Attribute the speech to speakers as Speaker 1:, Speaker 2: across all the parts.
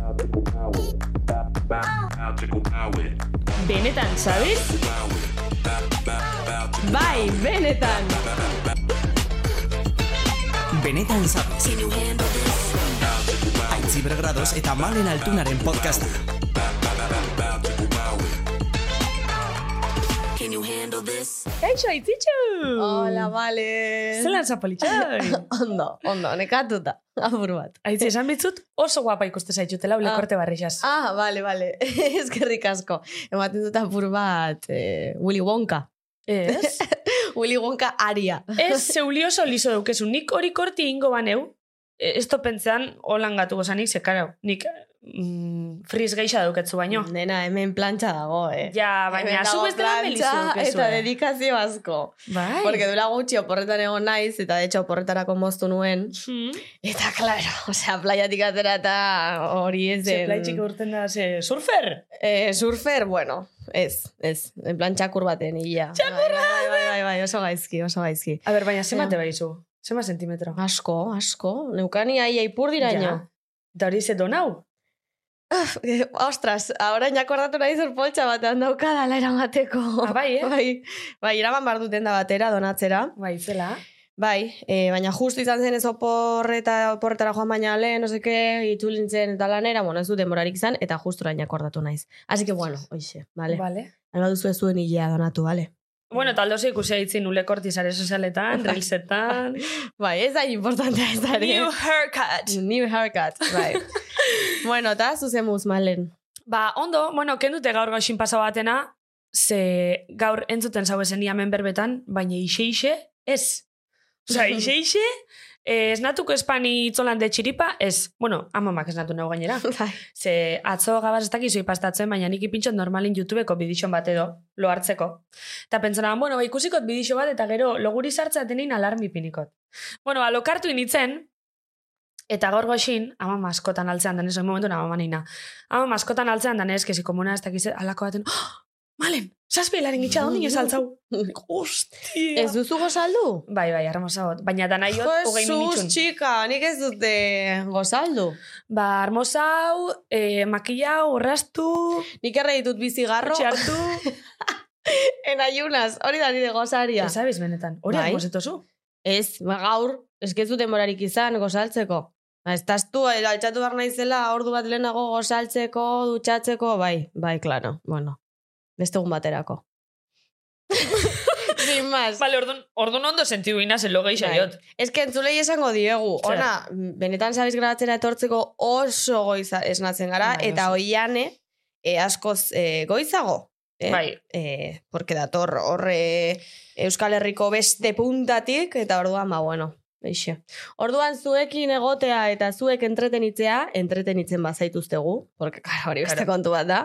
Speaker 1: Magical power. Ba- ba- Magical power.
Speaker 2: Benetan, sabes?
Speaker 1: Power. Ba- ba- magical-
Speaker 2: Bai, benetan!
Speaker 3: Benetan zabez. Aitziber grados eta malen altunaren podcasta.
Speaker 2: Kaixo, aitzitxu!
Speaker 4: Hola, vale.
Speaker 2: Zelan zapalitxai!
Speaker 4: Ondo, ondo, nekatuta, apur bat.
Speaker 2: Aitzi, esan bitzut oso guapa ikuste zaitutela ulekorte barrixaz.
Speaker 4: Ah, vale, vale. Eskerrik asko. Ematen dut apur bat eh, Willy Wonka.
Speaker 2: Ez?
Speaker 4: Willy Wonka aria.
Speaker 2: Ez, zeuli oso liso daukezu. Nik hori korti ingo baneu, e, esto pentsan holan gatu gozanik, ze karau. Nik mm, friz geixa daukatzu baino.
Speaker 4: Nena, hemen plantxa dago, eh.
Speaker 2: Ja, baina,
Speaker 4: Hemen
Speaker 2: zu
Speaker 4: dago
Speaker 2: bestela belizu
Speaker 4: plantxa
Speaker 2: daukezu.
Speaker 4: Eta
Speaker 2: eh?
Speaker 4: dedikazio asko.
Speaker 2: Bai.
Speaker 4: Porque duela gutxi oporretan egon naiz, eta de hecho oporretarako moztu nuen.
Speaker 2: Hmm.
Speaker 4: Eta, claro, osea, playatik atera eta hori ez
Speaker 2: Ze
Speaker 4: den...
Speaker 2: plaitxik urten da, ze surfer!
Speaker 4: Eh, surfer, bueno, ez, ez. En plan txakur baten, ia. Txakurra! Bai, bai, bai, bai, oso gaizki, oso gaizki.
Speaker 2: A ber, baina, zemate
Speaker 4: Ja.
Speaker 2: baizu? Zema sentimetro?
Speaker 4: Asko, asko. Neukani aia ipurdiraino.
Speaker 2: Ja. Da hori ze donau?
Speaker 4: Eh, Ostras, orain akordatu nahi zur poltsa batean daukadala eramateko.
Speaker 2: Ah, bai, eh?
Speaker 4: Bai, bai, eraman bar duten da batera, donatzera.
Speaker 2: Bai, zela.
Speaker 4: Bai, e, baina justu izan zen ez opor eta oporretara joan baina lehen, no seke, itzulintzen eta lanera, bueno, ez du demorarik izan, eta justu orain akordatu naiz. Así que, bueno, oixe, vale. Ba.
Speaker 2: Vale.
Speaker 4: Alba duzu ez zuen hilea donatu, vale.
Speaker 2: Bueno, eta aldo ze ikusi aitzin ulekorti zare sozialetan, reelsetan...
Speaker 4: Bai, ez da importantea ez da. ere.
Speaker 2: haircut!
Speaker 4: New haircut, bai. bueno, eta zuzen muz, malen.
Speaker 2: Ba, ondo, bueno, kendute gaur goxin pasa batena, ze gaur entzuten zau esen hemen berbetan, baina ixe-ixe, ez. Osa, ixe-ixe, eh, esnatuko espani itzolan de txiripa, ez. Bueno, amamak esnatu nau gainera.
Speaker 4: Bai.
Speaker 2: Ze atzo gabaz ez dakizu ipastatzen, baina nik ipintxot normalin YouTubeko bidixon bat edo, lo hartzeko. Eta pentsonaban, bueno, ba, ikusikot bidixo bat, eta gero loguri sartzaten in alarmi pinikot. Bueno, ba, lokartu initzen, eta gaur goxin, ama maskotan altzean danez, oin momentu nama manina. Ama maskotan altzean danez, kezi komuna ez dakiz, alako baten, oh, malen, saspelaren gitxa, ondin ez altzau. Hostia!
Speaker 4: Ez duzu gozaldu?
Speaker 2: Bai, bai, armosagot. Baina danaiot, hogei
Speaker 4: Jesus,
Speaker 2: minitxun.
Speaker 4: txika, nik ez dute gozaldu.
Speaker 2: Ba, armosau, eh, makillau, horraztu,
Speaker 4: Nik erre ditut bizigarro,
Speaker 2: txartu.
Speaker 4: en ayunas, hori da nire gozaria.
Speaker 2: Ez abiz benetan. Hori
Speaker 4: Bai.
Speaker 2: bai. zu.
Speaker 4: Ez, ba, gaur, eskizu demorarik izan gozaltzeko. Ba, Ez taztu, edo altxatu behar naizela, ordu bat lehenago gozaltzeko, dutxatzeko, bai, bai, klaro, bueno. Beste egun baterako. Sin más.
Speaker 2: Bale, orduan, orduan ondo sentiu inaz elo gehi
Speaker 4: Bai.
Speaker 2: saiot.
Speaker 4: Ez que entzulei esango diegu,
Speaker 2: Zer?
Speaker 4: ona, benetan zabiz grabatzera etortzeko oso goiza esnatzen gara,
Speaker 2: Bai,
Speaker 4: eta
Speaker 2: oso.
Speaker 4: oiane e, askoz e, goizago. Eh?
Speaker 2: Bai.
Speaker 4: E, porque dator horre Euskal Herriko beste puntatik, eta orduan, ba, bueno, eixe. Orduan zuekin egotea eta zuek entretenitzea, entretenitzen bazaituztegu, porque, kara, hori beste
Speaker 2: Claro.
Speaker 4: kontu bat da.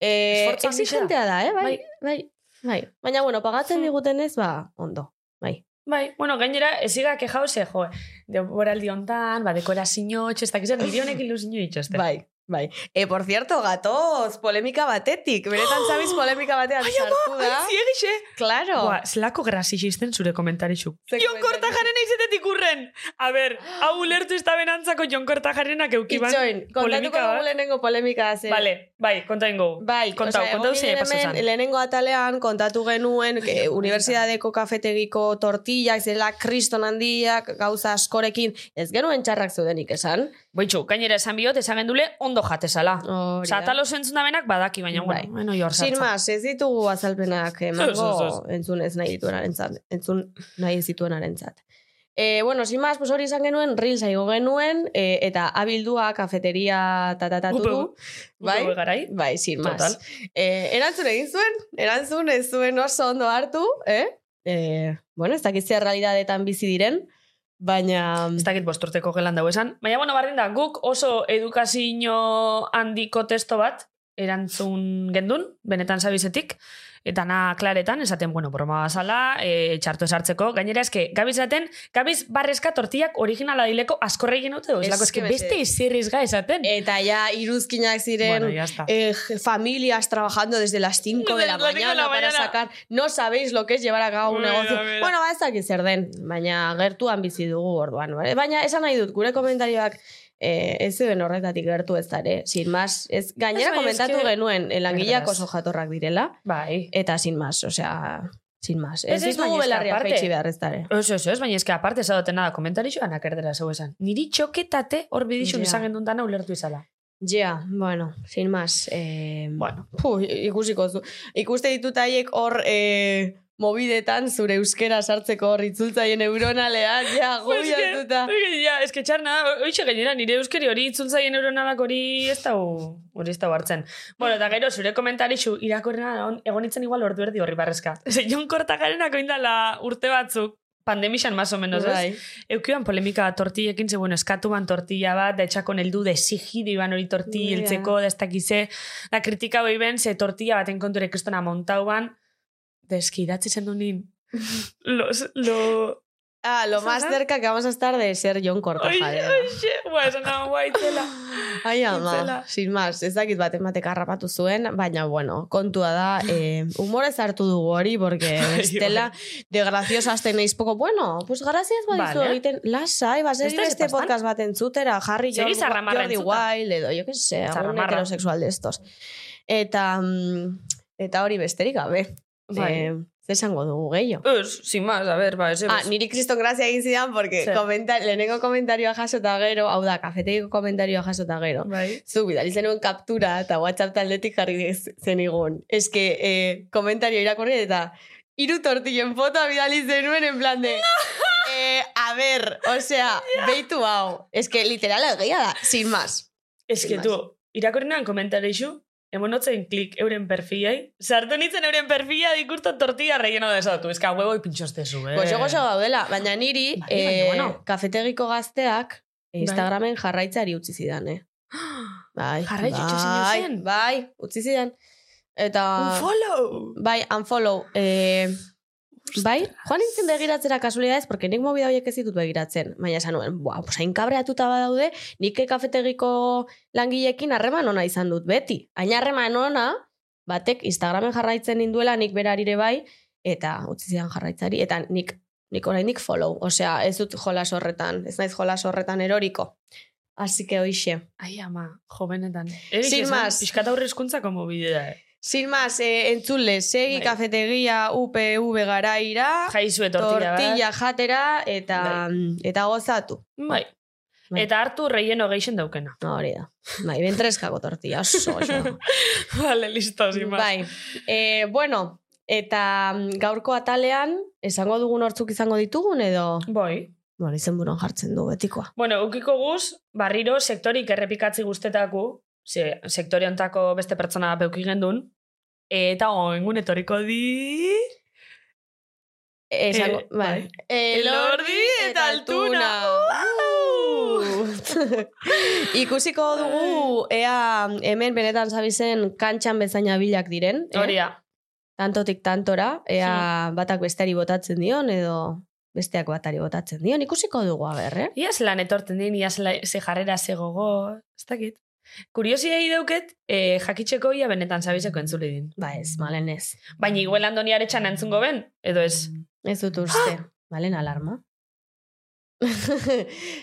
Speaker 4: E,
Speaker 2: Esfortzu handia.
Speaker 4: exigentea da, eh? Bai,
Speaker 2: Bai.
Speaker 4: bai, bai. Baina, bueno, pagatzen
Speaker 2: Hmm.
Speaker 4: digutenez, ba, ondo. Bai.
Speaker 2: Bai, bueno, gainera, eziga kejau ze, jo, deboraldi hontan, ba, dekorazio, txestak izan, nire honek ilusinio itxosten.
Speaker 4: Bai, bai. E, por cierto, gatoz, polemika batetik. Beretan zabiz polemika batean sartu da.
Speaker 2: ziegixe!
Speaker 4: Claro.
Speaker 2: Boa, zelako grazi izten zure komentarixuk.
Speaker 4: Ze
Speaker 2: Jon
Speaker 4: komentari-
Speaker 2: Kortajarena izetetik urren! A ber, hau ulertu ez da benantzako Jon Kortajarenak eukiban.
Speaker 4: Itxoin, kontatuko
Speaker 2: bai. polemika bai.
Speaker 4: dugu
Speaker 2: bat.
Speaker 4: lehenengo polemika zen.
Speaker 2: Vale, bai, konta ingo.
Speaker 4: Bai,
Speaker 2: kontau,
Speaker 4: osea,
Speaker 2: kontau
Speaker 4: egon
Speaker 2: ze
Speaker 4: ginen
Speaker 2: pasa
Speaker 4: hemen
Speaker 2: zan.
Speaker 4: Lehenengo atalean kontatu genuen eh, Unibertsitateko kafetegiko tortillak, zela kriston handiak, gauza askorekin, ez genuen txarrak zeudenik esan.
Speaker 2: Boitxu, gainera esan biot, esan gendule ondo jatezala.
Speaker 4: Hori da.
Speaker 2: Osa, atalo zentzuna benak badaki, baina,
Speaker 4: Bai.
Speaker 2: bueno, bueno, jor
Speaker 4: Sin
Speaker 2: sartza.
Speaker 4: mas, ez ditugu azalpenak
Speaker 2: Ez, ez,
Speaker 4: emango entzun ez nahi dituenaren zat. Entzun nahi ez dituenaren zat. E, bueno, sin mas, pues hori izan genuen, reels igo genuen, e, eta abildua kafeteria tatatatu
Speaker 2: Upe,
Speaker 4: du. Bai,
Speaker 2: Upe garai.
Speaker 4: bai, sin
Speaker 2: Total.
Speaker 4: mas. E, erantzun egin zuen, erantzun ez zuen oso ondo hartu, eh? E, bueno, ez dakit zer realidadetan bizi diren, baina...
Speaker 2: Ez dakit bosturteko gelan dago esan. Baina, bueno, barren da, guk oso edukazio handiko testo bat, erantzun gendun, benetan zabizetik, eta na klaretan, esaten, bueno, broma bazala, e, txartu esartzeko, gainera eske, gabiz esaten, gabiz barrezka tortillak originala dileko askorre egin dute,
Speaker 4: Ez
Speaker 2: oizlako, eske
Speaker 4: que
Speaker 2: beste
Speaker 4: bete.
Speaker 2: izirriz ga esaten.
Speaker 4: Eta ja, iruzkinak ziren,
Speaker 2: bueno, ya está.
Speaker 4: eh, familias trabajando desde las 5 de
Speaker 2: Desde
Speaker 4: la
Speaker 2: las cinco de la
Speaker 4: mañana para
Speaker 2: mañana.
Speaker 4: sacar. No sabéis lo que es llevar a cabo un
Speaker 2: Mira,
Speaker 4: negocio.
Speaker 2: mira.
Speaker 4: Bueno, ba, ez dakit zer den, baina gertuan bizi dugu orduan. bale? Baina esan nahi dut, gure komentarioak e, ez zeuden horretatik gertu ez dare. Sin mas, ez, gainera
Speaker 2: Ez, baina
Speaker 4: komentatu
Speaker 2: eske-
Speaker 4: genuen, eh, langileak
Speaker 2: Erdaraz.
Speaker 4: oso jatorrak direla,
Speaker 2: Bai.
Speaker 4: eta sin mas, osea, sin mas.
Speaker 2: Ez,
Speaker 4: Ez,
Speaker 2: ez,
Speaker 4: ez dugu
Speaker 2: baina eske
Speaker 4: belarriak
Speaker 2: aparte-
Speaker 4: jaitsi behar eh? ez dare.
Speaker 2: Oso, oso, ez, baina eske aparte ez duten nada, komentarixoan akertera zeu esan. Niri txoketate hor bidixun
Speaker 4: Ja.
Speaker 2: yeah. esan gendun dana ulertu izala.
Speaker 4: Ja, bueno, sin mas. Eh,
Speaker 2: Bueno.
Speaker 4: Puh, ikusiko zu. Ikuste ditut haiek hor eh, mobidetan zure euskera sartzeko hor itzultzaien euronalean, ja, gobiatuta.
Speaker 2: Ja, eske txarna, oixe gainera, nire euskeri hori itzultzaien euronalak hori ez dau, hori ez dau hartzen. Bueno, eta gero, zure komentarixu irakorrena on- egon itzen igual ordu erdi horri barrezka. Ze, Jon Kortakarenak oindala urte batzuk, pandemixan más o menos, ez?
Speaker 4: Bai.
Speaker 2: Eukioan polemika tortillekin, ze, bueno, eskatu ban tortilla bat, da etxakon heldu, da exigidu iban hori
Speaker 4: Ja.
Speaker 2: tortilla heltzeko, da ez dakize, da kritika hori ben, ze tortilla baten konturek kristona montau ban, da eski idatzi zen du nin. Los, lo...
Speaker 4: Ah, lo más
Speaker 2: Zara?
Speaker 4: cerca que vamos a estar de ser Jon
Speaker 2: Oi,
Speaker 4: Kortajarena.
Speaker 2: oi, xe, bua, esan hau guaitzela.
Speaker 4: Ai, ama,
Speaker 2: Itzela.
Speaker 4: sin más, ez dakit baten batek harrapatu zuen, baina, bueno, kontua da, eh, humorez hartu dugu hori, porque bestela, de graciosa azten naiz poco, bueno, pues gracias badizu
Speaker 2: bai. Vale.
Speaker 4: egiten, lasai, ba, segi
Speaker 2: Ez da
Speaker 4: beste
Speaker 2: zepastan.
Speaker 4: podcast bat entzutera, jarri
Speaker 2: Segi
Speaker 4: Jordi-
Speaker 2: zarramarra
Speaker 4: Jordi
Speaker 2: entzuta.
Speaker 4: Wild, edo, jo que se, algún
Speaker 2: Zarramarra.
Speaker 4: heterosexual de estos. Eta, mm, eta hori besterik gabe,
Speaker 2: Bai.
Speaker 4: eh, ze esango dugu gehiago.
Speaker 2: Ez, sin más, a ver, ba, ez,
Speaker 4: Ah, niri kriston grazia egin zidan, porque
Speaker 2: Zer?
Speaker 4: komenta, lehenengo komentarioa jaso eta gero, hau da, kafetegiko komentarioa jaso eta gero.
Speaker 2: Bai.
Speaker 4: Zu, bidali zenuen kaptura eta WhatsApp taldetik jarri zenigun. Ez que, eh, komentario irakurri eta hiru tortillen fotoa bidali zenuen en plan de... eh, a ber, osea, beitu hau. Ez que, literal, egia da, sin más.
Speaker 2: Ez que
Speaker 4: Sin
Speaker 2: tu, irakorrenan komentarixu, emonotzein klik euren perfilai, sartu nintzen euren perfila dikurto tortilla relleno desatu, ez que a huevo ipintxostezu, eh?
Speaker 4: Gozo gozo gaudela, baina niri
Speaker 2: Bai, baina
Speaker 4: eh,
Speaker 2: bueno.
Speaker 4: kafetegiko gazteak eh,
Speaker 2: Bai.
Speaker 4: Instagramen jarraitzari utzi zidan, eh? Bai,
Speaker 2: Jarraitzu
Speaker 4: bai,
Speaker 2: utzi zenioten?
Speaker 4: Bai, utzi zidan. Eta...
Speaker 2: Un follow!
Speaker 4: Bai, unfollow. Eh, bai, joan nintzen begiratzera kasualidadez, porque nik mobida horiek ez ditut begiratzen. Baina esan nuen, buah, pues hain kabreatuta badaude, nik kafetegiko langilekin harreman ona izan dut, beti. Hain harreman ona, batek Instagramen jarraitzen ninduela, nik berarire bai, eta utzi zidan jarraitzari, eta nik nik oraindik follow, osea, ez dut jolas horretan, ez naiz jolas horretan eroriko. Así que hoixe.
Speaker 2: Ai, ama, jovenetan. Eriz,
Speaker 4: Sin
Speaker 2: Sin
Speaker 4: más.
Speaker 2: más. Piskat aurre eskuntzako mobidea, eh?
Speaker 4: Sin más, eh, entzule, segi
Speaker 2: Bai.
Speaker 4: kafetegia UPV garaira.
Speaker 2: Jaizu etortilla bat.
Speaker 4: tortilla jatera eta eta gozatu.
Speaker 2: Bai.
Speaker 4: Bai.
Speaker 2: Eta hartu relleno geixen daukena.
Speaker 4: Hori da. Bai, bentreskako tortilla, oso. oso.
Speaker 2: vale, listo, sin más.
Speaker 4: bai. E, bueno, eta mm, gaurko atalean esango dugun hortzuk izango ditugun edo
Speaker 2: Bai.
Speaker 4: bueno, izenburuan jartzen du betikoa.
Speaker 2: Bueno, ukiko guz, barriro sektorik errepikatzi guztetako, ze, sektore ontako beste pertsona bat peuki gendun, eta oengun etorriko di...
Speaker 4: E, esango,
Speaker 2: Eh,
Speaker 4: bai.
Speaker 2: bai. Elordi eta Altuna.
Speaker 4: Wow! Ikusiko dugu ea hemen benetan zabizen kantxan bezaina bilak diren. eh?
Speaker 2: Hori da.
Speaker 4: tantotik tantora, ea batak besteari botatzen dion, edo besteak batari botatzen dion, ikusiko dugu aber, eh?
Speaker 2: Iaz lan etorten den, iaz la, ze jarrera, ze gogo, ez dakit. Kuriosiei dauket, eh, jakitxeko ia benetan zabizeko entzule din.
Speaker 4: Ba ez, malen ez. Mm,
Speaker 2: Baina igual andoniaretxan entzungo ben, edo ez. Ah!
Speaker 4: Ez dut uste. malen alarma.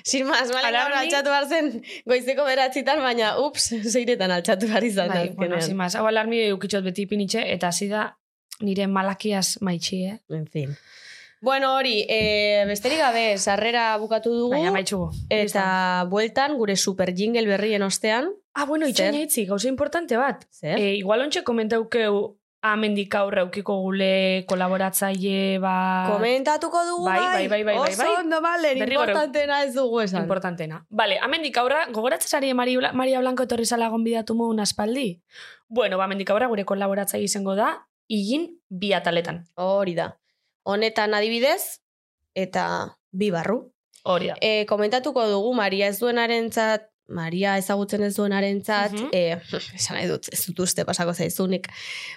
Speaker 4: Sin más, malen gaur
Speaker 2: Alarmi?
Speaker 4: altxatu behar zen, goizeko beratzitan, baina ups, zeiretan altxatu behar izan.
Speaker 2: Bai,
Speaker 4: azkenean.
Speaker 2: bueno, sin más. Hau alarmi eukitxot beti pinitxe, eta hasi da nire malakiaz eh? maitxie.
Speaker 4: En fin. Bueno, hori, e, besterik gabe, sarrera bukatu dugu,
Speaker 2: Baina maitxugu.
Speaker 4: eta bueltan gure super jingle berrien ostean,
Speaker 2: Ah, bueno,
Speaker 4: Zer?
Speaker 2: itxaina itzi, gauza importante bat.
Speaker 4: zer?
Speaker 2: E, igual ontxe komentaukeu amendik aurra eukiko gule kolaboratzaile bat...
Speaker 4: Komentatuko dugu
Speaker 2: ba- Bai, bai, bai, bai, bai,
Speaker 4: Oso
Speaker 2: bai.
Speaker 4: ondo malen,
Speaker 2: Derrigorreu.
Speaker 4: importantena ez dugu esan.
Speaker 2: importantena. Vale, amendik aurra, gogoratzen zari Maria, Bla- Maria Blanco etorri zala gonbidatu moun aspaldi? Bueno, ba, amendik aurra gure kolaboratzaile izango da, higin bi ataletan.
Speaker 4: Hori da. Honetan adibidez, eta bi barru.
Speaker 2: Hori da.
Speaker 4: E, komentatuko dugu Maria ez duenarentzat, Maria ezagutzen ez duenarentzat,
Speaker 2: Mhm.
Speaker 4: eh, esan nahi dut, ez dut uste pasako zaizunik,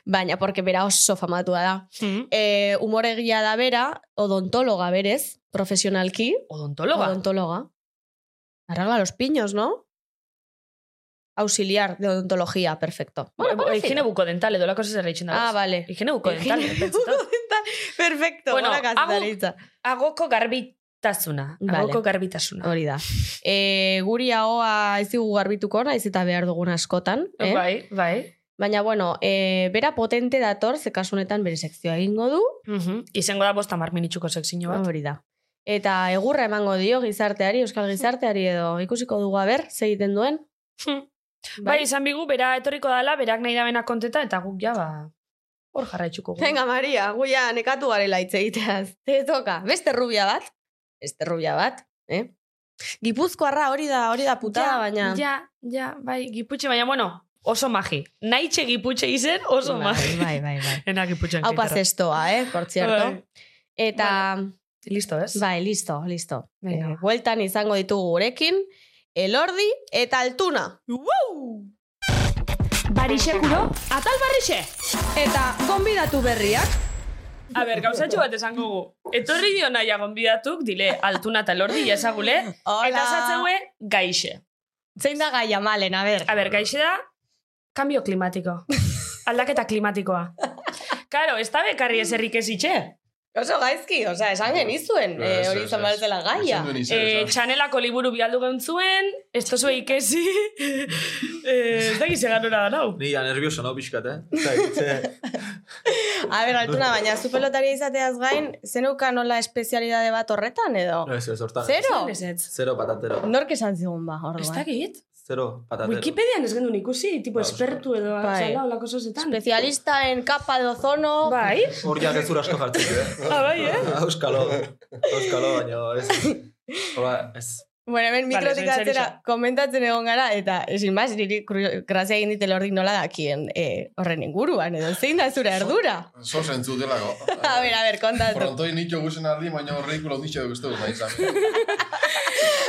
Speaker 4: baina porque bera oso famatua da.
Speaker 2: Mm.
Speaker 4: E, umoregia da bera, odontologa berez, profesionalki,
Speaker 2: Odontologa.
Speaker 4: Odontologa. Arralba los piños, ¿no? Auxiliar de odontología, perfecto.
Speaker 2: Bueno, eh,
Speaker 4: parecido.
Speaker 2: higiene buko dental edo lako zer egiten da.
Speaker 4: Ah, vale.
Speaker 2: Higiene buko dental.
Speaker 4: Higiene
Speaker 2: pentsatzen dut.
Speaker 4: Perfecto,
Speaker 2: Bueno,
Speaker 4: buena
Speaker 2: hago-
Speaker 4: kazetaritza.
Speaker 2: Agoko garbi Tasuna,
Speaker 4: Vale.
Speaker 2: agoko garbitasuna.
Speaker 4: Hori da. E, guri ahoa ez digu garbituko, naiz eta behar dugun askotan. Eh?
Speaker 2: Bai, bai.
Speaker 4: Baina, bueno, e, bera potente dator, ze kasu honetan bere sekzioa egingo du,
Speaker 2: Mhm. Izango da bosta mar minutxuko sekzio bat.
Speaker 4: hori da. Eta egurra emango dio gizarteari, euskal gizarteari edo ikusiko dugu aber, ze egiten duen.
Speaker 2: Hm. Bai, izan bigu, bera etorriko dala, berak nahi dabena konteta, eta guk ja, ba, hor jarraitzuko gu.
Speaker 4: Venga, Maria, guia nekatu garela hitz egiteaz. Te toka, beste rubia bat, beste rubia bat, eh? Gipuzkoarra hori da, hori da puta,
Speaker 2: ja,
Speaker 4: baina...
Speaker 2: Ja, ja, bai, giputxe, baina, bueno, oso magi. Naitxe giputxe izen, oso
Speaker 4: bai,
Speaker 2: magi.
Speaker 4: bai, bai, bai.
Speaker 2: Ena giputxean
Speaker 4: Hau pazestoa, eh, por cierto.
Speaker 2: Bai.
Speaker 4: Eta,
Speaker 2: Listo, ez?
Speaker 4: bai, listo, listo.
Speaker 2: Venga.
Speaker 4: Eh, Bueltan izango ditugu gurekin, elordi eta altuna.
Speaker 2: Barixekuro?
Speaker 4: Atal barrixe! Eta gonbidatu berriak.
Speaker 2: A ber, gauzatxo bat esango gu. Etorri dio naia gonbidatuk, dile, altuna eta lordi, jasagule,
Speaker 4: Hola.
Speaker 2: eh? eta zatzeue, gaixe.
Speaker 4: Zein da gaia malen, a ber.
Speaker 2: A ber, gaixe da, kambio klimatiko. Aldaketa klimatikoa. Karo, ez da bekarri eserrik ez itxe.
Speaker 4: Oso gaizki, osea, esan genizuen, eh, hori izan behar zela gaia.
Speaker 2: E, txanelako liburu bialdu geuntzuen, ez tozue ikesi, eh, ez da gize ganora da, nau.
Speaker 5: Ni ja nervioso nau pixkat, eh? Ez dakit, ze-
Speaker 4: A ber, altuna, baina zu pelotaria izateaz gain, zenuka nola espezialidade bat horretan, edo?
Speaker 5: No, ez, ez, hortan.
Speaker 4: Zero?
Speaker 2: Ez ez.
Speaker 5: Zero patatero.
Speaker 4: Nork esan zigun ba,
Speaker 2: Ez
Speaker 4: orduan.
Speaker 2: dakit?
Speaker 5: Zero patatero.
Speaker 2: Wikipedian ez gendun ikusi, tipo
Speaker 5: Ba,
Speaker 2: espertu edo,
Speaker 4: Bai.
Speaker 2: zala, olako zozetan.
Speaker 4: Especialista en capa de ozono.
Speaker 2: Bai?
Speaker 5: Hor ja gezur asko jartzen, eh?
Speaker 2: Ah, bai, eh?
Speaker 5: Euskalo. Euskalo, baina ez. Hola, ez.
Speaker 4: Bueno, hemen
Speaker 2: Vale,
Speaker 4: mikrotik
Speaker 2: zer- zer
Speaker 4: atzera
Speaker 2: izan?
Speaker 4: komentatzen egon gara, eta esin maz, niri kru- grazia egin ditela hordik nola dakien eh, horren inguruan, edo zein da zure ardura.
Speaker 6: Zo zentzu delako.
Speaker 4: A ber, a ber, kontatu.
Speaker 6: Frontoi nitxo guzen aldi, baina horreikulo ditxo dugu estegu nahi izan.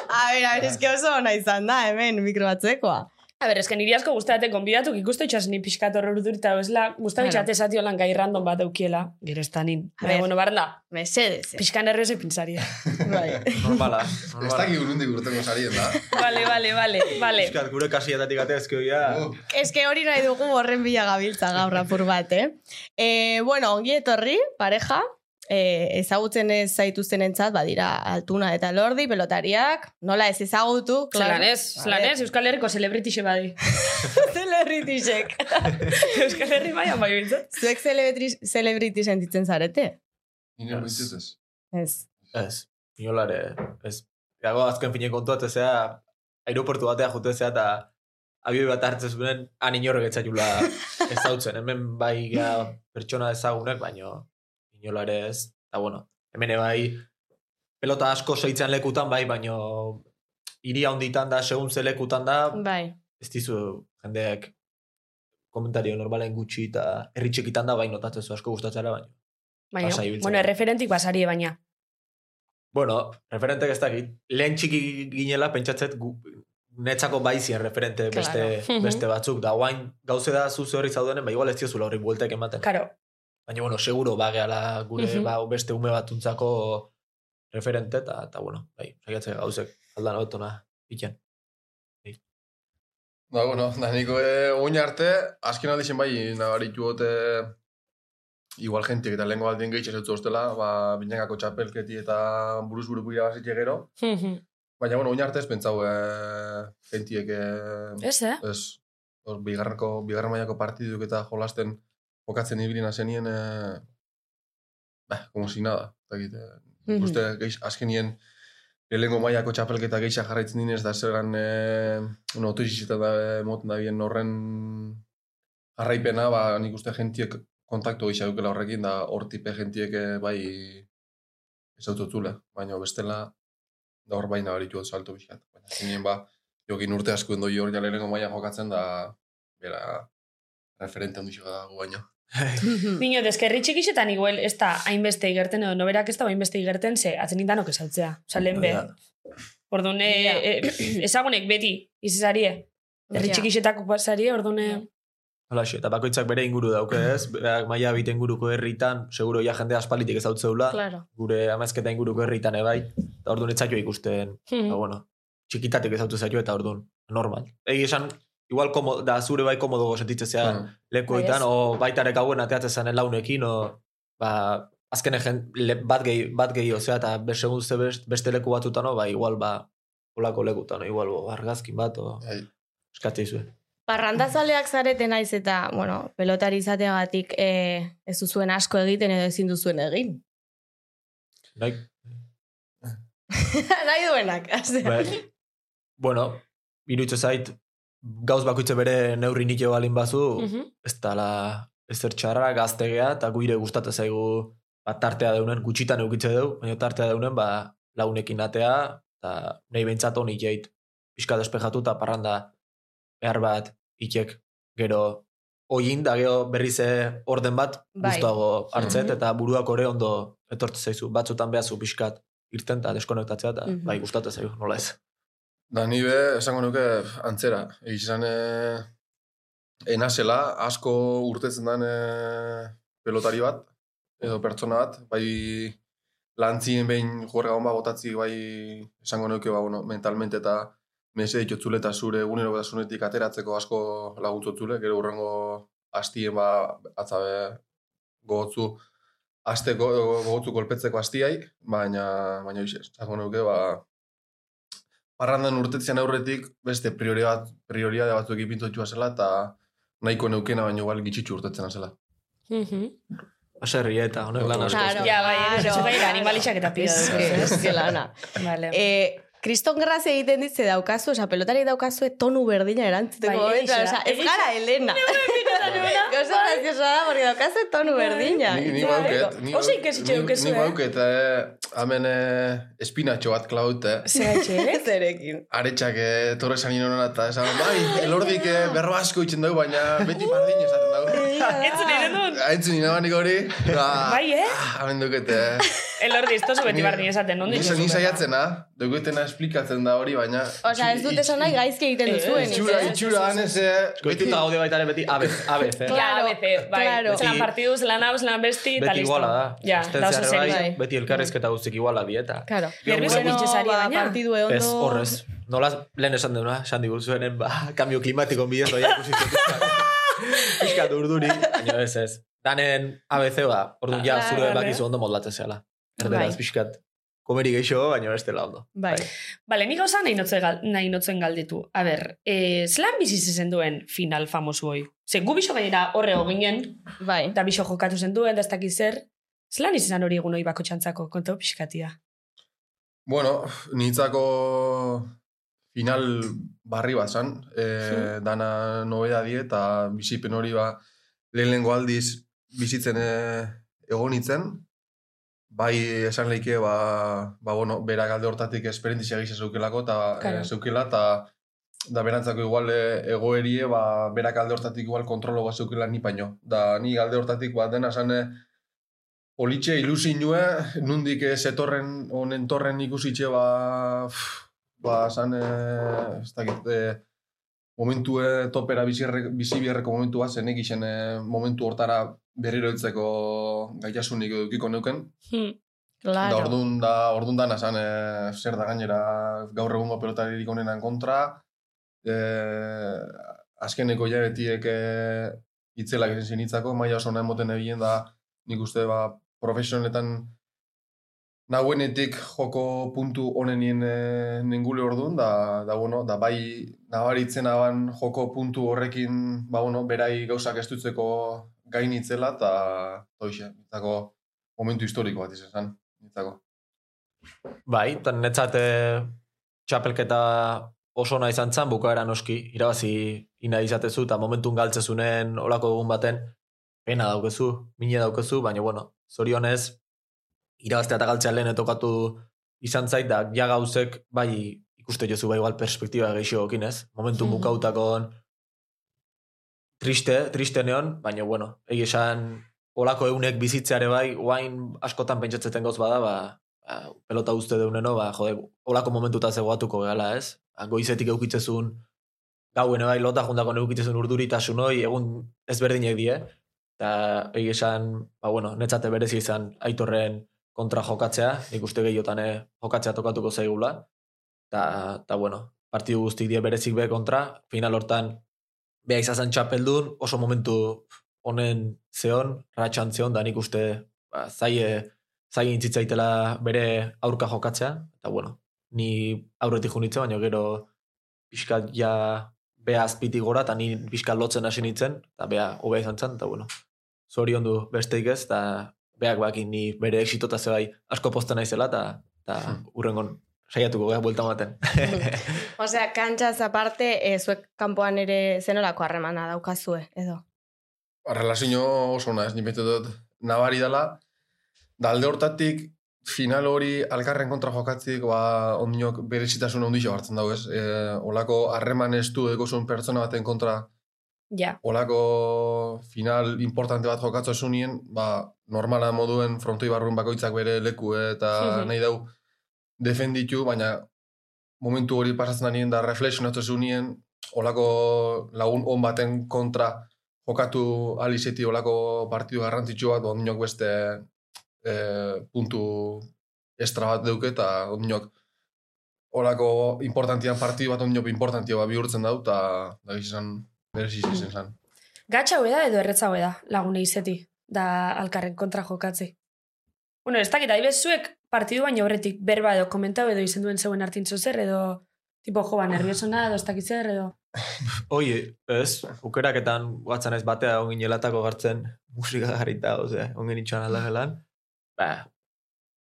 Speaker 4: A ber, a ber, eske oso ona izan da, hemen, mikro batzekoa.
Speaker 2: A ber, esken niri asko guztaten konbidatuk ikustu itxas ni pixkat horre urdurita bezala, guztatzen
Speaker 4: Claro.
Speaker 2: claro. esatio lan gai random bat eukiela, gero ez da nin.
Speaker 4: A
Speaker 2: Baina,
Speaker 4: ber.
Speaker 2: bueno, barna,
Speaker 4: Mesedez. eh.
Speaker 2: pixkan errez epintzaria.
Speaker 4: Bai.
Speaker 5: Normala.
Speaker 6: Ez
Speaker 5: normala.
Speaker 6: dakik urrundik urteko sarien da.
Speaker 2: vale, vale, vale, vale.
Speaker 5: Euskal, gure kasietatik atezkio, ja.
Speaker 6: Uh,
Speaker 4: Eske hori nahi dugu horren bila gabiltza gaur apur bat, eh? E, bueno, ongi etorri, pareja, e, ezagutzen ez zaituzten entzat, badira, altuna eta lordi, pelotariak, nola ez ezagutu,
Speaker 2: Zelan ez, zelan ez, Euskal Herriko celebritixe badi.
Speaker 4: Celebritisek.
Speaker 2: Euskal Herri baian bai bintzat.
Speaker 4: Zuek celebritri- celebrity sentitzen zarete?
Speaker 6: Nire bintzut ez.
Speaker 4: Ez.
Speaker 5: Ez. Inolare, ez. Gago azken finen kontuat ezea, aeroportu batea jute ezea, eta abioi bat hartzen zuen, han inorrek etzailula ez dautzen. Hemen bai ja, pertsona ezagunek, baino inolare ez. Eta bueno, hemen ere bai, pelota asko seitzen lekutan bai, baino hiri handitan da, segun ze lekutan da,
Speaker 4: Bai.
Speaker 5: ez dizu jendeak komentario normalen gutxi eta herritxekitan da, bai notatzen zu asko gustatzera, baino.
Speaker 2: Baina,
Speaker 5: Pasa ibiltzen.
Speaker 2: bueno, erreferentik basarie baina.
Speaker 5: Bueno, referentek ez dakit. Lehen txiki ginela pentsatzet gu, netzako baizien referente
Speaker 4: Claro.
Speaker 5: beste, beste batzuk. Da guain gauze da zuze horri zaudenen, ba igual ez diozula horri bueltek ematen.
Speaker 2: Karo,
Speaker 5: Baina, bueno, seguro bageala gure
Speaker 2: Mhm.
Speaker 5: ba, beste ume batuntzako referente, eta, eta bueno, bai, saiatze gauzek aldan hobetona egiten.
Speaker 6: Da, Ba, bueno, da niko e, oin arte, azken aldi zen bai, nabaritu gote igual jentiek eta lehenko aldien gehitxe zutzu ostela, ba, binakako txapelketi eta buruz buruko irabazitxe gero. Baina, bueno, oin arte ez pentsau e, jentiek e,
Speaker 2: ez, eh?
Speaker 6: ez, hor, bigarreko, bigarren mailako partiduk eta jolasten jokatzen ibilina zenien, e, ba, como si nada, eta gite,
Speaker 4: Mhm.
Speaker 6: uste, geix, azkenien, lehenko mailako txapelketa geixa jarraitzen dinez, da zeran, e, bueno, otoizitzetan da, e, moten da bien horren jarraipena, ba, nik uste jentiek kontaktu geixa dukela horrekin, da hor tipe jentiek e, bai ezautotzule, baina bestela, da hor baina baritu dut salto bizkat. Baina azkenien, ba, jokin urte askuen doi hor ja lehenko maila jokatzen, da, bera, referente handu da gu baino.
Speaker 2: Niño, deskerri txikixetan igual ez da hainbeste igerten edo noberak ez da hainbeste igerten, ze atzen nintanok esautzea. Osa, lehen be.
Speaker 5: Ja.
Speaker 2: Orduan,
Speaker 4: Ja.
Speaker 2: e, e, ezagunek beti, izizarie. Herri
Speaker 4: Ja.
Speaker 2: txikixetako pasarie, orduan... e,
Speaker 5: Halaxe, eta bakoitzak bere inguru dauke ez, berak maila biten inguruko herritan, seguro ja jende aspalitik ezautzeula,
Speaker 4: Claro.
Speaker 5: gure amazketa inguruko herritan ebai, eta orduan etzaio ikusten Ba,
Speaker 2: mhm.
Speaker 5: bueno, txikitatik ezautu zaio eta orduan, normal. Egi esan, igual komo, da zure bai komodo sentitzen zea
Speaker 6: Mm.
Speaker 5: lekuetan,
Speaker 2: Bai,
Speaker 5: o baitarek hauen ateatzen zanen launekin, o ba, azken egen, le, bat gehi, bat gehi ozea, eta beste guzti best, beste leku batzutano, ba, igual, ba, olako lekutano, igual, bo, argazkin bat, o,
Speaker 6: Bai.
Speaker 5: eskatzea izue.
Speaker 4: Parrandazaleak zarete naiz eta, bueno, pelotari izateagatik e, ez duzuen asko egiten edo ezin duzuen egin.
Speaker 5: Naik,
Speaker 4: Nahi duenak.
Speaker 5: Ba, bueno, irutxe zait, gauz bakoitze bere neurri nitio balin bazu,
Speaker 2: Mhm.
Speaker 5: ez dala ezer txarra, gaztegea, eta guire gustatzen zaigu ba, tartea deunen, gutxitan eukitze deu, baina tartea deunen, ba, launekin atea, eta nahi behintzat honi jait, pixka despejatu eta parranda behar bat itek gero oin, da gero berrize orden bat
Speaker 4: Bai.
Speaker 5: guztuago hartzet,
Speaker 2: Mhm.
Speaker 5: eta buruak ore ondo etortu zaizu, batzutan behazu pixkat irten eta deskonektatzea, eta
Speaker 4: Mhm.
Speaker 5: bai, gustatzen zaigu, nola ez.
Speaker 6: Da, ni be, esango nuke antzera. Egizan, e, enazela, asko urtetzen den e, pelotari bat, edo pertsona bat, bai lantzien behin juerga honba botatzi, bai esango nuke, ba, bueno, mentalmente eta mese dikotzule eta zure egunero batasunetik ateratzeko asko laguntzotzule, gero urrengo hastien ba, atzabe gogotzu, asteko, gogotzu kolpetzeko hastiai, baina, baina, hoxe, esango nuke, ba, parrandan urtetzean aurretik beste prioridad, prioridade batzuk ipintotxua zela eta nahiko neukena baino igual gitxitxu urtetzen zela.
Speaker 5: Baserri eta honek lan asko.
Speaker 4: Claro.
Speaker 2: Ja, bai, ez
Speaker 4: Claro,
Speaker 2: zugai
Speaker 4: claro.
Speaker 2: animalixak eta pila eh.
Speaker 4: Ez,
Speaker 2: dut.
Speaker 4: ez, que lana.
Speaker 2: Vale.
Speaker 4: Eh, kriston grazia egiten ditze daukazu, oza, pelotari daukazu e, tonu berdina erantzuteko
Speaker 2: Bai,
Speaker 4: momentuan,
Speaker 2: egia da,
Speaker 4: oza, ez
Speaker 2: egia
Speaker 4: gara Elena. Gauza
Speaker 2: Bai.
Speaker 4: graziosa da, porque daukazu e tonu berdina.
Speaker 6: Ni, ni
Speaker 2: Claro.
Speaker 6: bauket. Ni,
Speaker 2: Bai. Oso ikasitxe
Speaker 6: ni-
Speaker 2: dukezu,
Speaker 6: Ni
Speaker 2: eh?
Speaker 6: bauket, eh, hemen eh, espinatxo bat klaute.
Speaker 2: Zeratxe,
Speaker 4: Ez erekin.
Speaker 6: Aretxak eh, torre sanin honora eta esan, bai, elordik eh, berro asko itxen dugu, baina beti bardin esaten dugu.
Speaker 2: Entzun egin dut.
Speaker 6: Aintzun inabanik hori, da...
Speaker 2: Uh. Bai, eh?
Speaker 6: Hemen duket, eh?
Speaker 2: Elordi, ez tozu beti bardin esaten, nondi?
Speaker 6: Nisa, nisa jatzen, ha? Duketena esplikatzen da hori, baina...
Speaker 4: Oza, ez dut esan nahi gaizki egiten
Speaker 2: Eh,
Speaker 4: duzuen.
Speaker 6: Itxura,
Speaker 4: ez?
Speaker 6: itxura, anez, eh?
Speaker 5: Beti eta gaude baita ere beti abe, abe, eh?
Speaker 4: Claro.
Speaker 2: Ja, ABC, bai.
Speaker 4: Claro.
Speaker 2: Zelan partidu, zelan hau, zelan besti, eta
Speaker 5: Beti
Speaker 2: listo.
Speaker 5: iguala da.
Speaker 2: Ja,
Speaker 5: Astean
Speaker 2: da oso
Speaker 5: zehar
Speaker 2: serio.
Speaker 5: bai, Beti elkarrezketa guztik iguala dieta.
Speaker 4: Claro.
Speaker 2: Nervios
Speaker 5: Bueno,
Speaker 2: egitxezari
Speaker 4: ba,
Speaker 2: baina.
Speaker 4: partidu
Speaker 5: Ez,
Speaker 4: ondo...
Speaker 5: horrez. Nola lehen esan dena, esan digu zuenen, ba, kambio klimatiko bidez doia ikusi zuen. Piskat urduri, baina ez ez. Danen ABC ba, orduan ja,
Speaker 2: Ah,
Speaker 5: zure
Speaker 2: vale.
Speaker 5: bakizu ondo modlatzen zela. Erderaz,
Speaker 4: Bai.
Speaker 5: pixkat, komeri geixo, baina bestela ondo.
Speaker 4: Bai.
Speaker 2: Bale, nik gauza nahi, notze gal, nahi notzen galditu. A ber, eh, zelan bizi zezen duen final famosu hoi? Ze, gu biso gainera horre hoginen,
Speaker 4: Bai.
Speaker 2: eta biso jokatu zen duen, da ez dakiz zer. Zelan izan hori egun hoi bako txantzako, konta pixkatia.
Speaker 6: Bueno, nintzako final barri bat zan, e, dana nobeda die, eta bizipen hori ba, lehenengo aldiz bizitzen e, egon nintzen, bai esan leike, ba, ba bueno, bera galde hortatik esperientzia gisa zeukelako, eta
Speaker 2: Claro.
Speaker 6: e, zeukela, eta da berantzako igual e, egoerie, ba, bera galde hortatik igual kontrolo bat zeukela ni paino. Da, ni galde hortatik bat dena esan, e, Olitxe ilusinue, nundik ez etorren, honen torren ikusitxe ba... pff, ba, san, eh, ez dakit, eh, momentu eh, topera bizierre- bizi biherreko momentu bat, zenek isen eh, momentu hortara berriro heltzeko gaitasunik edukiko neuken.
Speaker 7: Ah,
Speaker 2: Hmm.
Speaker 6: Da,
Speaker 4: Claro.
Speaker 6: orduan, da, orduan dana san, eh, zer da gainera gaur egungo pelotaririk honenan kontra, eh, azkeneko jabetiek eh, itzelak egin zinitzako, maila oso nahi moten egin da, nik uste ba, profesionaletan nahuenetik joko puntu honenien e, ningule orduan, da, da, bueno, da bai nabaritzen aban joko puntu horrekin, ba, bueno, berai gauzak estutzeko gainitzela, eta toixe, nitzako momentu historiko bat izan, zen, nitzako.
Speaker 5: Bai, eta netzat eh, txapelketa oso nahi izan zen, bukaera noski, irabazi ina izatezu, eta momentun galtzezunen olako egun baten, pena daukezu, mine daukezu, baina bueno, zorionez, irabaztea eta galtzea lehen etokatu izan zait, da ja gauzek, bai, ikuste jozu bai igual perspektiba gehiago ez? Momentu
Speaker 4: Mhm.
Speaker 5: bukautakon, triste, triste neon, baina bueno, egi esan, olako eunek bizitzeare bai, guain askotan pentsatzen gauz bada, ba, ba, pelota uste deuneno, ba, jode, olako momentuta zegoatuko gala, ez? Ba, Goizetik eukitzezun, gauen bai, lota juntako neukitzezun urduri eta sunoi, egun ezberdinek die. Eta egi esan, ba, bueno, netzate berezi izan aitorren kontra jokatzea, nik uste gehiotan eh, jokatzea tokatuko zaigula. Eta, ta, bueno, partidu guztik die berezik be kontra, final hortan, beha izazan txapeldun, oso momentu honen zeon, ratxan zeon, da nik uste ba, ba, zaie, zaie intzitzaitela bere aurka jokatzea, eta bueno, ni aurretik junitze, baina gero pixkat ja bea azpitik gora, eta ni pixkat lotzen hasi nintzen, eta bea hobea izan zen, eta bueno, zorion du besteik ez, eta beak bakin ni bere exitota zebai asko posten naizela, eta, eta hurrengon saiatuko gara buelta ematen.
Speaker 4: Osea, kantxaz aparte, e, zuek kanpoan ere zenolako harremana daukazue, edo.
Speaker 6: Relazio oso ona, ez nik bete dut nabari dela, da alde hortatik final hori alkarren kontra jokatzik, ba, ondinok berezitasun ondixo hartzen dago, ez? E, olako harreman estu egozun pertsona baten kontra
Speaker 2: Ja,
Speaker 6: olako final importante bat jokatzo esunien, ba, normala moduen frontoi barrun bakoitzak bere leku eh, eta
Speaker 2: Mhm.
Speaker 6: nahi dau defenditu, baina momentu hori pasatzen anien da reflexionatu esunien, olako lagun on baten kontra jokatu alizeti olako partidu garrantzitsu bat, ba, ondinok beste e, puntu estra bat deuke, eta ondinok olako importantian partidu bat ondinok importantia bat bihurtzen dau, eta da gizan berezi izan zen.
Speaker 2: gatxa da edo erretza da lagune izeti, da alkarren kontra jokatzi. Bueno, ez dakit, haibez zuek partidu baino horretik berba edo komentau edo izen duen zeuen hartintzu zer edo tipo jo, ba, nerviosona edo ez dakit zer edo...
Speaker 5: Oie, ez, ukeraketan guatzen ez batea ongin jelatako gartzen musika garrita, ose, ongin itxan aldagelan. Ba,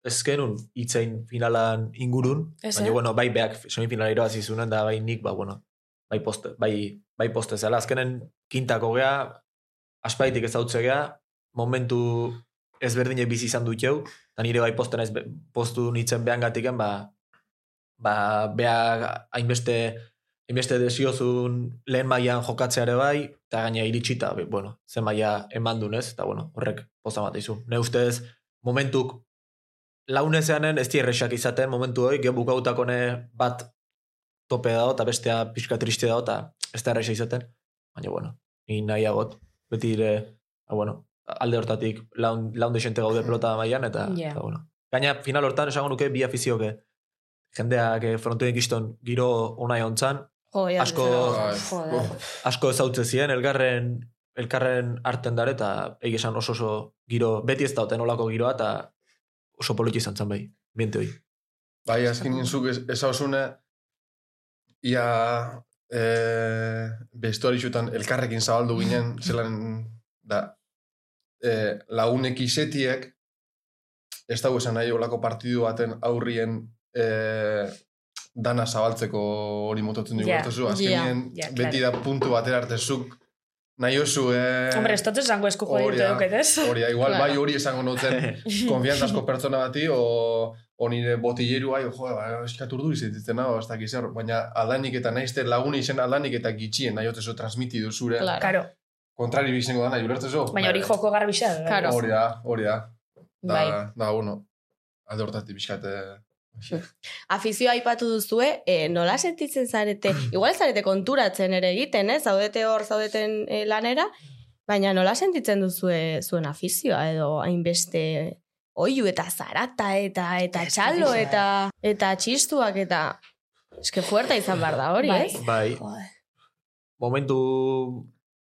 Speaker 5: ez genuen itzein finalan ingurun,
Speaker 2: Ez,
Speaker 5: baina,
Speaker 2: eh?
Speaker 5: bueno, bai beak semifinala irabazi zunen, da bai nik, ba, bueno, bai poste, bai, bai poste zela. Azkenen kintako gea, aspaitik ezautze gea, momentu ezberdinek bizi izan dut jau, eta nire bai posten ez, postu nintzen behan gatiken, ba, ba, beha hainbeste, hainbeste desiozun lehen mailan jokatzea ere bai, eta gaina iritsita, be- bueno, zen maila eman dunez, eta bueno, horrek poza bat izu. Ne ustez, momentuk launezeanen ez tierresak izaten momentu hori, gebu gautakone bat tope dago, eta bestea pixka triste dago, eta ez da erresa izaten. Baina, bueno, ni nahiagot, beti dire, ba, bueno, alde hortatik laun, laun desente gaude pelota mailan, eta,
Speaker 2: Ja.
Speaker 5: eta bueno. Gaina, final hortan esango nuke bi afizioke. Jendeak eh, frontoen kiston giro onai ontzan,
Speaker 4: Jo, ja,
Speaker 5: Asko-
Speaker 4: bezala.
Speaker 2: Joder.
Speaker 5: asko ezautze ziren, elkarren elkarren arten dare, eta egi esan oso oso giro, beti ez dauten olako giroa, eta oso politi izan zen bai, biente hoi.
Speaker 6: Bai, azken zuk ez, ezausune, ia e, bestuari xutan elkarrekin zabaldu ginen, zelan da, e, lagunek izetiek, ez dago esan nahi olako partidu baten aurrien e, dana zabaltzeko hori mototzen dugu
Speaker 2: Ja,
Speaker 6: yeah, hartu azkenien
Speaker 2: ja, ja,
Speaker 6: beti da puntu batera arte zuk nahi osu, e,
Speaker 2: Hombre, ez dut esango esku jode
Speaker 6: hori
Speaker 2: dute
Speaker 6: da,
Speaker 2: duket, ez?
Speaker 6: hori da, igual
Speaker 4: Claro.
Speaker 6: bai hori esango noten, konfiantzazko pertsona bati, o, o nire botilleru, ai, jo, ba, eskat urdu izetitzen hau, ez dakiz zer, baina aldanik eta naizte lagun izen aldanik eta gitxien, nahi otezo transmitidu zure,
Speaker 4: Claro.
Speaker 2: Karo,
Speaker 6: kontrari bizengo dana, julertzezo.
Speaker 2: baina hori joko garbisa da. eh?
Speaker 4: Karo.
Speaker 6: Bai. Hori da, hori da, da,
Speaker 4: Bai.
Speaker 6: da, bueno, alde hortatik bizkate,
Speaker 4: Afizioa aipatu duzue, e, nola sentitzen zarete, igual ez zarete konturatzen ere egiten, eh? zaudete hor, zaudeten eh, lanera, baina nola sentitzen duzue zuen afizioa edo hainbeste oiu eta zarata eta eta txalo eta
Speaker 2: eh.
Speaker 4: eta txistuak eta eske fuerta izan behar da hori,
Speaker 2: Bai.
Speaker 4: ez?
Speaker 5: Bai, momentu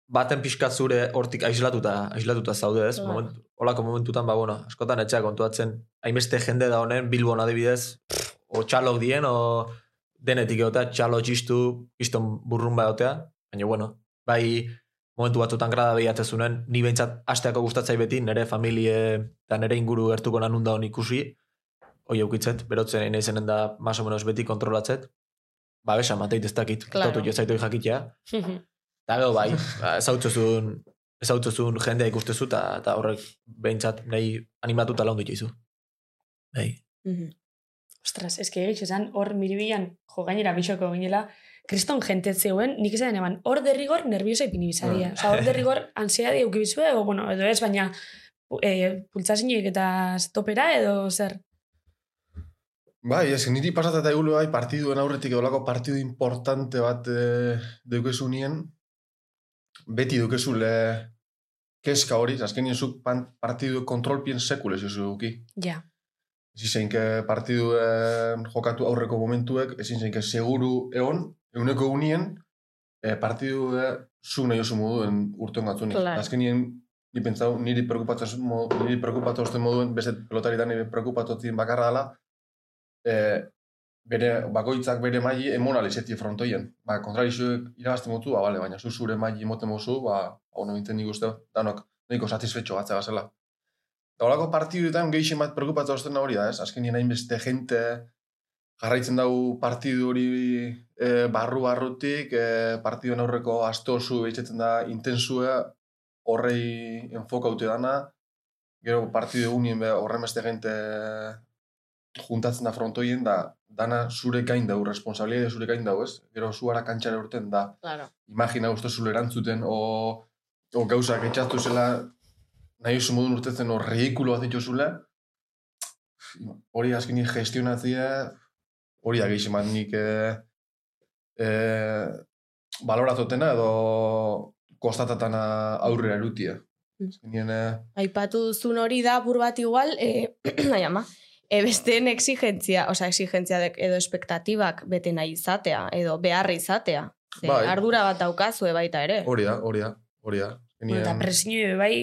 Speaker 5: baten pixkat zure hortik aislatuta, aislatuta zaude ez.
Speaker 4: Claro.
Speaker 5: Momentu, olako momentutan, ba, bueno, askotan etxeak kontuatzen, hainbeste jende da honen, Bilbon adibidez, pff, o txalok dien, o denetik egotea, txalo txistu, kiston burrumba egotea, baina, bueno, bai, momentu batzutan grada behiatzezunen, ni behintzat asteako gustatzai beti, nire familie eta nire inguru gertuko nanunda hon ikusi, hoi eukitzet, berotzen nahi zenen da, más o menos beti kontrolatzet, ba, besa, mateit ez dakit,
Speaker 4: Claro.
Speaker 5: claro. jo zaitu jakitea, Eta gero bai, ba, ezautzuzun, ezautzuzun jendea ikustezu eta eta horrek behintzat nahi animatuta laundu ditu izu. Bai.
Speaker 2: Ostras, eski egitxe esan, hor miribilan, jo gainera bisoko ginela, kriston jente zeuen, nik izan eman, hor derrigor nerviosa ipini bizadia.
Speaker 6: Ah.
Speaker 2: Osa, hor derrigor ansiadi eukibizue, edo, bueno, edo ez, baina e, pultsazinik eta topera edo zer.
Speaker 6: Bai, ez, niri pasata eta egulu bai partiduen aurretik edolako partidu importante bat e, deukezu nien, beti dukezu le keska hori, azkenien zuk pan- partidu kontrolpien sekulez jozu duki.
Speaker 2: Ja,
Speaker 6: ezin zeinke partiduen jokatu aurreko momentuek, ezin zeinke seguru egon, euneko eh, unien, e, partidu zu nahi oso moduen urteon gatzunik.
Speaker 4: Claro.
Speaker 6: Azkenien Ni pentsau, niri preocupatzen mo- niri preokupatu osten moduen, beste pelotaritan nire preokupatotzen bakarra dela, e, bere, bakoitzak bere maili emona lezeti frontoien. Ba, kontrarizuek irabazten motu, ba, bale, baina zu zure maili emoten mozu, ba, hau nintzen nik uste, danok, nahiko satisfetxo batzea gazela. Eta horako partiduetan gehixen bat preokupatzen ostena hori da, ez? Azken nien hainbeste jente, jarraitzen dugu partidu hori e, barru-barrutik, e, partiduen aurreko astozu behitzetzen da intensua, horrei enfokaute dana, gero partidu egunien be, horren beste gente juntatzen da frontoien, da dana zure gain dau, responsabilidade zure gain dau, ez? Gero zuara kantxara urten da,
Speaker 4: Claro.
Speaker 6: imagina uste zule erantzuten, o, o gauzak etxatu zela, nahi oso modun urtetzen o reikulo bat dituzula, hori azken nik gestionatzea, hori da gehiago eman nik eh eh baloratotena edo kostatatana aurrera erutia. Azken nien, eh,
Speaker 4: Aipatu duzun hori da apur bat igual, e, nahi ama, e, besteen exigentzia, oza, exigentzia dek- edo espektatibak bete nahi izatea, edo behar izatea. Ze,
Speaker 6: Bai.
Speaker 4: Ardura bat daukazue baita ere.
Speaker 6: hori da, hori da, hori da. Azken nien-
Speaker 2: Eta presiño ere bai,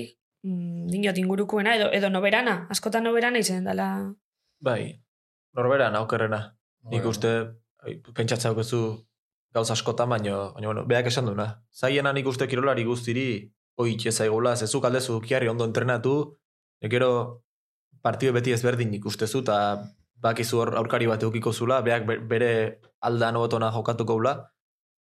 Speaker 2: mm, dinot ingurukoena, edo, edo noberana, askotan noberana izan dela.
Speaker 5: Bai, norbera naukerrena. Nik
Speaker 6: Bueno,
Speaker 5: uste, ai, pentsatza daukazu gauza askotan, baino, baina, bueno, beak esan duna. Zaiena nik uste kirolari guztiri, hoi itxe zaigula, zezu kaldezu kiarri ondo entrenatu, ekero partio beti ezberdin ikustezu, eta bakizu hor aurkari bat eukiko zula, beak be- bere aldan hobetona jokatuko ula,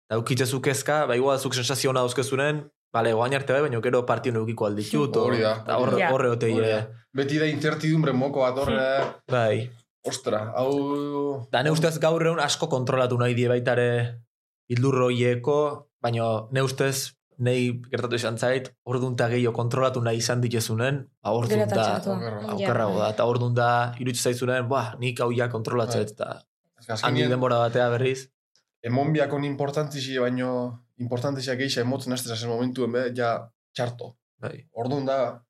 Speaker 5: eta eukitzezu kezka, ba igual zuk sensazio hona dauzkezunen, bale, guain arte bai, baina gero partio eukiko alditut, o-
Speaker 6: Hori da,
Speaker 5: eta
Speaker 6: hori
Speaker 5: hor-
Speaker 2: da.
Speaker 5: horre otei,
Speaker 6: Hori da.
Speaker 5: eh,
Speaker 6: Beti da incertidumbre moko bat horre,
Speaker 5: bai.
Speaker 6: ostra, hau...
Speaker 5: Da, ne ustez gaur egun asko kontrolatu nahi die baitare bildurro hoieko, baina ne ustez nahi gertatu izan zait, orduan ta gehiago kontrolatu nahi izan ditezunen, ba orduan
Speaker 2: Gero eta
Speaker 5: ta
Speaker 2: txertua.
Speaker 6: Okerra.
Speaker 5: aukerrago da, eta orduan da irutsu zaizunen, ba, nik hau ja kontrolatzen,
Speaker 6: Bai.
Speaker 5: eta
Speaker 6: Azken
Speaker 5: handi
Speaker 6: nien-
Speaker 5: denbora batea berriz,
Speaker 6: emon biakon importantzi baino importantzia geisha emotzen hasten zen momentuen be, ja txarto.
Speaker 5: bai,
Speaker 6: Orduan da,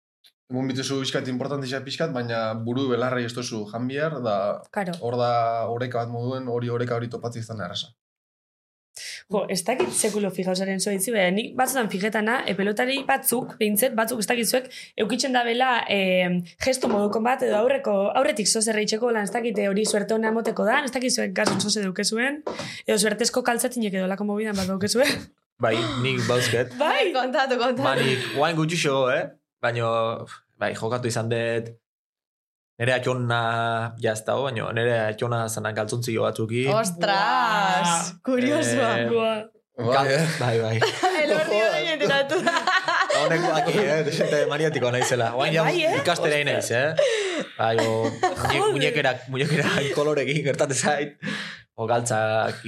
Speaker 6: emon bituzu pixkat importantzia pixkat, baina buru belarrei ez duzu jan behar, da
Speaker 2: Karo.
Speaker 6: hor da oreka bat moduen, hori oreka hori topatzi izan erresa.
Speaker 2: Jo, ez dakit sekulo fijausaren zoitzi, baina nik batzutan fijetana, e, pelotari batzuk, behintzet, batzuk ez dakizuek, eukitzen da bela e, gestu moduko bat, edo aurreko, aurretik zozerre itxeko lan, ez dakite hori suerte hona emoteko da, ez dakizuek gason zoze daukezuen, edo suertezko kaltzatinek edo lako mobidan bat daukezuen.
Speaker 5: bai, nik bauzket.
Speaker 4: Bai, kontatu, kontatu.
Speaker 5: Manik, guain gutxi xo, eh? Baina, bai, jokatu izan dut, nire atxona jaztao, baina nire atxona zanak galtzontzio batzuki.
Speaker 4: Ostras,
Speaker 2: Buah.
Speaker 4: kuriosoa.
Speaker 5: Eh,
Speaker 2: Gua.
Speaker 5: Gal- bai, bai.
Speaker 4: Elordi hori enteratu da.
Speaker 5: Honek baki, eh? Desente maniatiko naizela. Oain ja,
Speaker 2: Bai, eh?
Speaker 5: ikastera inaiz, eh? Bai, o, muñe-
Speaker 2: Joder.
Speaker 5: muñekera, muñekera kolorekin gertate zait. O, galtzak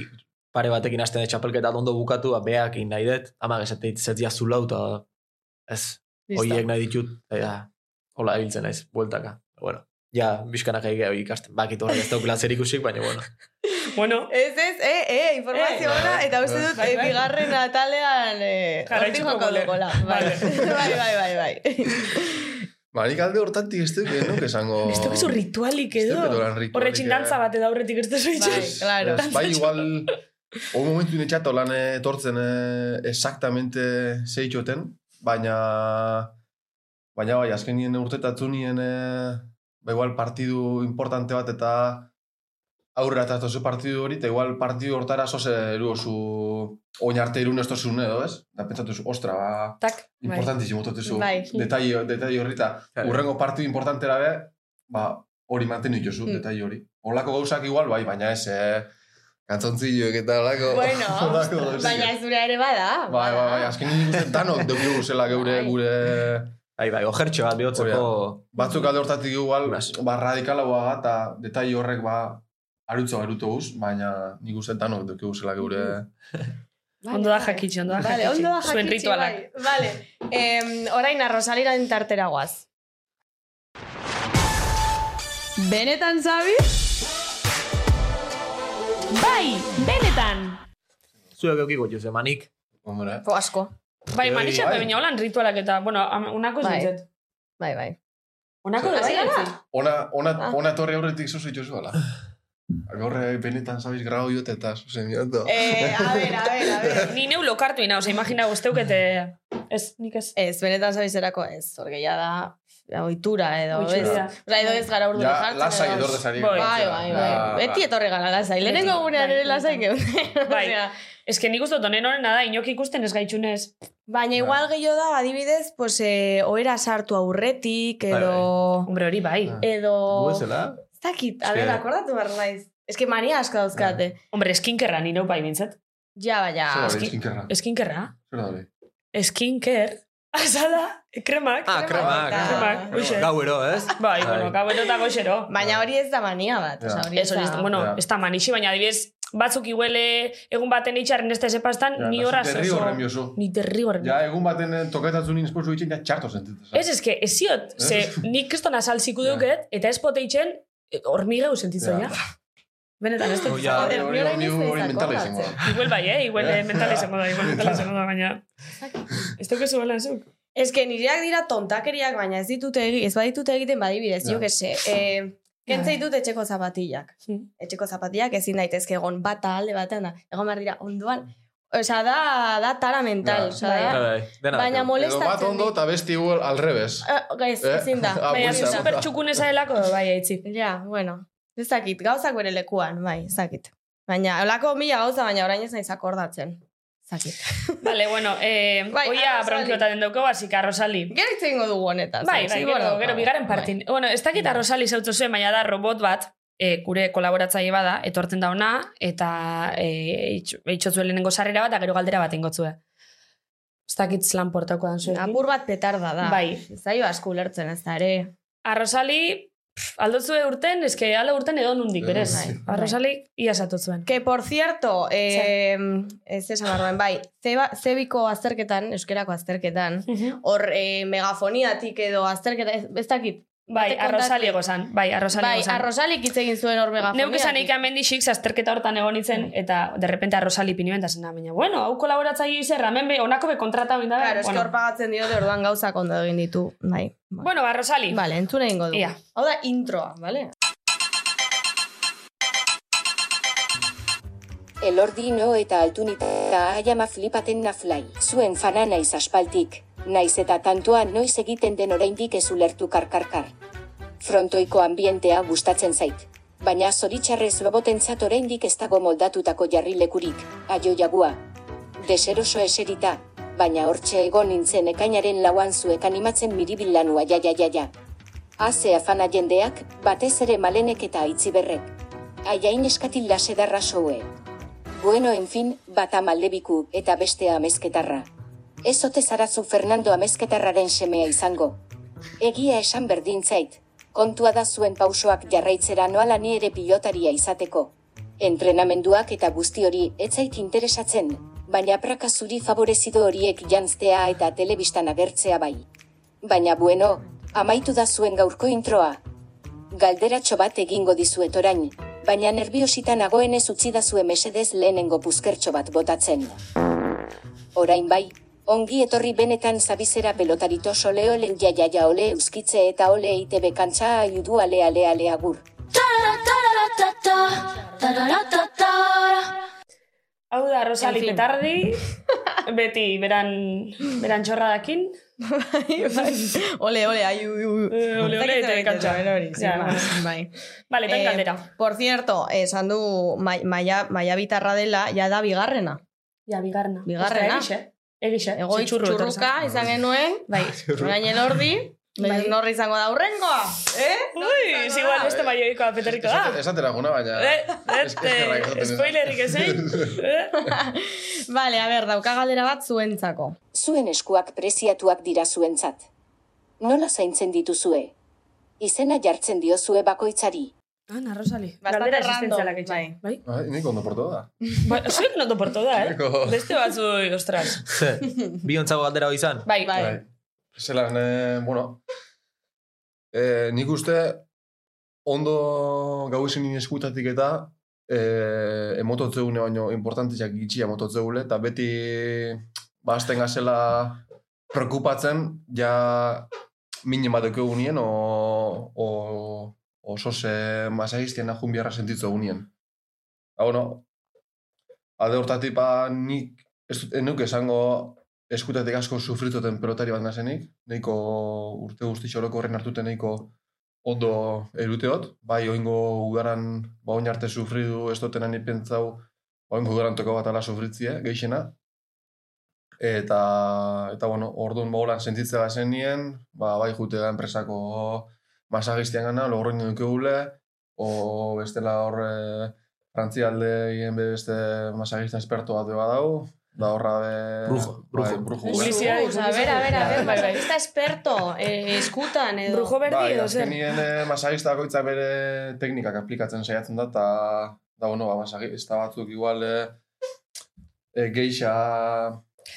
Speaker 5: pare batekin hasten da txapelketa ondo bukatu, ba, beak egin nahi dut. Ama, gesate itzetzia zulau, eta ez, horiek nahi ditut. Eta, hola, ibiltzen naiz, bueltaka. Bueno, ja, bizkanak egin gehiago ikasten. Bakit horrek ez daukula zer ikusik, baina, bueno.
Speaker 2: Bueno,
Speaker 4: Ez ez, eh, eh, informazio
Speaker 5: Eh.
Speaker 4: ona, eta uste dut,
Speaker 2: Bai,
Speaker 4: eh,
Speaker 2: bai.
Speaker 4: bigarren atalean, eh, hortik
Speaker 2: Jarraituko
Speaker 4: joko
Speaker 2: gole.
Speaker 4: dugola. Bai,
Speaker 2: Vale.
Speaker 4: bai, bai, bai, bai.
Speaker 6: Ba, nik alde hortatik ez duk, ez duk esango...
Speaker 2: ez dakizu ritualik
Speaker 6: Ez duk
Speaker 2: edo.
Speaker 6: edo lan ritualik,
Speaker 2: Horretxin dantza
Speaker 6: eh.
Speaker 2: bat edo aurretik ez dazu
Speaker 4: Bai,
Speaker 2: itxas.
Speaker 4: claro.
Speaker 6: Ez, bai, igual, hon momentu netxato lan eh, etortzen eh, exactamente zeitxoten, baina, baina bai, azken nien urtetatzu nien, eh, ba, igual partidu importante bat eta aurrera eta tozu partidu hori, eta igual partidu hortara zoze eru osu oin arte irun ez tozun edo, ez? Da pentsatu zu, ostra, ba,
Speaker 2: Tak, bai.
Speaker 6: importantizimo totezu,
Speaker 4: Bai.
Speaker 6: detalle, detalle horrita.
Speaker 5: Claro.
Speaker 6: Urrengo partidu importantera be, ba, hori mantenu dituzu,
Speaker 4: Mm.
Speaker 6: detalle hori. Horlako gauzak igual, bai, baina ez, eh, kantzontzilloek eta horlako.
Speaker 4: Bueno,
Speaker 6: horlako gauzak.
Speaker 4: baina zura ere bada.
Speaker 6: Bai, bai, bai, azken nien ikusten danok dugu zela geure,
Speaker 4: Bai.
Speaker 6: gure...
Speaker 5: Bai, bai, ojertxo bat bihotzeko...
Speaker 6: Batzuk alde hortatik igual,
Speaker 5: Bas.
Speaker 6: ba, radikalagoa da, eta detalle horrek, ba, arutza barutu guz, baina nik uste danok dugu zela geure...
Speaker 4: Mm. Vale,
Speaker 2: Ondo da
Speaker 4: vale.
Speaker 2: jakitxe, ondo da
Speaker 4: Vale,
Speaker 2: jakitxe.
Speaker 4: ondo da
Speaker 2: Zuen
Speaker 4: jakitxe,
Speaker 2: ritualak.
Speaker 4: bai. Vale, em, orain arrozaliren tartera guaz.
Speaker 8: Benetan, Zabi? Bai, benetan!
Speaker 5: Zuek eukiko jose, manik.
Speaker 6: Hombre,
Speaker 4: Jo, asko.
Speaker 2: Bai,
Speaker 5: Bai,
Speaker 2: manixak,
Speaker 6: bai.
Speaker 2: baina holan ritualak eta, bueno, am- honako ez
Speaker 4: Bai.
Speaker 2: dintzet.
Speaker 4: Bai, bai.
Speaker 2: Honako ez
Speaker 4: Hasi gara?
Speaker 2: dintzet.
Speaker 6: ona, ona,
Speaker 4: Ah.
Speaker 6: ona torre aurretik zuzu dituzu, ala. Gorre, eh, benetan, sabiz, grau jote eta zuzen jote.
Speaker 4: Eh, a ver, a ver, a ver.
Speaker 2: Ni neu lokartu ina, oza, imagina guzteukete Ez, nik ez.
Speaker 4: Ez, benetan zabizerako ez, zorgeia da oitura edo,
Speaker 2: Ohitura.
Speaker 4: ez? Osa, edo ez gara urdu
Speaker 6: Ja,
Speaker 4: jartzen.
Speaker 6: lasai
Speaker 4: edo-
Speaker 6: etorrez ari.
Speaker 2: Bai,
Speaker 4: Bai, bai, bai.
Speaker 6: Ja,
Speaker 4: Beti etorri gara lasai. Lehenengo
Speaker 2: Beti.
Speaker 4: gurean
Speaker 2: Bai,
Speaker 4: ere lasai
Speaker 2: beti.
Speaker 4: geunden.
Speaker 2: Bai.
Speaker 4: Osea,
Speaker 2: Ez que nik uste dut honen horrena da, inok ikusten ez gaitxunez.
Speaker 4: Baina
Speaker 2: Bai.
Speaker 4: igual gehiago da, adibidez, pues, eh, ohera sartu aurretik, edo...
Speaker 2: Hombre, hori bai.
Speaker 6: Ah.
Speaker 4: Edo...
Speaker 5: Guezela?
Speaker 4: Ez dakit,
Speaker 5: Eske-
Speaker 4: a ber, akordatu behar naiz. Ez que mania asko dauzkate.
Speaker 2: Hombre, eskinkerra nire bai bintzat.
Speaker 4: Ja, baina...
Speaker 6: Zer da hori,
Speaker 2: eski-
Speaker 6: eskinkerra?
Speaker 2: Eskinkerra?
Speaker 6: Zer da hori?
Speaker 2: Eskinker? Azala? Kremak?
Speaker 5: Ah, kremak.
Speaker 4: eta-
Speaker 2: Kremak, uixe.
Speaker 5: Gauero, ez?
Speaker 2: Bai,
Speaker 5: Bai.
Speaker 2: bueno, gauero eta goxero.
Speaker 4: Baina hori ez da mania bat.
Speaker 6: Ja.
Speaker 4: Osa, hori
Speaker 2: Ez hori, ez da- bueno,
Speaker 6: Ja.
Speaker 2: ez da manixi, baina adibidez, batzuk iguele egun baten itxarren ez da esepastan,
Speaker 6: Ja,
Speaker 2: ni
Speaker 6: da,
Speaker 2: horaz
Speaker 6: ziterri
Speaker 2: oso...
Speaker 6: horren biozu.
Speaker 2: Ni terriborren.
Speaker 6: Ja, egun baten eh, toketatzen nien esposu itxen, ja, txarto sentitzen.
Speaker 2: Ez, ez que, ez ziot, ze nik kriston azalziku
Speaker 6: Eh? Ja.
Speaker 2: duket, eta ez poteitzen, hormigeu sentitzen,
Speaker 6: Ja.
Speaker 2: ja. Benetan, ez dut.
Speaker 5: Oh, ja.
Speaker 6: Hori, hori, hori, hori mentala izango da.
Speaker 2: Igual bai, eh? Igual
Speaker 6: Ja.
Speaker 2: eh, mentala izango da, igual mentala izango da, baina... Ez duk ez ubelan zuk.
Speaker 4: Ez que nireak dira tontakeriak, baina ez ditut egi, ez baditut egiten badibidez,
Speaker 6: Ja.
Speaker 4: jo que se. Eh, Kentzei dut etxeko zapatillak.
Speaker 2: Hmm.
Speaker 4: Etxeko zapatillak ezin daitezke egon bata alde batean da. Egon behar dira onduan.
Speaker 2: Hm.
Speaker 4: Osa da, da tara mental.
Speaker 6: Ja.
Speaker 4: Osa, da,
Speaker 5: Bai, dena.
Speaker 4: baina
Speaker 6: Edo bat
Speaker 4: molestatzen
Speaker 6: ondo
Speaker 4: dit.
Speaker 6: eta beste igual alrebes.
Speaker 4: Eh, Ez,
Speaker 6: Eh?
Speaker 4: ezin da.
Speaker 6: Ah,
Speaker 4: Baina-
Speaker 2: Baina,
Speaker 6: buelta, buelta.
Speaker 2: super txukuneza delako, bai, aitzi.
Speaker 4: Ja, bueno. Ez dakit, gauzak bere lekuan, bai, ez dakit. Baina, olako mila gauza, baina orain ez naiz akordatzen. Ez dakit.
Speaker 2: Vale, bueno, eh,
Speaker 4: Bai,
Speaker 2: oia
Speaker 4: arrozali.
Speaker 2: bronkiotaten dauko, basika, Rosali.
Speaker 4: Gero hitz egingo dugu honetaz.
Speaker 2: Bai,
Speaker 4: ez?
Speaker 2: bai,
Speaker 4: Sí,
Speaker 2: gero,
Speaker 4: bueno.
Speaker 2: gero, bigarren partin. Bueno, ez dakit
Speaker 4: Bai.
Speaker 2: Rosali zautu zuen, baina da robot bat, e, gure kolaboratzaile bada, etortzen da ona, eta e, itxotzue lehenengo sarrera bat, eta gero galdera bat ingotzue. Ez dakit lan portako dan zuen.
Speaker 4: Apur bat petarda da.
Speaker 2: Bai.
Speaker 4: Zaio asko ulertzen ez da ere.
Speaker 2: Arrosali, pff, aldotzue urten, eske ala urten edo nundik, berez.
Speaker 6: Bai.
Speaker 2: Arrosali, ia satu zuen.
Speaker 4: Que, por cierto, eh, ez esan barruan, bai, zeba, zebiko azterketan, euskerako azterketan, hor eh, megafoniatik edo azterketa, ez, ez dakit.
Speaker 2: Bai,
Speaker 4: Batek kontatu-
Speaker 2: arrosali egozan. Bai, arrosali
Speaker 4: Bai,
Speaker 2: egozan.
Speaker 4: arrosalik hitz egin zuen hor megafoniatik.
Speaker 2: Neuk esan ikan mendixik azterketa hortan egon nintzen, eta derrepente arrosali pinuen, eta zena, baina, bueno, hau kolaboratzaile izerra, hemen be, honako be kontrata binda.
Speaker 4: Claro, eske hor pagatzen dio de orduan gauzak ondo egin ditu. Bai. bai.
Speaker 2: Bueno, ba, Rosali.
Speaker 4: Vale, entzun egingo dugu.
Speaker 2: Ia.
Speaker 4: Hau da introa, vale?
Speaker 9: Elordino eta altunita aiama flipaten naflai. Zuen fana naiz aspaltik, naiz eta tantoa noiz egiten den oraindik ez ulertu karkarkar. Frontoiko ambientea gustatzen zait. Baina zoritxarrez babotentzat oraindik ez dago moldatutako jarri lekurik, aio jagua. Deseroso eserita, baina hortxe egon nintzen ekainaren lauan zuek animatzen miribil lanua ja ja ja ja. Haze afana jendeak, batez ere malenek eta aitziberrek. Aiain eskatil lasedarra soue. Bueno, en fin, bata maldebiku eta bestea amezketarra. Ez ote zarazu Fernando amezketarraren semea izango. Egia esan berdin zait, kontua da zuen pausoak jarraitzera noala ni ere pilotaria izateko. Entrenamenduak eta guzti hori ez zait interesatzen, baina praka zuri favorezido horiek jantztea eta telebistan agertzea bai. Baina bueno, amaitu da zuen gaurko introa, Galderatxo bat egingo dizuet orain, baina nerviositan nagoenez utzi dazue mesedez lehenengo puzkertxo bat botatzen. Orain bai, ongi etorri benetan zabizera pelotarito sole olen jaia ja ole euskitze eta ole itebe kantxa aiudu ale ale ale agur.
Speaker 2: Hau da, Rosali
Speaker 4: En fin.
Speaker 2: Petardi, beti beran, beran txorradakin.
Speaker 4: ole, ole, ai, ui, ui.
Speaker 2: Eh, ole, ole, eta ekantza. Ja,
Speaker 4: Ja, bai.
Speaker 2: Bale, eta
Speaker 4: Eh,
Speaker 2: galdera.
Speaker 4: Por cierto, esan du mai- maia, maia bitarra dela, ja da bigarrena.
Speaker 2: Ja, bigarna.
Speaker 4: bigarrena.
Speaker 2: Ostra, Egixe. Egixe.
Speaker 4: Egoitz
Speaker 2: Zitxurru etorri zen.
Speaker 4: txurruka izan genuen,
Speaker 2: Bai.
Speaker 4: orain elordi,
Speaker 2: Bai.
Speaker 4: norri izango da urrengoa, eh?
Speaker 2: Ui, ez igual beste maioikoa petariko
Speaker 4: ah.
Speaker 6: Esate-
Speaker 2: da.
Speaker 6: Esatera guna, baina...
Speaker 2: Eh,
Speaker 6: Es- eskerrak esaten
Speaker 2: este,
Speaker 6: ez da.
Speaker 2: spoilerik ezein. Eh?
Speaker 4: Vale, a ber, dauka galdera bat zuentzako.
Speaker 9: Zuen eskuak preziatuak dira zuentzat. Nola zaintzen dituzue? Izena jartzen diozue bakoitzari.
Speaker 2: Ana, Rosali.
Speaker 4: Bastante
Speaker 2: Galdera
Speaker 4: random,
Speaker 2: existentzialak
Speaker 4: bai.
Speaker 2: etxe. Bai.
Speaker 6: Ah, Nik ondo portu da.
Speaker 2: Ba, Zuek noto porto da, eh?
Speaker 6: Nahiko-
Speaker 2: Beste batzu, ostras.
Speaker 5: Ze, bi ontzago galdera hori izan?
Speaker 4: Bai,
Speaker 6: Bai. Zelan, eh, bueno... Eh, nik uste ondo gau izan eskutatik eta eh, emototzeune baino importantizak gitxia emototzeule eta beti basten gazela prekupatzen ja minen bat eukeu unien o, o, oso ze masagiztien ahun biharra sentitzu unien. ba, Ha, bueno, alde hortatik ba nik ez dut enuk esango eskutatik asko sufrituten pelotari bat nazenik, nahiko urte guzti orokorren hartuten nahiko ondo eruteot, bai oingo udaran, ba oin arte sufridu, ez duten ani pentsau, ba oingo udaran toko bat ala sufritzie, geixena. Eta, eta bueno, orduan bogolan sentitzea gazenien, ba, bai jutea enpresako masagistian gana, logorren dukegule, o bestela hor eh, Frantzia aldeien beste masagista esperto bat beba dau, da horra be...
Speaker 5: Brujo, brujo.
Speaker 6: bai, brujo. bai.
Speaker 2: Publizidade,
Speaker 4: Jesús, a ver, a ver, a ver,
Speaker 2: Bai, bai.
Speaker 4: masajista esperto, eh, eskutan edo.
Speaker 2: Brujo berdi
Speaker 6: Bai,
Speaker 2: edo zer.
Speaker 6: azkenien eh, masajista bakoitzak bere teknikak aplikatzen saiatzen da, eta da, bueno, ba, masajista batzuk igual eh, eh, geixa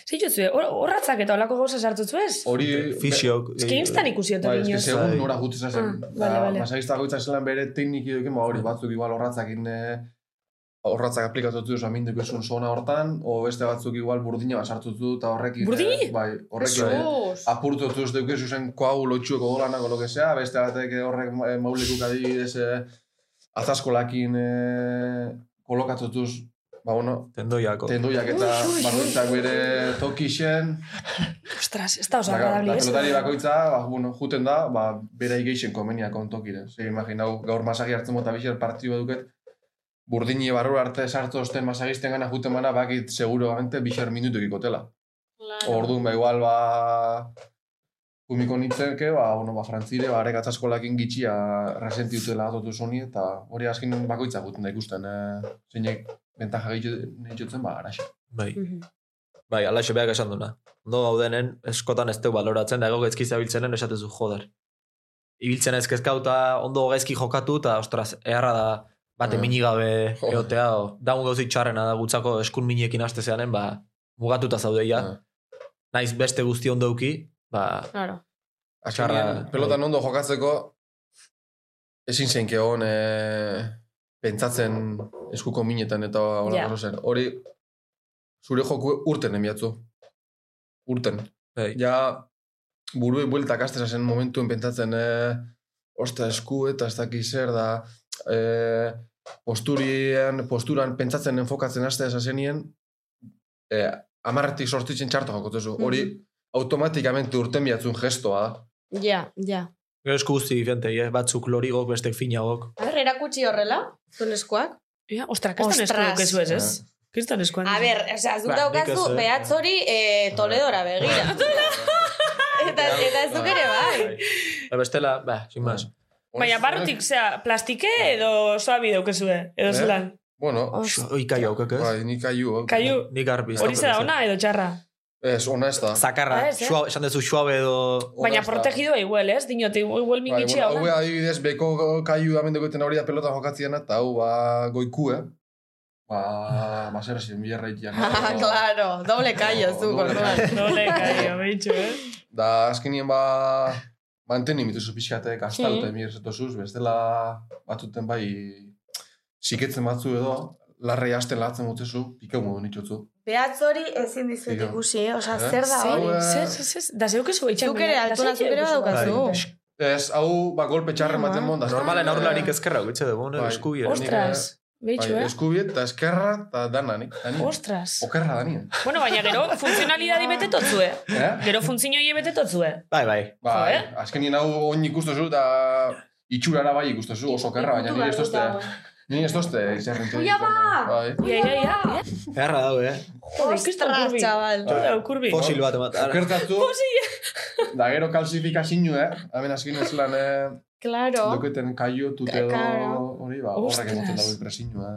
Speaker 2: Zitxu zue, hor- horratzak eta olako gauza sartu zuez?
Speaker 6: hori...
Speaker 5: Fisiok.
Speaker 2: Ez que instan ikusi ote
Speaker 6: Bai, eski
Speaker 2: inoz.
Speaker 6: segun nora jutzi zazen.
Speaker 2: Ah, bale, bale.
Speaker 6: Masajista goitzak zelan bere teknikioekin, ba hori, batzuk igual horratzakin eh, horratzak aplikatutzu esan minduko esun zona hortan, o beste batzuk igual burdina bat sartutzu, eta horrekin... eh,
Speaker 2: Burdini?
Speaker 6: Bai, horrekin... eh,
Speaker 4: Jesús.
Speaker 6: apurtu zuz duke zuzen koau lotxueko golanako lo que sea, beste batek eh, horrek eh, maulikuk adibidez eh, ataskolakin eh, kolokatutuz, ba bueno,
Speaker 5: Tendoiako.
Speaker 6: tenduiak eta barrutzak bere tokixen,
Speaker 2: Ostras, ez da oso
Speaker 6: da
Speaker 2: agradabli, ez?
Speaker 6: pelotari bakoitza, ba, bueno, juten da, ba, bera igeixen konvenia kontokire. Zer, imaginau, gaur masagi hartzen mota bixer partio baduket, burdini barru arte sartu osten masagisten gana juten bana, bakit seguramente bixer minutu ikotela. Orduan, ba, igual, ba, kumiko nintzeke, ba, bueno, ba, frantzire, ba, arek atzaskolakin gitxia resenti utela atotu zoni, eta hori azken bakoitza guten da ikusten, e, zeinek bentaja gehiagotzen, ba, araxe.
Speaker 5: Bai.
Speaker 2: Mhm.
Speaker 5: Bai, ala beak esan duna. Ondo gaudenen, eskotan ez teu baloratzen, da gauk ezkiz abiltzenen esatezu joder. Ibiltzen ez kezkauta, ondo gaizki jokatu, eta ostras, eharra da bate
Speaker 6: Mm.
Speaker 5: mini gabe
Speaker 6: Jo.
Speaker 5: eotea, o, daun gauzik txarrena da gutzako eskun miniekin aste zeanen, ba, mugatuta zaudeia,
Speaker 6: Mm.
Speaker 5: naiz beste guzti ondo uki, ba,
Speaker 4: Claro.
Speaker 6: Azkenean,
Speaker 5: Txarra,
Speaker 6: pelotan ondo jokatzeko, ezin zein kegon e, pentsatzen eskuko minetan eta hola
Speaker 2: Ja.
Speaker 6: yeah. zen. Hori, zure joku urten emiatzu. Urten.
Speaker 5: Bai.
Speaker 6: Ja, buruei bueltak astera zen momentuen pentsatzen, e, osta esku eta ez daki zer da, e, posturien, posturan pentsatzen enfokatzen astera zazenien, e, amarretik sortitzen txarto jokotezu. Hori, automatikamente urten biatzun gestoa da.
Speaker 4: Ja, ja.
Speaker 5: gero esku guzti diferente, eh? batzuk lorigok, bestek finagok.
Speaker 4: A ber, erakutsi horrela, zuen eskuak.
Speaker 2: Ja, Ostra, kriston esku
Speaker 4: Ostras.
Speaker 2: dukezu ez, ez?
Speaker 6: Ah.
Speaker 2: Kriston eskuan.
Speaker 4: A ber, osea, zuk
Speaker 5: Ba, nik
Speaker 4: daukazu
Speaker 5: ez, eh.
Speaker 4: behatz hori eh, Toledora begira. eta, eta ez duk ere bai.
Speaker 5: Ba, bestela, ba,
Speaker 6: Ah.
Speaker 5: sin mas.
Speaker 2: Baina barrutik, zera, plastike edo soabi daukezue, edo
Speaker 6: Bai. Eh?
Speaker 2: zelan.
Speaker 6: Bueno,
Speaker 5: Oi, kai haukak ez?
Speaker 6: bai, nik aiu. hau.
Speaker 2: Kaiu,
Speaker 5: Nik garbi. ez
Speaker 2: hori
Speaker 5: daukat
Speaker 2: zera
Speaker 5: ezer.
Speaker 2: ona edo txarra.
Speaker 6: Ez, ona ez da.
Speaker 5: Zakarra,
Speaker 2: Ah, ez, eh?
Speaker 5: suabe, esan dezu suabe edo...
Speaker 6: Ona
Speaker 2: Baina
Speaker 6: ez da.
Speaker 2: protegidua igual, ez? Dinote,
Speaker 6: Bai,
Speaker 2: igual mingitxia
Speaker 6: bueno,
Speaker 2: ona.
Speaker 6: hau adibidez, beko kaiu amendekoetan hori da pelota jokatzen eta hau ba, goikue. Ba, basera zen bierra ikian.
Speaker 4: Ah, claro, doble kaio zu,
Speaker 6: Doble
Speaker 4: gorduan.
Speaker 2: Dole, kaio, behitxu, eh?
Speaker 6: Da, azkenien ba, manteni mituzu pixkatek, astaluten mm. zuz, bestela batzuten bai, siketzen batzu edo, larrei hasten latzen gutzezu, pikau modu nitutzu.
Speaker 4: Behatz hori ezin dizut
Speaker 6: Tio.
Speaker 4: ikusi, eh? Osa,
Speaker 6: Eh?
Speaker 4: zer da
Speaker 6: Zer?
Speaker 4: hori?
Speaker 2: Zer, zer, zer, da zeukezu eitxan.
Speaker 4: Zuk ere, altuna zuk ere
Speaker 2: Bai.
Speaker 6: Bai.
Speaker 4: badaukazu.
Speaker 6: Ez, hau, ba, golpe txarren
Speaker 4: Ah,
Speaker 6: baten monda.
Speaker 5: Normalen aurlarik ezkerra gutxe dugu, ne?
Speaker 6: Bai.
Speaker 5: Eskubi,
Speaker 6: Nik, Ostra.
Speaker 2: Ostras, behitxu,
Speaker 6: Bai,
Speaker 2: eh?
Speaker 6: eskubiet, eta eskerra, eta dana, nik. Dani.
Speaker 2: Ostras.
Speaker 6: Okerra danien.
Speaker 2: Bueno, baina gero, funtzionalidadi betetotzu, eh?
Speaker 6: Eh?
Speaker 2: Gero funtzionoie betetotzu, eh?
Speaker 5: Bai, bai.
Speaker 6: Ba,
Speaker 2: Jo, eh?
Speaker 6: azkenien hau oin ikustuzu, eta itxurara bai ikustuzu, oso okerra, baina nire ez dozte. Nire ez dozte, izerren
Speaker 4: Uia ba!
Speaker 6: Bai.
Speaker 2: Ia, ia, ia.
Speaker 5: Erra dago, eh?
Speaker 2: Joder, kriston
Speaker 4: Ostras,
Speaker 2: kurbi.
Speaker 4: chaval.
Speaker 2: Kriston kurbi.
Speaker 5: Fosil bat emat. ara.
Speaker 6: Okertatu, da gero kalsifikazinu, eh? Hemen azken ez lan, eh?
Speaker 4: Claro.
Speaker 6: Doketen kaio, tute edo
Speaker 4: Claro.
Speaker 6: hori, ba, horrek
Speaker 2: Ostras.
Speaker 6: emoten dago eh? impresinua.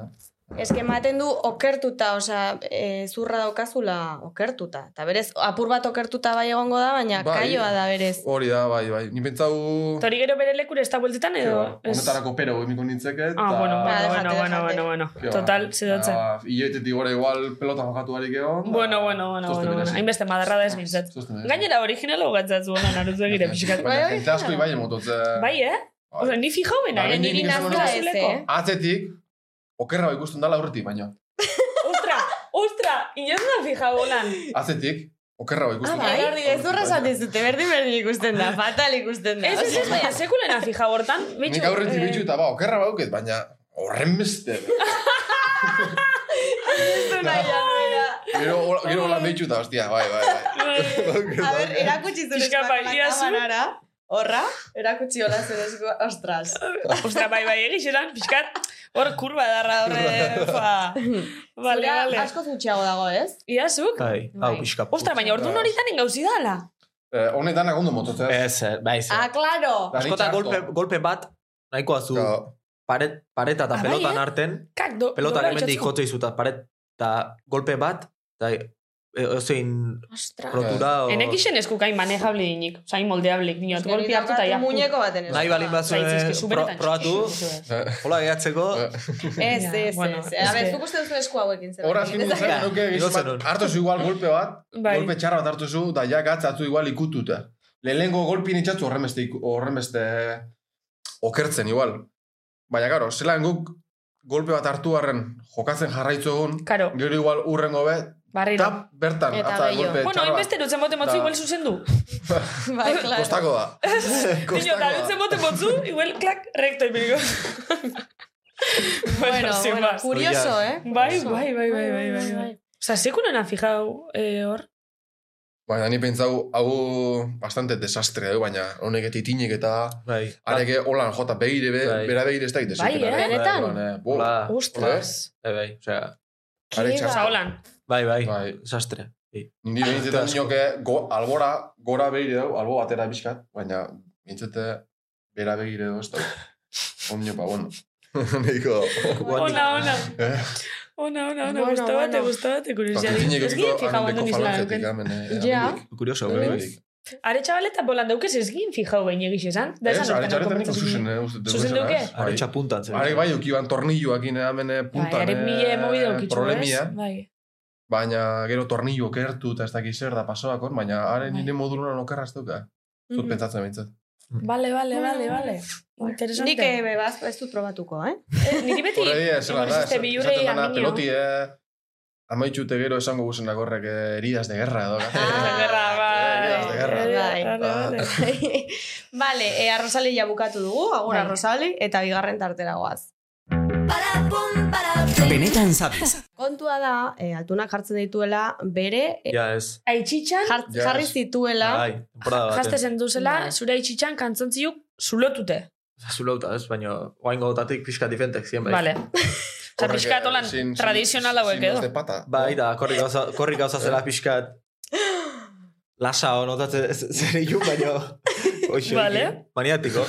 Speaker 4: Ez que ematen du okertuta, osea, e, zurra daukazula okertuta. Eta berez, apur bat okertuta bai egongo da, baina
Speaker 6: Bai.
Speaker 4: kaioa da berez.
Speaker 6: Hori da, bai, bai. Ni pentsau...
Speaker 2: Eta hori gero bere lekure ez da bueltetan edo... ez?
Speaker 6: Honetarako pero emiko nintzeket.
Speaker 2: Ah,
Speaker 6: eta- ba,
Speaker 2: bueno,
Speaker 4: Ba,
Speaker 2: bueno, bueno,
Speaker 4: déjate,
Speaker 2: bueno,
Speaker 4: déjate.
Speaker 2: bueno, bueno. Total, zidotza.
Speaker 6: Iletetik gora igual pelota jokatu barik egon. ba,
Speaker 2: Bueno, bueno, bueno, bueno, bueno. Hainbeste madarra da ez nintzat. Gainera originala hogatzatzu honan arutzuegire pixkat.
Speaker 6: Baina,
Speaker 4: Bai,
Speaker 6: jente asko
Speaker 4: bai.
Speaker 6: ibai emototze.
Speaker 2: Bai, eh?
Speaker 6: Bai.
Speaker 2: Osa, ni fija
Speaker 6: Ba,
Speaker 2: hobena, eh?
Speaker 6: nik-
Speaker 2: Ni
Speaker 6: nik ez
Speaker 2: nazka
Speaker 4: dut ez,
Speaker 2: zuleko.
Speaker 4: eh?
Speaker 6: Atzetik, okerra bai ikusten dala aurretik, baina.
Speaker 2: Ostra, ostra, inoz da fija holan.
Speaker 6: Atzetik, okerra bai
Speaker 4: Ah,
Speaker 6: ikusten
Speaker 4: bai, hori gezurra esaten zute, berdin berdin ikusten da, fatal ikusten da.
Speaker 2: Ez, ez, ez, baina sekulena fija hortan.
Speaker 6: Nik
Speaker 2: eh.
Speaker 6: aurretik bitxu eta ba, okerra bauket, baina horren beste.
Speaker 4: ez du nahi, Albera.
Speaker 6: Gero hola- gero holan deitu eta, hostia, bai, bai, bai.
Speaker 4: A ber, erakutsi zuen
Speaker 2: Pixka bat,
Speaker 4: eskuak
Speaker 2: ia zu.
Speaker 4: akabanara. Horra, erakutsi hola zuen eskuak. Ostras.
Speaker 2: Ostra, bai, bai, egixeran, pixkat, hor kurba darra horre, fa. Vale,
Speaker 4: Zurea
Speaker 2: vale.
Speaker 4: asko zutxeago dago, ez?
Speaker 2: Iazuk?
Speaker 5: Bai, hau pixka. putz.
Speaker 2: Ostra, baina orduan hori zanen gauzi dala.
Speaker 6: Eh, Honetan agondo mototzea.
Speaker 5: Ez, eh, bai, zer.
Speaker 4: Ah, klaro!
Speaker 6: Dani
Speaker 5: Askotan
Speaker 6: txarto.
Speaker 5: golpe, golpe bat, nahiko azu,
Speaker 6: Eta-
Speaker 5: paret, pareta
Speaker 2: Ah,
Speaker 5: eta
Speaker 2: bai,
Speaker 5: pelotan
Speaker 2: eh?
Speaker 5: arten,
Speaker 2: Kak, do,
Speaker 5: pelota
Speaker 2: dobra
Speaker 5: hemendik
Speaker 2: itxatzu.
Speaker 5: jotze izuta, paret, eta golpe bat, eta e- ozein
Speaker 2: Ostra.
Speaker 5: rotura, o...
Speaker 2: Enek ixen eskukain manejable dinik, osain moldeablik, dinot, golpi hartu eta ja.
Speaker 4: Muñeko baten ez.
Speaker 5: Nahi balin batzu,
Speaker 2: Zaitz, eske, zu benetan.
Speaker 5: probatu, hola gehatzeko,
Speaker 6: Eh.
Speaker 4: Ez,
Speaker 2: Ja,
Speaker 4: ez,
Speaker 2: bueno,
Speaker 4: ez. A
Speaker 2: es
Speaker 4: ber,
Speaker 2: que-
Speaker 4: zuk uste duzu esku hauekin zer.
Speaker 6: Hora azken dut
Speaker 4: Ez-
Speaker 6: zara, nuke
Speaker 5: igotzen
Speaker 6: bat-
Speaker 5: dut.
Speaker 6: hartu zu igual golpe bat,
Speaker 2: Bai.
Speaker 6: golpe txarra bat hartu zu, da ja gatz hartu igual ikututa. Lehenengo golpin itxatzu horren beste, iku- horren beste okertzen igual. Baina, garo, zelan guk golpe bat hartu harren jokatzen jarraitzu egun,
Speaker 2: Karo,
Speaker 6: gero igual urrengo be,
Speaker 2: barriro.
Speaker 6: tap bertan,
Speaker 4: Eta
Speaker 6: atza
Speaker 4: gehiago.
Speaker 6: golpe
Speaker 2: Bueno,
Speaker 6: txarra bat.
Speaker 2: hainbeste dutzen bote motzu
Speaker 6: Da.
Speaker 2: igual zuzendu.
Speaker 4: Bai, klaro.
Speaker 6: Kostako da.
Speaker 2: Dino,
Speaker 6: Kostako
Speaker 2: da dutzen
Speaker 6: da.
Speaker 2: bote motzu, igual klak, recto ibiliko.
Speaker 4: Bueno,
Speaker 2: sin
Speaker 4: bueno,
Speaker 2: más.
Speaker 4: curioso, eh?
Speaker 2: Bai, bai, bai, bai, bai, bai, bai. Osa, sekunena fijau eh, hor.
Speaker 6: Baina, ni pentsau, hau bastante desastre, eh, baina honek eta itinek eta
Speaker 5: bai,
Speaker 6: areke holan jota behire, be,
Speaker 5: Bai.
Speaker 6: bera behire ez da
Speaker 2: Bai,
Speaker 6: itezik.
Speaker 2: eh?
Speaker 4: Benetan?
Speaker 5: hola,
Speaker 6: eh?
Speaker 2: Ostras.
Speaker 5: bai, bai, osea,
Speaker 6: Are txarto.
Speaker 2: Osa, holan.
Speaker 5: bai, bai,
Speaker 6: Bai.
Speaker 5: desastre. Bai.
Speaker 6: Ni
Speaker 5: Eta
Speaker 6: behintzen
Speaker 5: asko.
Speaker 6: nioke, go, albora, gora behire dugu, albo batera bizkat, baina behintzete bera behire dugu ez da. Ondio, pa, bueno. Niko,
Speaker 2: Ona, ona.
Speaker 6: eh?
Speaker 2: Ona, ona, ona.
Speaker 4: Bueno,
Speaker 2: Gustabate,
Speaker 4: bueno.
Speaker 2: gustabate,
Speaker 6: Patizinek
Speaker 2: kuriosiari. Ez
Speaker 6: egiko
Speaker 2: ginen fijau
Speaker 6: anendeko
Speaker 2: andu
Speaker 6: falangetik,
Speaker 2: nizela.
Speaker 6: hemen, eh?
Speaker 4: Ja.
Speaker 6: hemendik.
Speaker 5: Kurioso, bai, bai.
Speaker 6: Hemendik.
Speaker 2: Are txabaleta bolan daukez ez ginen fijau bain egiz esan. Da
Speaker 6: Ez,
Speaker 2: esan
Speaker 6: Eh, are
Speaker 2: horretan
Speaker 6: txaretan niko
Speaker 2: komentatzen
Speaker 6: zuzen,
Speaker 2: ginen.
Speaker 6: eh? uste dut
Speaker 2: Zuzen
Speaker 6: bezala,
Speaker 2: duke?
Speaker 6: ez? Bai.
Speaker 5: Aretsa puntan zen.
Speaker 6: Arek bai, ukiban tornilloak ine hemen eh,
Speaker 2: Bai,
Speaker 6: puntan
Speaker 2: are mila
Speaker 6: eh,
Speaker 2: mobi daukitzu,
Speaker 6: problemia,
Speaker 2: ez? Bai.
Speaker 6: baina gero tornillo kertu eta ez dakiz zer da pasoakon, baina haren
Speaker 2: Bai.
Speaker 6: nire modulunan okerra ez duka. Zut
Speaker 4: Mhm.
Speaker 6: pentsatzen bintzat.
Speaker 2: Vale, vale, vale, vale. Interesante.
Speaker 4: Nik eh, bebaz, ez dut probatuko, eh?
Speaker 2: Eh, Niri beti...
Speaker 6: Horre dira, zer da,
Speaker 2: igual
Speaker 6: ez-
Speaker 2: existe bihurrei
Speaker 6: esaten dana,
Speaker 2: aminio.
Speaker 6: peloti, eh, amaitxute gero esango guzenak horrek eh, heridas de guerra edo.
Speaker 2: Ah, gerra,
Speaker 6: Heridas de guerra.
Speaker 2: bai.
Speaker 4: Bai.
Speaker 2: Vale, vale.
Speaker 4: vale, e, arrosali ja bukatu dugu, agora
Speaker 2: Bai.
Speaker 4: arrosali, eta bigarren tartera goaz.
Speaker 3: Benetan sabes.
Speaker 4: Kontua da, e, altunak jartzen dituela bere, e,
Speaker 5: Ja, ez.
Speaker 2: Aitzitxan,
Speaker 4: jar,
Speaker 6: Ja,
Speaker 4: jarri
Speaker 6: ez.
Speaker 4: zituela,
Speaker 5: Bai, temporada
Speaker 2: jaste
Speaker 5: baten.
Speaker 2: zen duzela,
Speaker 4: Bai.
Speaker 2: zure aitzitxan kantzontziluk zulotute.
Speaker 5: Zulauta, ez, baina oain gotatik pixka difentek, zien bai.
Speaker 2: Vale. Osa,
Speaker 6: Horrek,
Speaker 2: pixkat holan
Speaker 6: eh, sin- sin-
Speaker 2: tradizional hauek
Speaker 6: sin
Speaker 2: edo.
Speaker 6: dos de pata.
Speaker 5: Bai, da, korri gauza, korri gauza zela pixkat lasa hon notatzen ez- zer iku, baina oixo. Ba,
Speaker 2: Vale.
Speaker 5: Maniatiko.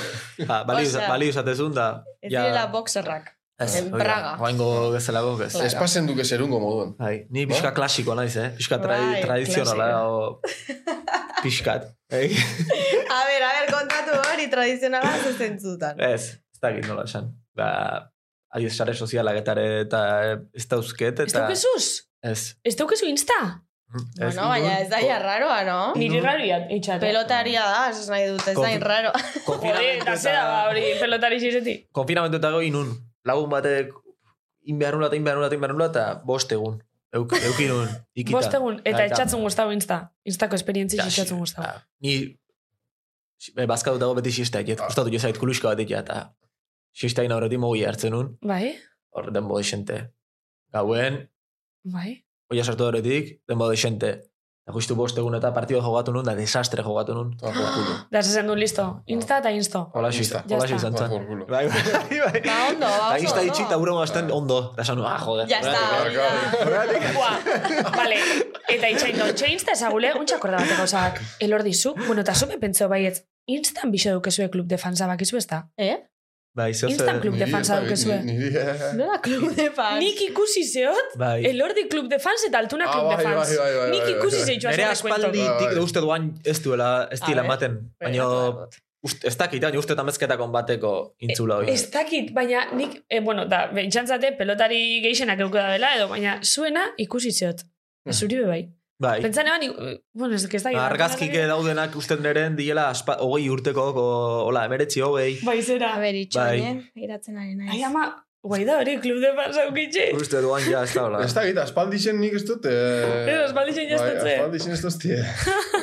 Speaker 5: Ha, bali,
Speaker 4: Osea,
Speaker 5: bali usatezun da.
Speaker 4: ez direla boxerrak. en Praga.
Speaker 5: bai. Oaingo bezalago, ez.
Speaker 6: Ez pasen duke zerungo moduan. Ba?
Speaker 5: Bai, ni pixka klasiko naiz, eh? Pixka tra
Speaker 4: Bai,
Speaker 5: tradizionala, o... Pixkat. Ei?
Speaker 4: A ber, a ber, kontatu hori tradizionala zuzentzutan.
Speaker 5: Ez, ez dakit nola esan. Ba, adiez sare sozialak eta ere eta ez dauzket,
Speaker 2: Ez
Speaker 5: eta...
Speaker 2: daukezuz?
Speaker 5: Ez.
Speaker 2: Ez daukezu insta?
Speaker 5: Ez
Speaker 4: Bueno, baina
Speaker 5: inor-
Speaker 4: ez da ja raroa, no?
Speaker 2: Niri rariat, eitxate.
Speaker 4: Pelotaria da, ez nahi dut, ez da
Speaker 5: Konfi-
Speaker 4: raro.
Speaker 2: Jode,
Speaker 5: Konfinamendu
Speaker 2: eta zera ba hori pelotari zizetik.
Speaker 5: konfinamendu eta goi inun. Lagun batek inbeharnula eta inbeharnula eta inbeharnula eta bost egun. Euk, eukinun, ikita.
Speaker 2: Bostegun, eta
Speaker 5: Eta-
Speaker 2: etxatzen guztago insta. Instako esperientzi
Speaker 5: Ja,
Speaker 2: etxatzen
Speaker 5: si-
Speaker 2: guztago.
Speaker 5: ta, Ni si- be, bazka dut dago beti siesta egin. Gustatu jo zait kuluska bat egitea eta siesta egin aurretik mogi hartzen nun.
Speaker 2: Bai,
Speaker 5: Hor denbo desente. Gauen,
Speaker 2: bai.
Speaker 5: oia sartu horretik, denbo desente. Eta justu bost egun eta partido jogatu nun, da desastre jogatu nun.
Speaker 6: Toa por culo.
Speaker 2: Da zezen du, listo. Insta eta insto.
Speaker 5: Hola
Speaker 6: Insta.
Speaker 5: xista,
Speaker 2: Ya
Speaker 5: hola
Speaker 2: está.
Speaker 5: xista.
Speaker 6: Toa por culo.
Speaker 5: Bai, bai, bai.
Speaker 4: Ba, ondo, ba,
Speaker 5: Eta
Speaker 4: oso
Speaker 5: insta
Speaker 4: ondo.
Speaker 5: itxi eta hurrengo astean ondo. Da esan, nu, ah, joder.
Speaker 4: Ya está, hori da.
Speaker 2: Buah, vale. Eta itxain do, txe insta ezagule, untxak orda bateko zak. Elor dizu, bueno, eta zume pentso baietz. bai, Instan biso dukezue klub de fansa bakizu ez da.
Speaker 4: Eh?
Speaker 5: Bai, zeo
Speaker 2: Instan
Speaker 5: zer.
Speaker 2: club de
Speaker 6: Niri
Speaker 2: fans
Speaker 6: ez dakit,
Speaker 2: daukezue.
Speaker 6: ni- niri, eh.
Speaker 4: Nola klub de fans?
Speaker 2: Nik ikusi zeot,
Speaker 5: Bai.
Speaker 2: elordi klub de fans eta altuna
Speaker 6: Ah,
Speaker 2: klub de
Speaker 6: bai, bai,
Speaker 2: fans.
Speaker 6: bai, bai, bai,
Speaker 2: Nik
Speaker 6: bai,
Speaker 2: ikusi
Speaker 6: bai.
Speaker 2: zeitu
Speaker 5: Nere
Speaker 2: azale kuento.
Speaker 5: aspalditik uste duan ez duela, ez
Speaker 4: A
Speaker 5: dila
Speaker 4: ver.
Speaker 5: ematen. Baina, ust- ez dakit, baina uste eta mezketakon bateko intzula hori.
Speaker 2: Ez dakit, baina nik, eh, bueno, da, bentsantzate pelotari geixenak euko da dela, edo, baina zuena ikusi zeot.
Speaker 6: Hmm.
Speaker 2: Zuri be bai.
Speaker 5: Bai.
Speaker 2: Pentsan eban, ik- bueno, ez ez dakit.
Speaker 5: Argazkik daudenak uste neren diela aspa, hogei urteko, ko- hola, emeretzi hogei.
Speaker 2: Bai, zera.
Speaker 4: A ber,
Speaker 5: Bai.
Speaker 4: itxoin, eh? Iratzen ari naiz.
Speaker 2: Ai, ama, guai da hori, klub de fans aukitxe.
Speaker 5: Uste duan ja, ez da hola.
Speaker 6: Ez da gita, aspaldixen nik ez dut... Eh...
Speaker 2: Ez, aspaldixen ja ez
Speaker 6: bai,
Speaker 2: dut, eh.
Speaker 6: Aspaldixen ez dut, eh.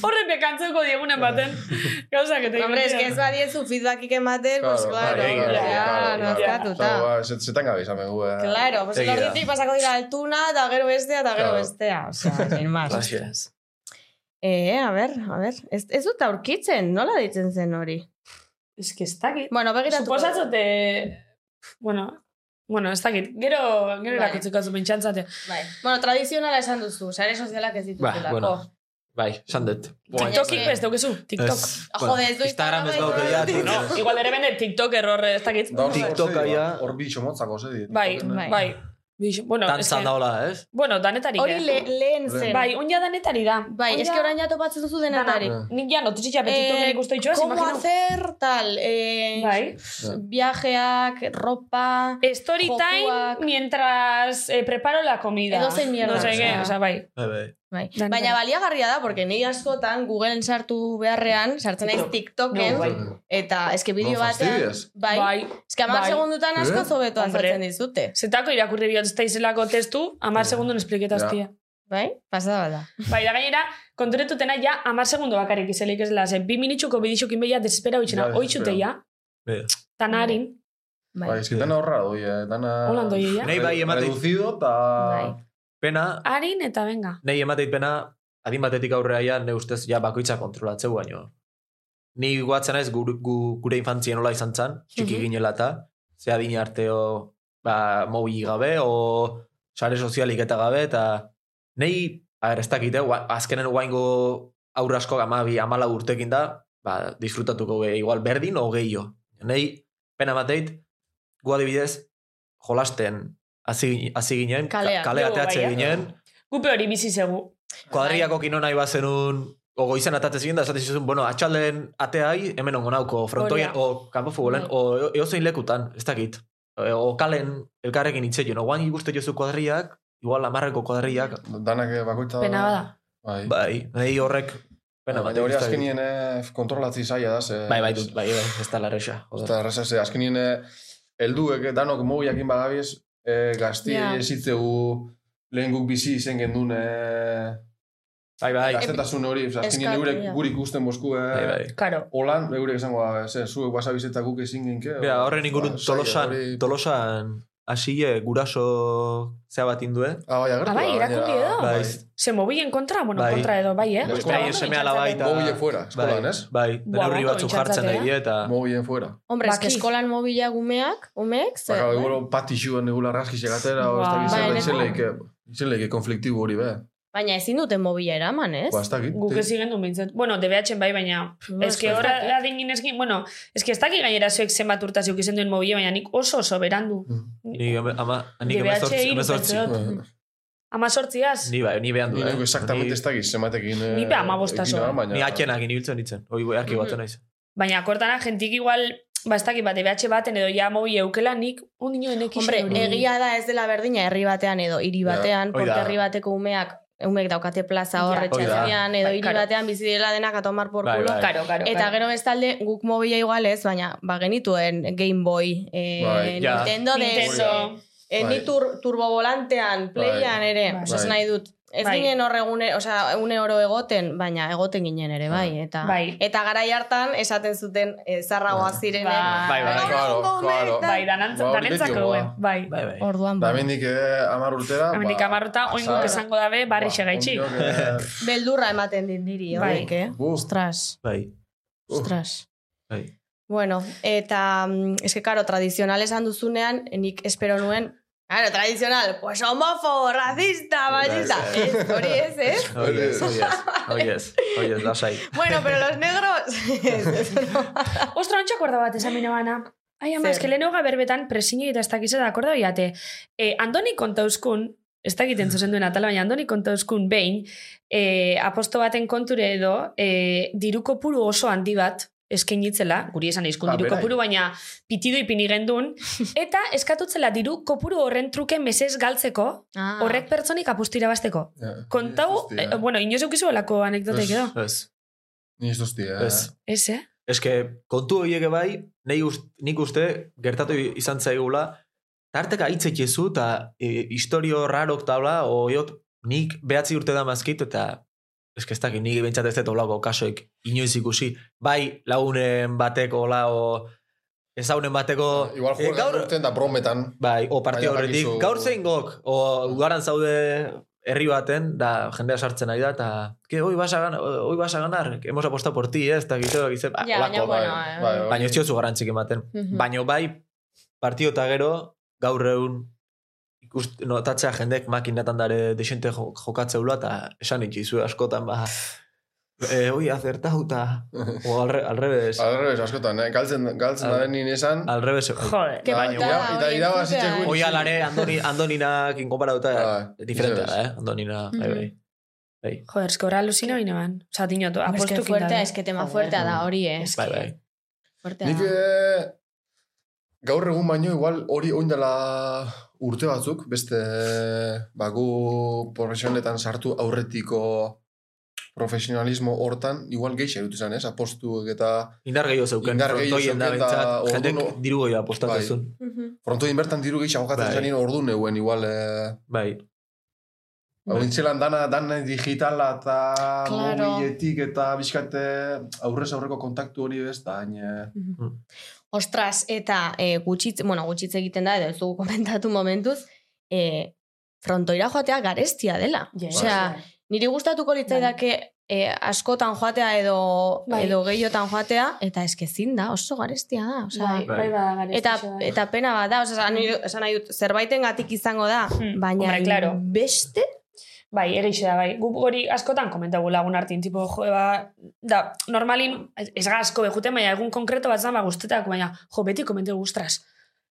Speaker 2: Horre pekantzeko diegunen baten.
Speaker 6: Bai.
Speaker 2: Gauzak eta
Speaker 4: Hombre, es que ez
Speaker 2: egiten.
Speaker 4: badiezu feedbackik ematen, pues, claro,
Speaker 2: bai,
Speaker 4: ja,
Speaker 2: claro,
Speaker 4: nazkatuta.
Speaker 6: Claro, zetan gabe izan begu. eh.
Speaker 4: Claro, pues
Speaker 5: Egia da.
Speaker 4: horretik pasako dira altuna, eta gero bestea, eta gero
Speaker 6: Claro.
Speaker 4: bestea. Osea, sin más.
Speaker 5: Halaxe.
Speaker 4: Eh, a ber, a ber. Ez, ez dut aurkitzen, nola deitzen zen hori?
Speaker 2: Ez que ez dakit.
Speaker 4: Bueno, begiratu.
Speaker 2: Suposatzote... Bueno, bueno, ez dakit. Gero, gero
Speaker 4: Bai.
Speaker 2: erakutziko zu pentsantzate.
Speaker 4: Bai. Bueno, tradizionala esan duzu, sare sozialak ez
Speaker 5: Ba,
Speaker 4: dituzulako.
Speaker 5: bueno. Bai, esan dut.
Speaker 4: Baina
Speaker 2: TikTokik
Speaker 4: ez-
Speaker 2: ez daukezu, TikTok.
Speaker 4: Jode, ez du
Speaker 5: Instagram ez
Speaker 4: Instagrama
Speaker 5: dauke
Speaker 4: ez
Speaker 5: ja.
Speaker 4: dauke.
Speaker 5: Twitter ez.
Speaker 2: No, igual ere bende TikTok errorre, ez dakit.
Speaker 6: Da hor- hor zei,
Speaker 5: TikToka,
Speaker 6: ba,
Speaker 5: ja.
Speaker 6: Hor bitxo motzako zedi.
Speaker 2: Bai,
Speaker 4: Bai.
Speaker 2: bai. Bixo- Bueno,
Speaker 5: Tantza
Speaker 2: eske-
Speaker 5: daola, ez?
Speaker 2: Bueno, danetarik.
Speaker 4: Hori
Speaker 2: eh?
Speaker 4: le, lehen zen.
Speaker 2: Bai, oin ja danetari da.
Speaker 4: bai
Speaker 2: Oin
Speaker 4: eske
Speaker 2: ja-
Speaker 4: orain ja topatzen duzu denatarik.
Speaker 6: Dana.
Speaker 2: Nik ja notizitza
Speaker 4: Eh,
Speaker 2: betitoken eh, ikustu itxoaz,
Speaker 4: Como
Speaker 2: imagino.
Speaker 4: hacer tal, eh,
Speaker 2: Bai.
Speaker 4: viajeak, ropa...
Speaker 2: Story time
Speaker 4: Jokuak.
Speaker 2: mientras eh, preparo la comida.
Speaker 4: Edozein mierda,
Speaker 2: No sé qué,
Speaker 4: osea.
Speaker 2: o sea, bai.
Speaker 5: Bai, bai.
Speaker 4: Bai.
Speaker 2: Dan-
Speaker 4: Baina baliagarria da, porque ni askotan Googleen sartu beharrean, sartzen naiz TikToken,
Speaker 2: No, bai.
Speaker 4: eta eske bideo
Speaker 6: No
Speaker 4: batean...
Speaker 6: fastidies.
Speaker 4: Bai,
Speaker 2: Bai.
Speaker 4: eske hamar
Speaker 2: Bai.
Speaker 4: segundutan asko
Speaker 6: Eh?
Speaker 4: zobeto
Speaker 2: Hombre.
Speaker 4: azaltzen dizute.
Speaker 2: Zetako irakurri bihot ez izelako testu, amar
Speaker 6: Ja.
Speaker 2: segundun espliketaztia.
Speaker 4: Bai, pasada da.
Speaker 2: Bai, da gainera, konturetutena ja amar segundo bakarrik izelik ez lase. Bi minitxuko bidixukin beia desespera
Speaker 6: Ja,
Speaker 2: hoitxena.
Speaker 6: desespera.
Speaker 2: Hoitxute ja,
Speaker 5: Bai.
Speaker 2: tanarin,
Speaker 6: Bai, ez que dana horra doi, eh, dana...
Speaker 2: holan doia ja.
Speaker 5: Nahi bai ematei.
Speaker 6: Reducido, ta...
Speaker 4: Bai.
Speaker 5: Pena,
Speaker 2: Harin eta venga.
Speaker 5: nahi emateit pena, adin batetik aurrera ja, ne ustez, ja bakoitza kontrolatzeu baino. Ni guatzen ez, gure, gu- gure infantzien nola izan zen, txiki
Speaker 4: Mhm.
Speaker 5: ginela eta, ze adin arteo, ba, mobi gabe, o sare sozialik eta gabe, eta nahi, aher, ez dakite, azkenen guaingo aurre asko amabi, amala urtekin da, ba, disfrutatuko ge, igual berdin o gehiago. Nahi, pena bateit, gu adibidez, jolasten, hasi hasi ginen, ka-
Speaker 4: Kalean.
Speaker 5: kalea
Speaker 2: Jo,
Speaker 5: teatxe
Speaker 2: bai, eh?
Speaker 5: ginen,
Speaker 2: Gupe hori bizi zegu.
Speaker 5: Kuadriako kino nahi bazenun, ogo izan atatez ginda, esaten zizun, bueno, atxalden ateai, hemen ongo nauko, frontoien,
Speaker 2: Hori da.
Speaker 5: o kanpo futbolen,
Speaker 4: Bai.
Speaker 5: o e- eozein lekutan, ez dakit. E, O kalen elkarrekin itzeio, no, guain ikuste jozu kuadriak, igual amarreko kuadriak,
Speaker 6: Danak eh, bakoitza...
Speaker 2: Pena bada.
Speaker 6: Bai.
Speaker 5: bai, nahi horrek, pena bat.
Speaker 6: Baina hori azkenien eh, kontrolatzi zaila da, ze...
Speaker 5: Bai, bai, dut, bai, bai, ez da larrexa. joder.
Speaker 6: Eta erraza, ze azkenien eh, helduek eh, danok mobiakin badabiz, eh, gazti
Speaker 2: Ja.
Speaker 6: yeah. ezitzegu lehen guk bizi izen gendun eh,
Speaker 5: Bai, bai,
Speaker 6: gaztetasun hori, oza, azkenien
Speaker 4: Eskatu,
Speaker 6: eurek
Speaker 4: ja.
Speaker 6: gurik usten bosku eh,
Speaker 5: bai, bai.
Speaker 2: Karo.
Speaker 6: holan, eurek esango, da, ze, zuek basa bizitza guk ezin genke.
Speaker 5: Bea, horren ingurun
Speaker 6: Ba, zaila,
Speaker 5: tolosan,
Speaker 6: hori-
Speaker 5: tolosan, asile, guraso zea bat indue.
Speaker 6: Ah, bai, agertu
Speaker 2: Ah, bai,
Speaker 6: da,
Speaker 2: irakundi
Speaker 6: baina-
Speaker 2: edo.
Speaker 5: Bai,
Speaker 2: Se mobilen kontra, bueno,
Speaker 5: Bai.
Speaker 2: kontra edo, bai, eh?
Speaker 6: Bai,
Speaker 2: Ostia,
Speaker 6: bai,
Speaker 2: ondo
Speaker 5: esemea labai
Speaker 2: mintzatzen.
Speaker 5: eta-
Speaker 6: Mobile fuera, eskolan,
Speaker 5: bai,
Speaker 6: ez?
Speaker 5: bai,
Speaker 2: Buah,
Speaker 5: dena horri
Speaker 2: guapo
Speaker 5: batzuk jartzen
Speaker 2: itxasatea.
Speaker 5: daie eta...
Speaker 6: Mobilen fuera.
Speaker 4: Hombre, eske
Speaker 2: Baki.
Speaker 4: eskolan mobila gumeak, umeek, ze...
Speaker 2: Bai.
Speaker 6: Baka, igual, Ba, pati xuen egula raskisek atera, o ez
Speaker 2: Ba,
Speaker 6: dakit
Speaker 4: bai,
Speaker 6: zer, izen
Speaker 4: leku.
Speaker 6: leike, izen leike konfliktibo hori, be.
Speaker 4: Baina ezin duten mobila eraman, ez?
Speaker 6: Ba, ez dakit.
Speaker 2: Guk ez igen bintzat. Bueno, DBH-en bai, baina... Ez que hor adingin eskin, bueno, ez que ez dakit gainera zuek zenbat urtaz eukizen duen mobile, baina nik oso oso berandu.
Speaker 5: Ni ama, ama ni
Speaker 2: DBH hiru, pentsa dut.
Speaker 6: Bai.
Speaker 2: Ama sortziaz?
Speaker 5: Ni bai, ni behan du.
Speaker 6: Ni
Speaker 5: eh.
Speaker 6: nago exactamente
Speaker 5: Ni-
Speaker 6: ez dakiz, zematekin... eh,
Speaker 2: Ni pe hamabosta
Speaker 6: ekin
Speaker 2: soa.
Speaker 6: da, baina- Mm.
Speaker 5: Ni atxenak inibiltzen nintzen. Hoi goi arki batzen naiz.
Speaker 2: Baina kortana jentik igual, ba ez dakit bat, DBH baten edo ja mobile eukela nik ondino enekixen.
Speaker 4: Hombre, egia da ez dela berdina herri batean edo hiri batean,
Speaker 5: Ja, hoi
Speaker 4: porque
Speaker 5: da.
Speaker 4: herri bateko umeak umek daukate plaza
Speaker 2: Ja.
Speaker 4: horre
Speaker 5: Hoi da.
Speaker 4: txasean, edo
Speaker 2: Bai,
Speaker 4: hiri
Speaker 2: karo.
Speaker 4: batean bizi direla denak atomar por
Speaker 5: Bai,
Speaker 4: culo.
Speaker 5: bai.
Speaker 2: Karo, karo.
Speaker 4: Eta gero bestalde guk mobila igual ez, baina ba genituen Game Boy, eh,
Speaker 6: Bai.
Speaker 5: Ja.
Speaker 4: Nintendo, DS,
Speaker 2: Nintendo.
Speaker 4: eh, ni
Speaker 6: Bai.
Speaker 4: tur, turbo volantean, playan ere,
Speaker 2: Bai.
Speaker 4: osea, esan
Speaker 6: Bai.
Speaker 4: nahi dut. Ez
Speaker 2: Bai.
Speaker 4: ginen hor egune, osea, une oro egoten, baina egoten ginen ere, bai, eta
Speaker 2: Bai.
Speaker 4: eta garai hartan esaten zuten eh, zarragoa zirenek.
Speaker 2: Bai,
Speaker 5: bai.
Speaker 6: Claro, claro.
Speaker 2: Bai, danantz,
Speaker 6: Ba, hori beti
Speaker 2: danentzako,
Speaker 6: goa.
Speaker 2: eh, bai.
Speaker 5: Bai, bai.
Speaker 4: Orduan,
Speaker 6: Da
Speaker 4: bai.
Speaker 6: hemendik eh, hamar urtera...
Speaker 2: Hemendik
Speaker 6: ba,
Speaker 2: hamarruta, oin
Speaker 6: pasada.
Speaker 2: guk esango dabe, barri
Speaker 6: Ba,
Speaker 2: segaitxi.
Speaker 6: ondok, eh,
Speaker 4: Beldurra ematen dit niri,
Speaker 2: Bai.
Speaker 4: horrek, eh?
Speaker 6: bu,
Speaker 4: Ostras,
Speaker 5: Bai.
Speaker 6: Uh.
Speaker 4: ostras.
Speaker 5: Bai.
Speaker 4: Bueno, eta, mm, eske, karo, tradizional esan duzunean, nik espero nuen, Claro, tradizional, pues homófobo, racista, machista.
Speaker 6: Bai,
Speaker 4: Ez, hori ez, eh. ez?
Speaker 5: Hoi ez, hoi ez. Hoi ez, hoi ez, lasai.
Speaker 4: Bueno, pero los negros... ez, ez, no.
Speaker 2: Ostra, ontsa korda bat, esan bine bana. Ai, ama,
Speaker 4: Zer?
Speaker 2: eske lehen hoga berbetan presiño eta ez dakiz da akorda biate. E, Andoni kontauzkun, ez dakiten zuzen duen atala, baina Andoni kontauzkun behin, e, aposto baten konture edo, e, diru kopuru oso handi bat, eskainitzela, guri esan izkun
Speaker 6: Ah,
Speaker 2: diru
Speaker 6: berai.
Speaker 2: kopuru, baina pitido ipini gendun, eta eskatutzela diru kopuru horren truke mesez galtzeko,
Speaker 4: Ah.
Speaker 2: horrek pertsonik apustira basteko.
Speaker 6: eh,
Speaker 2: Kontau,
Speaker 6: ni ez duzti,
Speaker 2: eh, bueno, inoz eukizu olako
Speaker 6: Ez.
Speaker 2: anekdotek edo.
Speaker 5: Ez,
Speaker 6: Ni ez duzti, eh.
Speaker 5: ez.
Speaker 2: Ez, eh?
Speaker 5: Ez que kontu horiek bai, nahi ust, nik uste gertatu izan zaigula, tarteka hitzek ezu eta e, historio rarok tabla, oiot, nik behatzi urte da mazkit, eta Ez que ez dakit, nik bentsat ez dut olako kasoik inoiz ikusi. Bai, launen bateko, lao, ezaunen bateko...
Speaker 6: Igual
Speaker 5: eh,
Speaker 6: juegan
Speaker 5: gaur-
Speaker 6: urten da brometan.
Speaker 5: Bai, o partio
Speaker 6: Baina
Speaker 5: horretik,
Speaker 6: dakizu-
Speaker 5: gaur zein gok, o garan zaude herri baten, da jendea sartzen nahi da, eta, que, hoi vas a ganar, hoi vas a ganar, hemos apostado por ti, ez, eta gizeo, gizeo,
Speaker 4: Ja, baina, bueno, eh.
Speaker 6: Bai, bai.
Speaker 5: baina ez diozu garantzik ematen.
Speaker 4: Mhm.
Speaker 5: Baina bai, partio eta gero, gaur egun, ikust, notatzea jendek makinatan dare desente jo- jokatzeula, eta esan itxizu askotan, ba, eh, oi, azertau, eta, o alre, alrebes,
Speaker 6: Alrebes, askotan, eh? galtzen, galtzen da
Speaker 5: Al-
Speaker 6: denin esan.
Speaker 5: alrebes,
Speaker 2: Joder.
Speaker 5: Ba,
Speaker 4: Ke
Speaker 6: Baina,
Speaker 4: putada,
Speaker 6: ira- eta
Speaker 4: hori
Speaker 6: irabazitxe
Speaker 4: entzutea, eh. Bai,
Speaker 6: gutxi.
Speaker 5: Oia lare, Andoni, Andoninak inkomparatuta,
Speaker 6: Ah,
Speaker 5: diferente
Speaker 6: ya
Speaker 5: da, eh? Andonina, bai, bai.
Speaker 2: Joder, eske horra alusina bine ban. Osa, dinot,
Speaker 4: Es que
Speaker 2: apostu
Speaker 4: fuertea, es que tema
Speaker 2: Joder.
Speaker 4: fuertea da hori, eh.
Speaker 5: Ah, Bai, bai.
Speaker 4: Fuertea
Speaker 6: Nik
Speaker 4: da.
Speaker 6: eh, gaur egun baino igual hori oindela urte batzuk, beste ba, gu profesionetan sartu aurretiko profesionalismo hortan, igual gehi erutu zen, ez? Apostu eta
Speaker 5: Indar gehiago zeuken,
Speaker 6: Indar gehiago
Speaker 5: frontoien da
Speaker 6: zeuken da,
Speaker 5: bintzat,
Speaker 6: orduan-
Speaker 5: jendek diru gehiago
Speaker 6: Bai.
Speaker 5: apostatezun.
Speaker 4: Mhm.
Speaker 6: frontoin bertan diru gehi ahokatzen
Speaker 5: Bai.
Speaker 6: zen ordu neuen, igual... Eh,
Speaker 5: Bai,
Speaker 6: Hau intzelan dana, dana digitala eta
Speaker 4: Claro.
Speaker 6: mobiletik eta bizkate aurrez aurreko kontaktu hori ez da, hain... eh,
Speaker 4: Ostras, eta e, gutxitz, bueno, gutxitz egiten da, edo ez dugu komentatu momentuz, e, frontoira joatea garestia dela. Osea,
Speaker 2: Bai.
Speaker 4: niri gustatuko litzaidake e, askotan joatea edo,
Speaker 2: Bai.
Speaker 4: edo gehiotan joatea, eta eskezin da, oso garestia da. Osea,
Speaker 2: bai,
Speaker 5: bai,
Speaker 2: bada
Speaker 4: Eta, eta pena bat da, osea, esan nahi- esan nahi dut, zerbaiten gatik izango da,
Speaker 2: Hmm,
Speaker 4: baina
Speaker 2: hombre, claro.
Speaker 4: beste,
Speaker 2: Bai, egixe da, bai. Gup hori askotan komentagu lagun hartin, tipo, jo, ba, da, normalin, ez- ez ga asko behuten, baina egun konkreto bat zan, ba, guztetak, baina, jo, beti komentegu, ostras,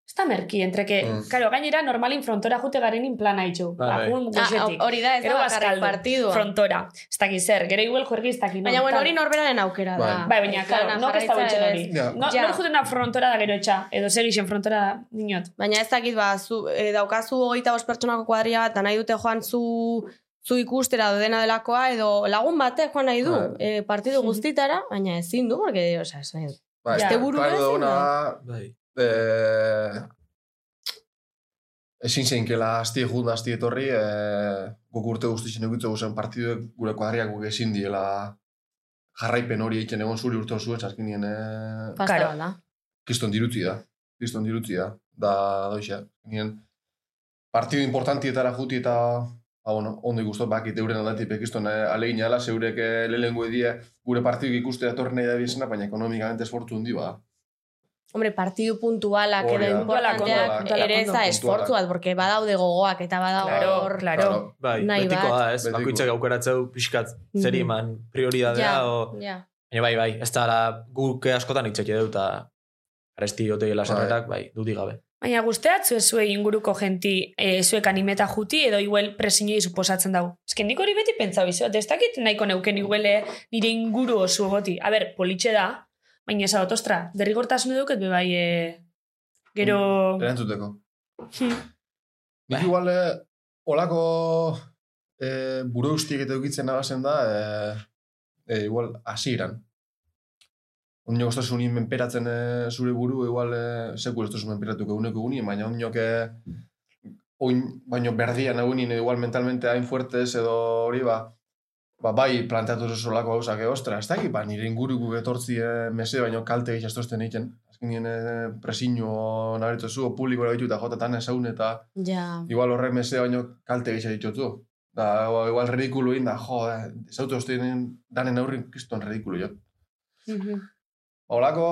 Speaker 2: ez da merki, entreke,
Speaker 6: Mm.
Speaker 2: karo, gainera, normalin frontora jute garenin plana itxu,
Speaker 5: Hmm. Bai,
Speaker 2: ba,
Speaker 5: bai.
Speaker 4: Ah,
Speaker 2: gun goxetik.
Speaker 4: hori da ez
Speaker 2: Gero
Speaker 4: da bakarrik
Speaker 2: bazkaldu,
Speaker 4: partidua.
Speaker 2: frontora, ez dakit zer, gero igual juergi ez dakit. non,
Speaker 4: Baina, bueno,
Speaker 2: tal.
Speaker 4: hori norberaren aukera da.
Speaker 6: Bai.
Speaker 2: Bai, baina,
Speaker 4: Plana
Speaker 2: karo, nok ez da
Speaker 4: jarraitza
Speaker 2: gutxen
Speaker 4: edo
Speaker 2: hori.
Speaker 4: ez.
Speaker 6: Ja.
Speaker 2: No,
Speaker 4: Ja.
Speaker 2: Nor juten da frontora da gero etxa, edo zer gixen frontora da, dinot.
Speaker 4: Baina ez dakit ba, zu, e, daukazu hogeita bost pertsonako kuadria bat, eta nahi dute joan zu, zu ikustera edo dena delakoa, edo lagun batek joan nahi du,
Speaker 6: Ah.
Speaker 4: e, partidu
Speaker 2: Mhm.
Speaker 4: guztitara, baina ezin du, porque, osea, ez nahi dut.
Speaker 6: Bai,
Speaker 2: Ja.
Speaker 4: Asteburu
Speaker 6: claro,
Speaker 4: bezala.
Speaker 6: ona,
Speaker 5: bai.
Speaker 6: eh, ezin zeinkela asti egun, asti etorri, eh, guk urte guztien egitzu zen partiduek gure kuadriak guk ezin diela jarraipen hori egiten egon zuri urte osu ez, azkenien eh,
Speaker 4: Pasta
Speaker 2: Claro.
Speaker 4: bat da.
Speaker 6: kiston dirutzi da. Kiston dirutzi da. Da, doixe, azkenien partidu importantietara juti eta Ba, bueno, ondo ikustu, bakit euren aldatik bekiston eh, alegin ala, zeurek eh, lehengo edie gure partidu ikustea torri nahi da bizena, baina ekonomikamente esfortu hundi ba.
Speaker 4: Hombre, partidu puntualak
Speaker 6: Hori
Speaker 4: edo
Speaker 6: da.
Speaker 2: Puntualak,
Speaker 4: importanteak
Speaker 6: puntualak,
Speaker 4: ere ez da
Speaker 6: puntualak.
Speaker 4: esfortzu bat, porque badaude gogoak eta badaude
Speaker 2: Claro,
Speaker 4: hor...
Speaker 2: claro.
Speaker 5: Bai,
Speaker 4: Nahi
Speaker 5: betikoa
Speaker 4: bat.
Speaker 5: da, ez,
Speaker 6: Betiko.
Speaker 5: bakoitzak aukeratzeu pixkat zeri
Speaker 4: Mhm.
Speaker 5: eman prioridadea,
Speaker 4: Ja,
Speaker 5: o...
Speaker 4: ja.
Speaker 5: Baina bai, bai, ez da, la- guk askotan itxeke dut, eta aresti jotegela sarretak, bai, dudik gabe.
Speaker 2: Baina guzteatzu ez zuei inguruko jenti e, zuek animeta juti edo igual presiñoi suposatzen dago. Ez que nik hori beti pentsau izot, ez dakit nahiko neuken iguele nire inguru oso goti. A ber, politxe da, baina ez dut, ostra, derrigortasun eduket be bai e, gero...
Speaker 6: Erantzuteko.
Speaker 2: Hmm.
Speaker 6: Nik igual, eh, olako eh, buru ustiek eta eukitzen nabazen da, eh, eh, igual, hasieran. Ondiok ostasun menperatzen eh, zure buru, igual, eh, sekur ostasun menperatuko eguneko egunien, baina ondiok eh, oin, baino berdian egunin, igual mentalmente hain fuertes edo hori, ba, ba bai planteatu zuzu olako gauzak, eh, ostra, ez dakit, ba, nire inguruko etortzi eh, mese baino kalte gehi astosten egiten. Azkenien eh, presiño nabaritu zu, publikora ditu eta jotatan esaun eta
Speaker 4: Ja,
Speaker 6: igual horrek mese baino kalte gehi dituzu. Da, igual ridikulu egin da, jo, eh, zautu ostenen danen aurrin kriston ridikulu jo. Olako,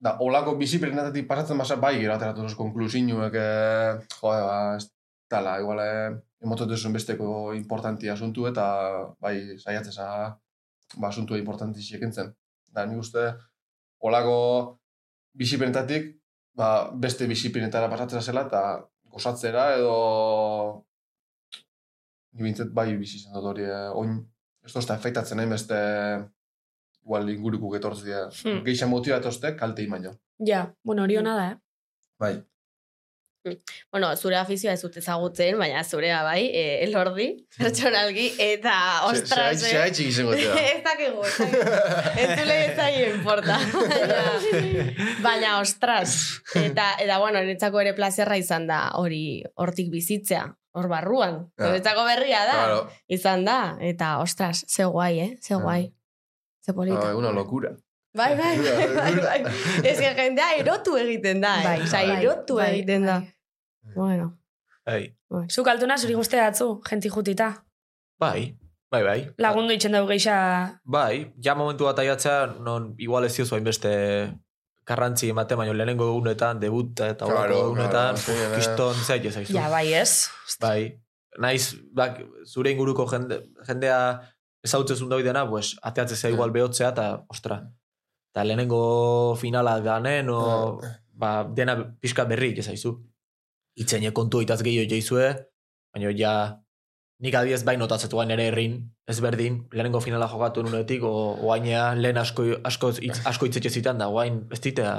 Speaker 6: da, olako biziprenetatik pasatzen basa bai gero ateratu zuz konklusinuek, eh, jo, eh, ba, ez tala, igual, eh, emototu zuen besteko importanti asuntu eta bai saiatzen za, ba, asuntu importanti ekentzen. Da, nik uste, olako biziprenetatik, ba, beste biziprenetara pasatzera zela eta gozatzera edo ni bintzat bai bizi izan dut hori, eh, oin, ez dozta efektatzen nahi beste igual inguruko getortzea
Speaker 2: Hmm.
Speaker 6: geisha motioa atoste, kalte imaino.
Speaker 2: Ja, bueno, hori ona da, eh?
Speaker 6: Bai.
Speaker 4: bueno, zure afizioa ez dut ezagutzen, baina zurea bai, e, elordi, pertsonalgi, eta ostras, eh.
Speaker 6: Zeraitxik izango dira.
Speaker 4: ez dakigu, ez dakigu. Entzule ez zaio importa. Baina, baina, ostras. Eta, eta bueno, niretzako ere plazerra izan da hori hortik bizitzea. hor barruan.
Speaker 6: Ja.
Speaker 4: Niretzako berria da.
Speaker 6: Claro,
Speaker 4: Izan da, eta ostras, ze guai, eh? Ze
Speaker 6: Ja.
Speaker 4: guai. Ze polita.
Speaker 6: ah, una locura.
Speaker 4: Bai, bai, bai, bai, bai. Ez que jendea erotu egiten da, eh?
Speaker 2: Bai,
Speaker 4: Osa,
Speaker 2: bai,
Speaker 4: erotu
Speaker 2: bai,
Speaker 4: egiten da.
Speaker 6: bai.
Speaker 4: Bueno.
Speaker 5: Bai,
Speaker 2: Zuk altuna zuri guzti datzu, jenti jutita.
Speaker 5: bai, bai, bai.
Speaker 2: Lagundu itxen dugu geixa...
Speaker 5: Bai, ja momentu bat aiatzea, non igual ez ziozu hainbeste karrantzi ematen, baina lehenengo egunetan, debuta eta
Speaker 6: Claro,
Speaker 5: horako
Speaker 6: claro,
Speaker 5: egunetan,
Speaker 6: azkenean, eh.
Speaker 5: kiston zait ezaizu.
Speaker 2: Ja, bai ez.
Speaker 5: Bai, naiz, bak, zure inguruko jende, jendea ezautzezun daudena, pues, ateatzea zea igual behotzea, eta, ostra, eta lehenengo finala ganen, o, ba, dena pixka berri ezaizu. Itzeine kontu itaz gehiago joizue, baina ja, nik adiez bai notatzetu gain ere errin, ezberdin, lehenengo finala jokatu nunetik, o, oainea lehen asko, asko, hitz- asko itzetxe zitan da, oain, ez ditea,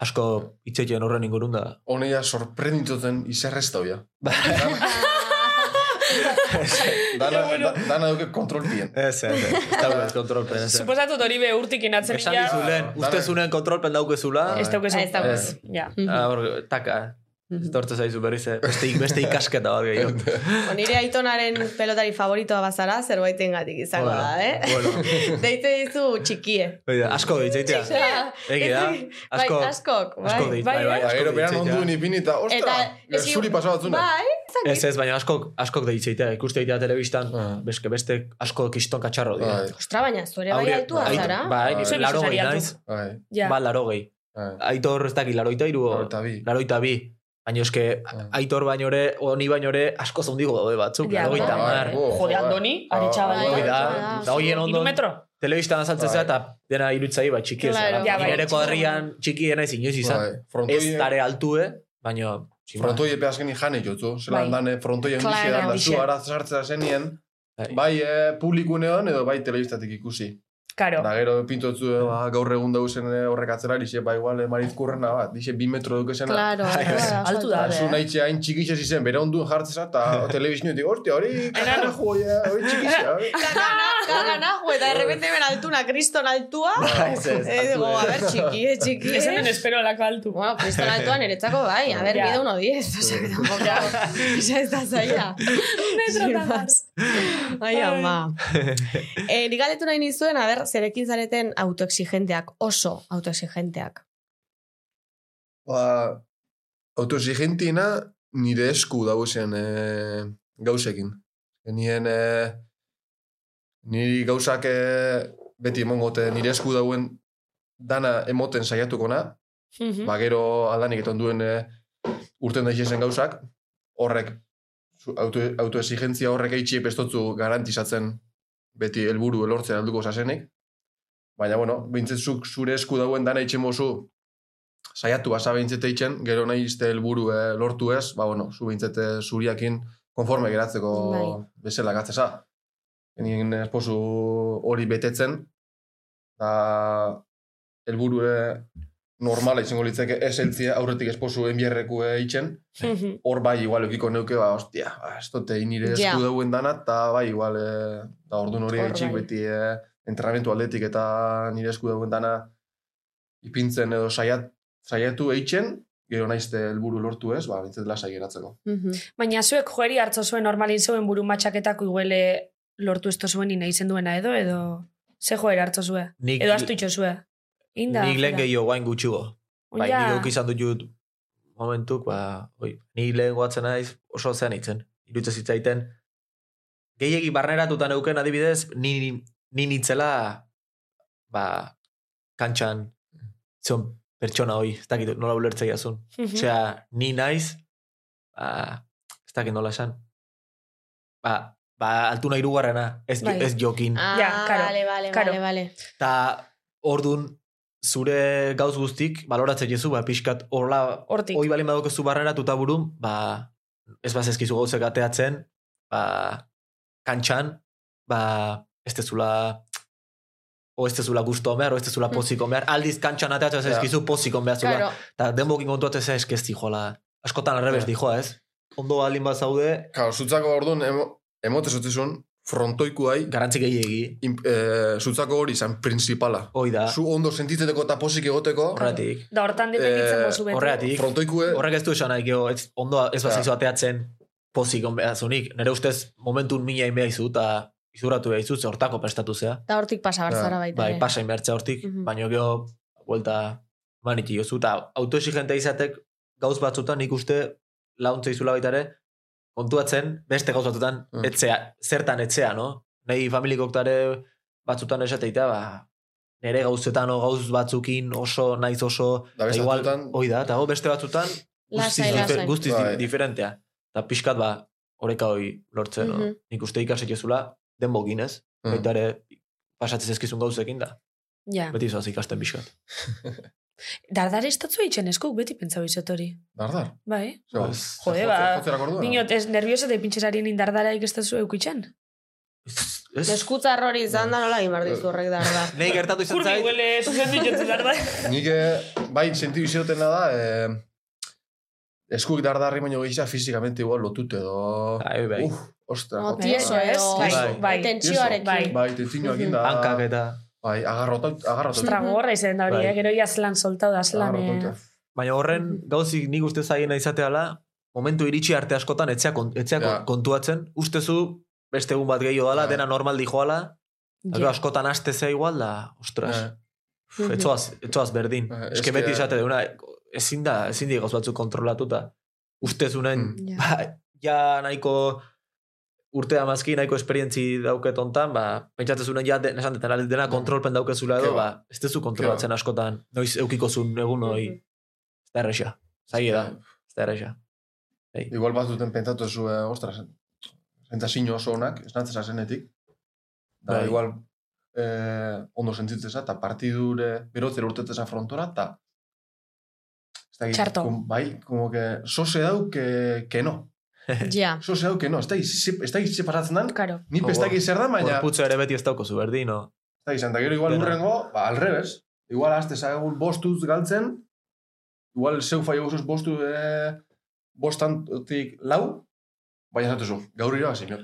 Speaker 5: asko itzetxeen horren ingurun da.
Speaker 6: Honeia sorprenditoten izarrez da hoia. Dana, da, dana duke kontrol bien.
Speaker 5: Ez, ez, ez, ez dagoen kontrolpen, ez, ez.
Speaker 2: Suposatu dori be urtik inatzen
Speaker 5: Esan
Speaker 2: ja.
Speaker 5: dizu lehen,
Speaker 6: Dana-
Speaker 5: uste zunen kontrolpen daukezula.
Speaker 2: Ez daukezu.
Speaker 4: Ez Mhm. daukezu.
Speaker 2: Ja.
Speaker 5: Ah, hor, taka. Ez tortu zaizu berriz, eh? beste, ik- beste ikasketa bat gehiago.
Speaker 4: Bo, Nire aitonaren pelotari favoritoa bazara, zerbaiten gatik izango da, eh?
Speaker 5: Bueno,
Speaker 4: Deite dizu txikie.
Speaker 5: oida, asko ditzaitea. Egi Eh, da,
Speaker 4: Asko,
Speaker 5: asko,
Speaker 4: bai, askok, bai.
Speaker 5: asko deit, bai, bai,
Speaker 6: Ba,
Speaker 5: asko
Speaker 6: gero beran
Speaker 5: deitzaitea.
Speaker 6: onduen ipini eta, ostra,
Speaker 4: eski-
Speaker 6: zuri pasau batzuna.
Speaker 4: Bai, ezakit.
Speaker 5: Ez ez, baina askok, askok deitzeitea, ikuste deitea telebistan,
Speaker 6: Ah.
Speaker 5: beske beste asko kiston katxarro dira.
Speaker 6: Bai,
Speaker 4: Ostra, baina zure bai
Speaker 5: Aure-
Speaker 4: altua
Speaker 5: ait-
Speaker 4: zara.
Speaker 5: Bai,
Speaker 6: Bai.
Speaker 5: laro gehi
Speaker 2: Zuri
Speaker 5: naiz,
Speaker 6: bai,
Speaker 2: Ja.
Speaker 5: ba, laro gehi.
Speaker 6: bai.
Speaker 5: Aitor ez dakit, laroita iru,
Speaker 6: Laurogeita bi.
Speaker 5: laroita bi. Baina eske,
Speaker 6: Ah.
Speaker 5: aitor baino ere, honi baino ere, asko zondigo daude batzuk,
Speaker 2: Ja,
Speaker 5: laroita
Speaker 2: bai.
Speaker 5: mar.
Speaker 6: Bo,
Speaker 2: Jode,
Speaker 6: bai.
Speaker 2: Andoni, aretxabal.
Speaker 4: Bai,
Speaker 5: Hoi da,
Speaker 4: bai,
Speaker 5: da hoien
Speaker 2: Hiru
Speaker 5: ondo
Speaker 2: metro.
Speaker 5: telebistan azaltzen zera eta dena irutzai bat txiki ez.
Speaker 4: Claro.
Speaker 2: Ja,
Speaker 5: Claro.
Speaker 2: bai.
Speaker 5: Nire kuadrian txiki ena inoiz izan.
Speaker 6: Bai, frontoi-
Speaker 5: Ez tare altue, baina... sin más.
Speaker 6: Frontoi epe azkeni jane jotzu.
Speaker 2: Bai.
Speaker 6: Zeran dan, eh, frontoi
Speaker 4: Claro,
Speaker 6: englizia dan, da zu
Speaker 2: horixe.
Speaker 6: araz sartzea zenien,
Speaker 5: Bai.
Speaker 6: bai eh, publikunean edo bai telebistatik ikusi.
Speaker 2: Karo.
Speaker 6: Da gero pintotzu eh, ba, gaur egun dauzen eh, horrek atzera, dixe, ba, igual, eh, marizkurrena bat, dixe, bi metro dukesena.
Speaker 4: Claro,
Speaker 2: Altu da,
Speaker 6: Zu
Speaker 4: eh?
Speaker 6: nahi txea hain txikixez izen, bere onduen jartzeza, eta telebizioen dik, hostia, hori, kakana joia, hori txikixea. hori."
Speaker 4: Kakana, kakana, jo, eta errepente ben altuna, kriston altua.
Speaker 5: Bai. Ah, Ez, ez,
Speaker 4: Eh, digo,
Speaker 5: altue.
Speaker 4: a ber, txiki, eh, txiki.
Speaker 2: Ez zen espero lako altu.
Speaker 4: Bueno, kriston altua niretzako bai, a ber,
Speaker 2: Ja.
Speaker 4: bide uno diez. O sea, que tampoco, ya está zaila. Sin más. Ai, ama. eh, nik galdetu nahi nizuen, a ber, zerekin zareten autoexigenteak, oso autoexigenteak.
Speaker 6: Ba, autoexigentina nire esku dauzen eh, gauzekin. Nien, eh, niri gauzak eh, beti emongote nire esku dauen dana emoten saiatukona, ba, gero aldanik eton duen e, urten da zen gauzak, horrek, zu- auto, autoexigentzia horrek eitxie pestotzu garantizatzen beti helburu elortzen alduko zazenik. Baina, bueno, bintzetzuk zure esku dauen dana itxen bozu, saiatu basa bintzete itxen, gero nahi izte helburu e, lortu ez, ba, bueno, zu bintzete zuriakin konforme geratzeko
Speaker 4: Bai.
Speaker 6: bezala gatzesa. Nien esposu hori betetzen, da helburu e, normala izango litzake ez heltzia aurretik esposu enbierreku eitzen, hor bai igual eukiko neuke, ba, ostia, ba, ez dute nire esku
Speaker 4: Ja.
Speaker 6: dauen dana, eta bai igual, e, da ordu nori
Speaker 4: Hor
Speaker 6: eitzik
Speaker 4: bai.
Speaker 6: beti e, entrenamentu aldetik eta nire esku dauen dana ipintzen edo saiat, saiatu eitzen, gero naizte helburu lortu ez, ba, bintzet lasai geratzeko.
Speaker 2: Baina zuek joeri hartzo zuen normalin zeuen buru matxaketako iguele lortu esto zuen ina izen duena edo, edo ze joera hartzo zue.
Speaker 5: Nik,
Speaker 2: Edo astu itxo zue. Inda.
Speaker 5: nik lehen gehiago guain gutxigo. Bai,
Speaker 2: Ja.
Speaker 5: nik eukizan dut jut momentuk, ba, oi, ni lehen goatzen naiz oso zean itzen. Irutze zitzaiten, gehiegi barneratuta neuken adibidez, ni, ni nintzela, ba, kantxan, zion pertsona hoi, ez dakit nola ulertzei azun.
Speaker 2: Mhm.
Speaker 5: Osea, ni naiz, ba, ez dakit nola esan. Ba, ba altuna irugarrena, ez, jo-
Speaker 2: Bai.
Speaker 5: ez jokin.
Speaker 4: Ah,
Speaker 2: Ja, karo,
Speaker 4: vale, vale,
Speaker 2: karo.
Speaker 4: vale, vale.
Speaker 5: Ta ordun zure gauz guztik baloratzen jezu, ba, pixkat horla,
Speaker 2: Hortik.
Speaker 5: hoi balin badokezu barreratuta burun, ba, ez bazezkizu gauzek ateatzen, ba, kantxan, ba, ez tezula o ez tezula gusto behar, o ez tezula poziko behar, aldiz kantxan ateatzen
Speaker 6: Ja.
Speaker 5: zaizkizu poziko behar zula.
Speaker 4: Claro,
Speaker 5: Eta denbokin kontuatzen zea eskez dijoala. Askotan arrebes
Speaker 6: Ja.
Speaker 5: dijoa, Ba ez? Ondo balin bat zaude,
Speaker 6: Kao, zutzako orduan, emo, emote zutzizun, frontoikuai,
Speaker 5: garantzik gehiegi.
Speaker 6: in- eh, zutzako hori izan principala.
Speaker 5: Hoi da,
Speaker 6: Zu ondo sentitzeteko eta posik egoteko,
Speaker 5: horretik.
Speaker 2: Da hortan dependitzen
Speaker 6: Eh,
Speaker 2: bozu beti.
Speaker 5: horregatik.
Speaker 6: frontoikue,
Speaker 5: Horrek ez du esan nahi, gero, ez, ondo ez
Speaker 6: Ja.
Speaker 5: bazaizu ateatzen pozik on behazunik. Nere ustez momentun mina inbea izu, eta izuratu behar izu, ze hortako prestatu zea.
Speaker 4: Eta hortik pasa
Speaker 6: Ja,
Speaker 4: bartzara baita.
Speaker 5: Bai,
Speaker 4: ere.
Speaker 5: pasa inbertzea hortik,
Speaker 4: Mhm.
Speaker 5: baina gero, buelta maniti jozu. Eta autoexigentea izatek gauz batzutan ikuste launtze izula baitare, kontuatzen beste gauz batzutan
Speaker 6: Mm.
Speaker 5: etzea, zertan etzea, no? Nei familikoktare batzutan esateita, ba, nere gauzetan o gauz batzukin oso, naiz oso,
Speaker 6: Da beste
Speaker 5: eta igual,
Speaker 6: batzutan-
Speaker 5: hoi da, eta ho, beste batzutan guztiz,
Speaker 4: Lasai,
Speaker 5: difer-
Speaker 4: lasai.
Speaker 5: guztiz
Speaker 6: Bai.
Speaker 5: di- diferentea. Eta pixkat ba, oreka hoi lortzen, no?
Speaker 4: Mhm.
Speaker 5: Nik uste ikasik ezula, denbokin ez,
Speaker 6: Mm.
Speaker 5: baita ere pasatzen ezkizun gauzekin da.
Speaker 2: Ja.
Speaker 5: Beti zoaz ikasten pixkat.
Speaker 2: Dardar estatzu eitzen eskuk, beti pentsau izot hori.
Speaker 6: Dardar.
Speaker 2: Bai.
Speaker 6: Ze,
Speaker 5: Ba,
Speaker 2: Jode,
Speaker 6: jotze-
Speaker 2: ba,
Speaker 6: jotzerako orduan?
Speaker 2: Binot, ez nervioso eta ipintxerarien indardara ikastazu eukitzen.
Speaker 5: Ez,
Speaker 4: Eskutzar hori izan da nola imar dizu horrek da, da.
Speaker 5: nahi gertatu izan zait,
Speaker 2: huele, zuzen binotzu dardar.
Speaker 6: Nik eh, bai sentidu izotena da, eh, eskuik dardarri baino gisa fizikamente igual lotute edo...
Speaker 5: Ai, bai.
Speaker 6: Uf, ostra.
Speaker 4: No,
Speaker 6: jota.
Speaker 4: tieso,
Speaker 2: Bai,
Speaker 4: edo-
Speaker 5: bai,
Speaker 2: bai.
Speaker 4: Tentsioarekin.
Speaker 2: Bai.
Speaker 6: Bai, tentsioak inda.
Speaker 5: hankak eta,
Speaker 6: Bai, agarrota, agarrota.
Speaker 2: Ostra, gorra izan da hori,
Speaker 5: Bai.
Speaker 2: eh? Mhm. gero ia zelan soltau da, zelan...
Speaker 6: Agarrota.
Speaker 2: eh,
Speaker 5: baina horren gauzik nik uste zaiena izateala, momentu iritsi arte askotan etzea, kon, etzea kon-
Speaker 6: Ja.
Speaker 5: kontuatzen, ustezu beste egun bat gehiago dala,
Speaker 6: Ja.
Speaker 5: dena normal dijoala,
Speaker 2: ja.
Speaker 5: yeah. askotan aste zea igual da, ostras.
Speaker 6: Eh,
Speaker 5: Uf, Etzoaz, etzoaz berdin.
Speaker 6: Eh,
Speaker 5: Eske
Speaker 6: eske-
Speaker 5: beti izate deuna, ezin da, ezin di gauz batzuk kontrolatuta. Ustezunen,
Speaker 6: Mm.
Speaker 2: Ja.
Speaker 5: ba, ja nahiko urte amazki, nahiko esperientzi dauket ontan, ba, pentsatzezunen ja, den, esan deten, dena kontrolpen daukezula edo,
Speaker 6: Mm. Ke ba.
Speaker 5: ba, ez tezu kontrolatzen askotan, noiz eukiko zuen egun hori,
Speaker 4: Mhm.
Speaker 5: ez da erresa, zaila da, ez da Bai. erresa.
Speaker 6: Igual bat duten pentsatu zu, eh, ostras, sentazio oso onak, esnatzeza zenetik. Da,
Speaker 5: Bai.
Speaker 6: igual, eh, ondo sentitzeza, eta partidure, berotzera urtetzeza frontora, eta... ez dakit,
Speaker 2: Txarto.
Speaker 6: kom- bai, como que, sose dau, que, que no.
Speaker 4: Ja.
Speaker 6: Sose dau, que no. Ez da, ez da, ze pasatzen dan,
Speaker 2: Karo.
Speaker 6: ni
Speaker 5: Gogor.
Speaker 6: pestaki zer da, baina... Ez
Speaker 5: Gorputza ere beti ez dauko zu berdin, no?
Speaker 6: da, izan, da gero igual
Speaker 5: Dena.
Speaker 6: urrengo, ba, alrebes. Igual, azte zagun bostuz galtzen, igual, zeu fai guzuz bostu, eh, bostantik lau, baina zatu zu, gaur irabazi, no?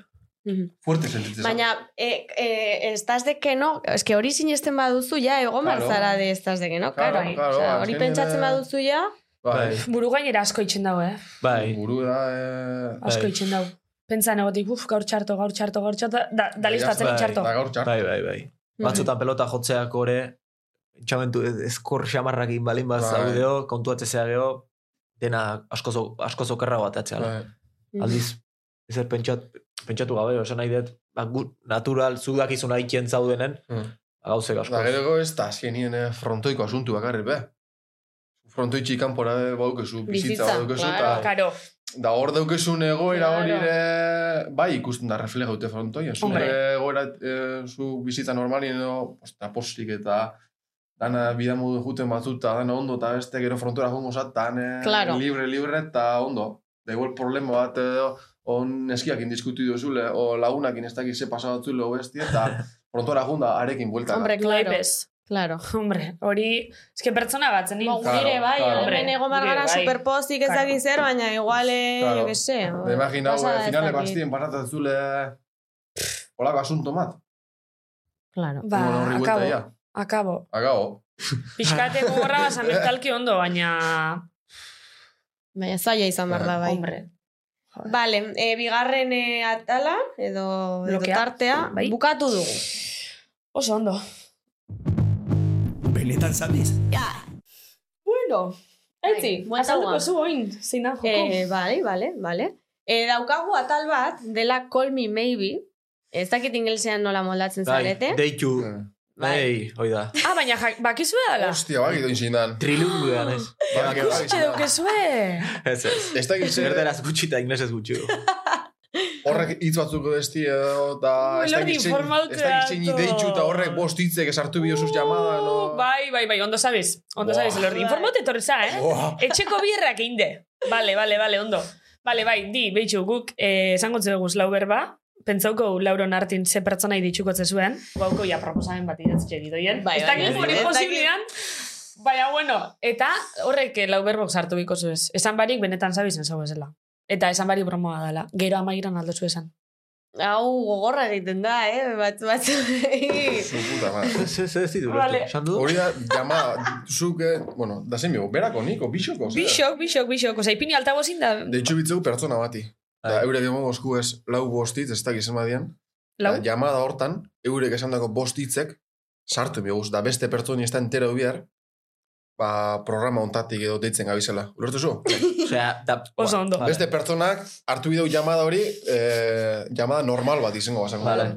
Speaker 4: Mhm.
Speaker 6: Fuerte sentitzen.
Speaker 4: Baina, e, e, estás de que no, eske hori sinesten baduzu ja, egon
Speaker 6: Claro.
Speaker 4: claro. barzara de estás de que no,
Speaker 6: Claro,
Speaker 4: claro.
Speaker 6: claro,
Speaker 4: Osea, hori
Speaker 6: azkenean-
Speaker 4: pentsatzen baduzu ja,
Speaker 6: bai,
Speaker 2: Buru gainera asko itxen dago, eh?
Speaker 5: Bai,
Speaker 6: buru da, eh,
Speaker 2: Asko
Speaker 5: Bai.
Speaker 2: itxen dago. Pentsan egotik, uf, gaur txarto, gaur txarto, gaur txarto, da, da
Speaker 6: Bai,
Speaker 2: listatzen
Speaker 5: bai,
Speaker 2: itxarto.
Speaker 6: da gaur txar.
Speaker 5: bai, bai, bai. Batzutan pelota jotzeak ore, txamentu eskor xamarrak egin balin bat
Speaker 6: Bai.
Speaker 5: zaudeo, kontuatzea geho, dena askozo, askozo kerra bat atzea.
Speaker 6: Bai,
Speaker 5: Aldiz, ezer pentsat, pentsatu gabe, esan nahi dut, ba, gu, natural, zu dakizun haikien zaudenen,
Speaker 6: Mm.
Speaker 5: ba, gauzek asko.
Speaker 6: Da geroko ez da azkenien eh, frontoiko asuntu bakarri, be. Frontoitxik kanpora eh, baukezu, bizitza,
Speaker 4: Bizitza,
Speaker 6: baukezu,
Speaker 4: claro.
Speaker 6: eta
Speaker 2: Karo.
Speaker 6: Da hor daukezun egoera
Speaker 4: Claro.
Speaker 6: hori ere, bai ikusten da refleja dute frontoian. Zu
Speaker 2: Hombre.
Speaker 6: egoera, e, zu bizitza normalien edo, posta postik eta dana bida modu juten batzuta, dana ondo eta beste gero frontora jongo zat, dan eh,
Speaker 4: Claro.
Speaker 6: libre, libre eta ondo. Da igual problema bat edo, on eskiakin diskutu duzule, o lagunakin ez dakiz ze pasa batzule o bestia, eta frontora junda arekin bueltara.
Speaker 4: hombre, claro,
Speaker 2: Laipez.
Speaker 4: claro.
Speaker 2: Hombre, hori, eske pertsona bat zen.
Speaker 4: Bo,
Speaker 6: Claro,
Speaker 4: gure bai,
Speaker 6: claro.
Speaker 4: hemen egon
Speaker 2: Gure
Speaker 4: bargara
Speaker 2: bai.
Speaker 4: superpozik ez
Speaker 2: Claro.
Speaker 4: dakit zer, baina igual, eh,
Speaker 6: Claro.
Speaker 4: jo que se.
Speaker 6: Da imagina, hau,
Speaker 4: pasa
Speaker 6: eh,
Speaker 4: ez
Speaker 6: finale
Speaker 4: dakit.
Speaker 6: bastien pasatzen zule, holako asunto mat.
Speaker 4: Claro.
Speaker 2: Ba,
Speaker 6: Bueno, horri buelta
Speaker 2: akabo,
Speaker 6: ia.
Speaker 2: akabo.
Speaker 6: Agao.
Speaker 2: Piskate gogorra basan mentalki ondo, baina...
Speaker 4: Baina zaila izan behar da bai.
Speaker 2: Hombre.
Speaker 4: Vale, e, bigarren eh, atala, edo, edo
Speaker 2: Blokea.
Speaker 4: tartea,
Speaker 2: Bai.
Speaker 4: bukatu dugu.
Speaker 2: Oso ondo.
Speaker 3: Benetan zabiz.
Speaker 4: Bueno,
Speaker 2: Aitzi, azalduko zu oin, zein da joko.
Speaker 4: Eh, vale, vale, vale. Eh, daukagu atal bat, dela Call Me Maybe. Ez dakit ingelesean nola moldatzen zarete.
Speaker 5: deitu,
Speaker 4: Bai.
Speaker 5: bai, hoi da.
Speaker 2: Ah, baina jak- bakizue dala.
Speaker 6: Hostia, bai, doin zindan.
Speaker 5: Trilingua, naiz.
Speaker 6: Ah,
Speaker 2: Uste daukezue.
Speaker 5: Ez ez.
Speaker 6: Ez da gitze,
Speaker 5: Erderaz gutxi eta inglesez gutxi.
Speaker 6: horrek hitz batzuk besti edo, eta ez da
Speaker 2: Lordi,
Speaker 6: gitze,
Speaker 2: informaltea
Speaker 6: ez da gitze ni
Speaker 2: to.
Speaker 6: deitxu eta horrek bost hitzek esartu biosuz jamada, no?
Speaker 2: Bai, bai, bai, ondo sabes. Ondo
Speaker 6: Buah.
Speaker 2: sabes, Elordi. Informote etorri za, eh?
Speaker 6: Buah.
Speaker 2: Etxeko birrak einde. Vale, vale, vale, ondo. Vale, bai, di, behitxu, guk eh, esango zeguz lau berba, ba. pentsauko lauron hartin ze pertsonai ditxukotze zuen, guauko ja proposamen bat idatzitxe ditoien.
Speaker 4: Bai,
Speaker 2: ez
Speaker 4: bai,
Speaker 2: dakit
Speaker 4: bai,
Speaker 2: hori
Speaker 4: ez dakit.
Speaker 2: posibilian, baina bueno, eta horrek eh, lau berbok sartu biko zuez. Esan barik benetan zabizen zau bezala. Eta esan barik bromoa dela. Gero amairan aldo zu esan.
Speaker 4: Hau gogorra egiten da, eh? Bat, bat.
Speaker 6: Zu puta, ma.
Speaker 5: Ez ez ez ditu,
Speaker 2: Vale.
Speaker 5: esan du?
Speaker 6: Hori da, jamada, zuk, eh, bueno, da zein bigo, berako, niko, bixoko, zer?
Speaker 2: Bixok, bixok, bixok. Osa, ipini altagozin da...
Speaker 6: Deitxu bitzeu pertsona bati. Da, eurek emango esku ez lau bostitz, ez dakiz emadian.
Speaker 2: Lau?
Speaker 6: Da, Eh, llamada hortan, eurek esan dako bostitzek, sartu mioguz, da beste pertsoni ez da entero bihar, ba, programa ontatik edo deitzen gabizela. Ulertu zu?
Speaker 5: Osea, da...
Speaker 2: Oso ondo.
Speaker 5: Vale.
Speaker 6: Beste pertsonak hartu bideu llamada hori, eh, llamada normal bat izango ba, basango.
Speaker 5: Vale.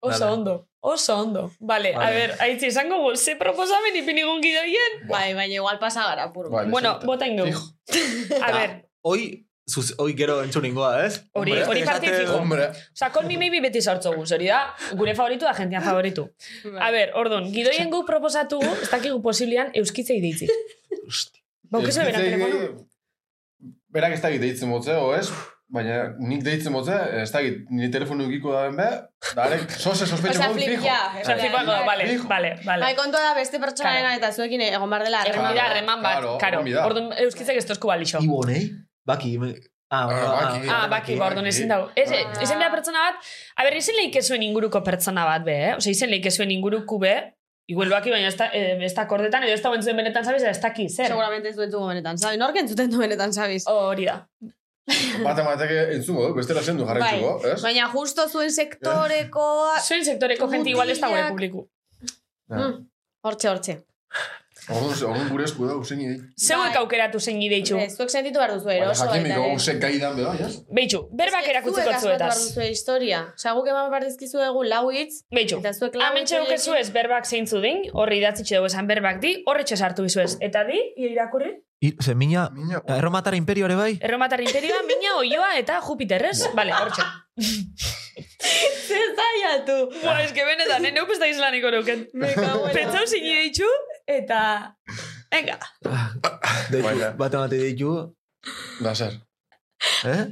Speaker 2: Oso
Speaker 5: Vale.
Speaker 2: ondo, oso ondo. Vale, a
Speaker 5: Vale.
Speaker 2: ver, aitzi esango guz, ze proposamen ipinigun gidoien?
Speaker 4: Bai, baina igual pasa gara, puro.
Speaker 6: Vale,
Speaker 2: Bueno,
Speaker 6: zenta.
Speaker 2: botain dugu.
Speaker 6: Fijo.
Speaker 2: A
Speaker 5: Da,
Speaker 2: ver,
Speaker 5: Hoi, zuz, hoi gero entzun ingoa, ez?
Speaker 2: Hori-
Speaker 5: Hombre,
Speaker 2: hori
Speaker 5: ez
Speaker 2: parte
Speaker 5: date-
Speaker 2: fijo.
Speaker 6: Hombre,
Speaker 2: oza, call me maybe beti sortzo guz, hori da, gure favoritu, agentia favoritu.
Speaker 4: Bai.
Speaker 2: A ver, ordon, gidoien guk proposatu gu, ez dakigu posiblian euskitzei deitzi. Baukizue Ba, bera
Speaker 6: Euskitzei-
Speaker 2: telefono?
Speaker 6: Berak ez dakit deitzen motzeo, ez? Baina nik deitzen motzea, ez dakit, nire telefonu egiko da ben be, da arek, soze sospetxo
Speaker 4: Osea,
Speaker 6: moduz,
Speaker 4: flip
Speaker 6: fijo. Bai.
Speaker 4: ya.
Speaker 2: Osa, flipako, vale,
Speaker 6: Fijo.
Speaker 2: vale,
Speaker 4: Bai,
Speaker 2: vale.
Speaker 4: kontua da beste pertsonarena eta zuekin egon behar dela.
Speaker 6: Claro,
Speaker 2: Erremida, reman bat,
Speaker 6: claro,
Speaker 2: karo.
Speaker 6: ongi da.
Speaker 2: Ordon, euskitzek ez tozku balixo.
Speaker 5: Ibon, eh? Baki, me...
Speaker 6: Ah,
Speaker 5: Ah, ah,
Speaker 6: Baki.
Speaker 5: ah,
Speaker 2: Ah, baki, ba, orduan
Speaker 6: Baki.
Speaker 2: ezin dau. Ez,
Speaker 6: Ah.
Speaker 2: izen behar pertsona bat, a ber, izen lehik ezuen inguruko pertsona bat, be, eh? Ose, izen lehik ezuen inguruku be, igual baki, baina ez da, eh, ez da kordetan, edo ez da bentzuen benetan, sabes, ez daki, zer?
Speaker 4: Seguramente ez duen dugu benetan, zabi. Nork entzuten du benetan, zabiz?
Speaker 2: Hori da.
Speaker 6: Bat emateke entzungo, dut, bestela zendu jarraituko,
Speaker 2: Bai,
Speaker 6: ez?
Speaker 4: Bai, Baina justo zuen sektoreko...
Speaker 2: Zuen sektoreko jenti igual ez dagoen
Speaker 4: Mutilak.
Speaker 2: publiku.
Speaker 4: Mm. Hortxe, hortxe.
Speaker 6: Orduan, orduan gure esku da, usen idei.
Speaker 2: Zeuek
Speaker 4: Bai.
Speaker 2: aukeratu zein ideitxu.
Speaker 4: Ez, Zuek sentitu behar duzu
Speaker 6: Baina
Speaker 4: eroso. eh?
Speaker 6: jakimiko, usek gai dan beba, ez?
Speaker 2: Beitxu, berbak erakutziko
Speaker 4: Zuek
Speaker 2: zuetaz.
Speaker 4: asmatu behar duzu historia. Osa, guk eman behar dizkizu egu lau hitz,
Speaker 2: Beitxu,
Speaker 4: eta zuek lau
Speaker 2: Hemen txeuk ez
Speaker 4: horiekin-
Speaker 2: Ah, ez berbak zeintzu din, horri idatzitxe dugu esan berbak di, horretxe sartu izu ez. Eta di, irakurri,
Speaker 5: Ir- ze, mina,
Speaker 6: Mina,
Speaker 5: erromatar imperioare bai?
Speaker 2: erromatar imperioa, mina, oioa eta Jupiterrez. Vale, hortxe.
Speaker 4: Zer zaiatu!
Speaker 2: Ba, eske benetan, eh, neuk ez da izlaniko neuken. Pentsau zini ditxu, eta... Venga.
Speaker 5: Deitu,
Speaker 6: Baina.
Speaker 5: bat emate deitu,
Speaker 6: da zer.
Speaker 5: eh?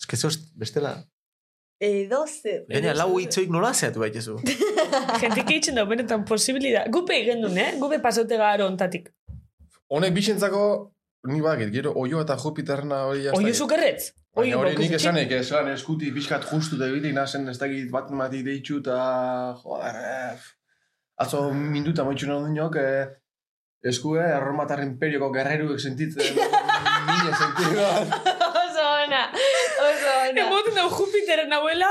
Speaker 5: Ez que zoz, bestela.
Speaker 4: Edo zer.
Speaker 5: Baina, lau itzoik nola zeatu baitezu.
Speaker 2: Gentik eitzen da, benetan, posibilida. Gupe igendun, eh? Gupe pasaute gara ontatik.
Speaker 6: Honek bixentzako, ni bakit, gero oio eta Jupiterna hori jazta.
Speaker 2: Oio zukerretz.
Speaker 6: Baina hori
Speaker 2: baukazu
Speaker 6: nik
Speaker 2: txik.
Speaker 6: esanek, ez lan eskuti pixkat justu debitik nazen ez dakit bat mati deitxu eta joder, eh, atzo minduta maitxu nahi dinok, eh, eskue erromatar imperioko gerreruek sentitzen, mine sentitzen.
Speaker 4: Oso ona, oso ona.
Speaker 2: Emoten dau Jupiteren nahuela,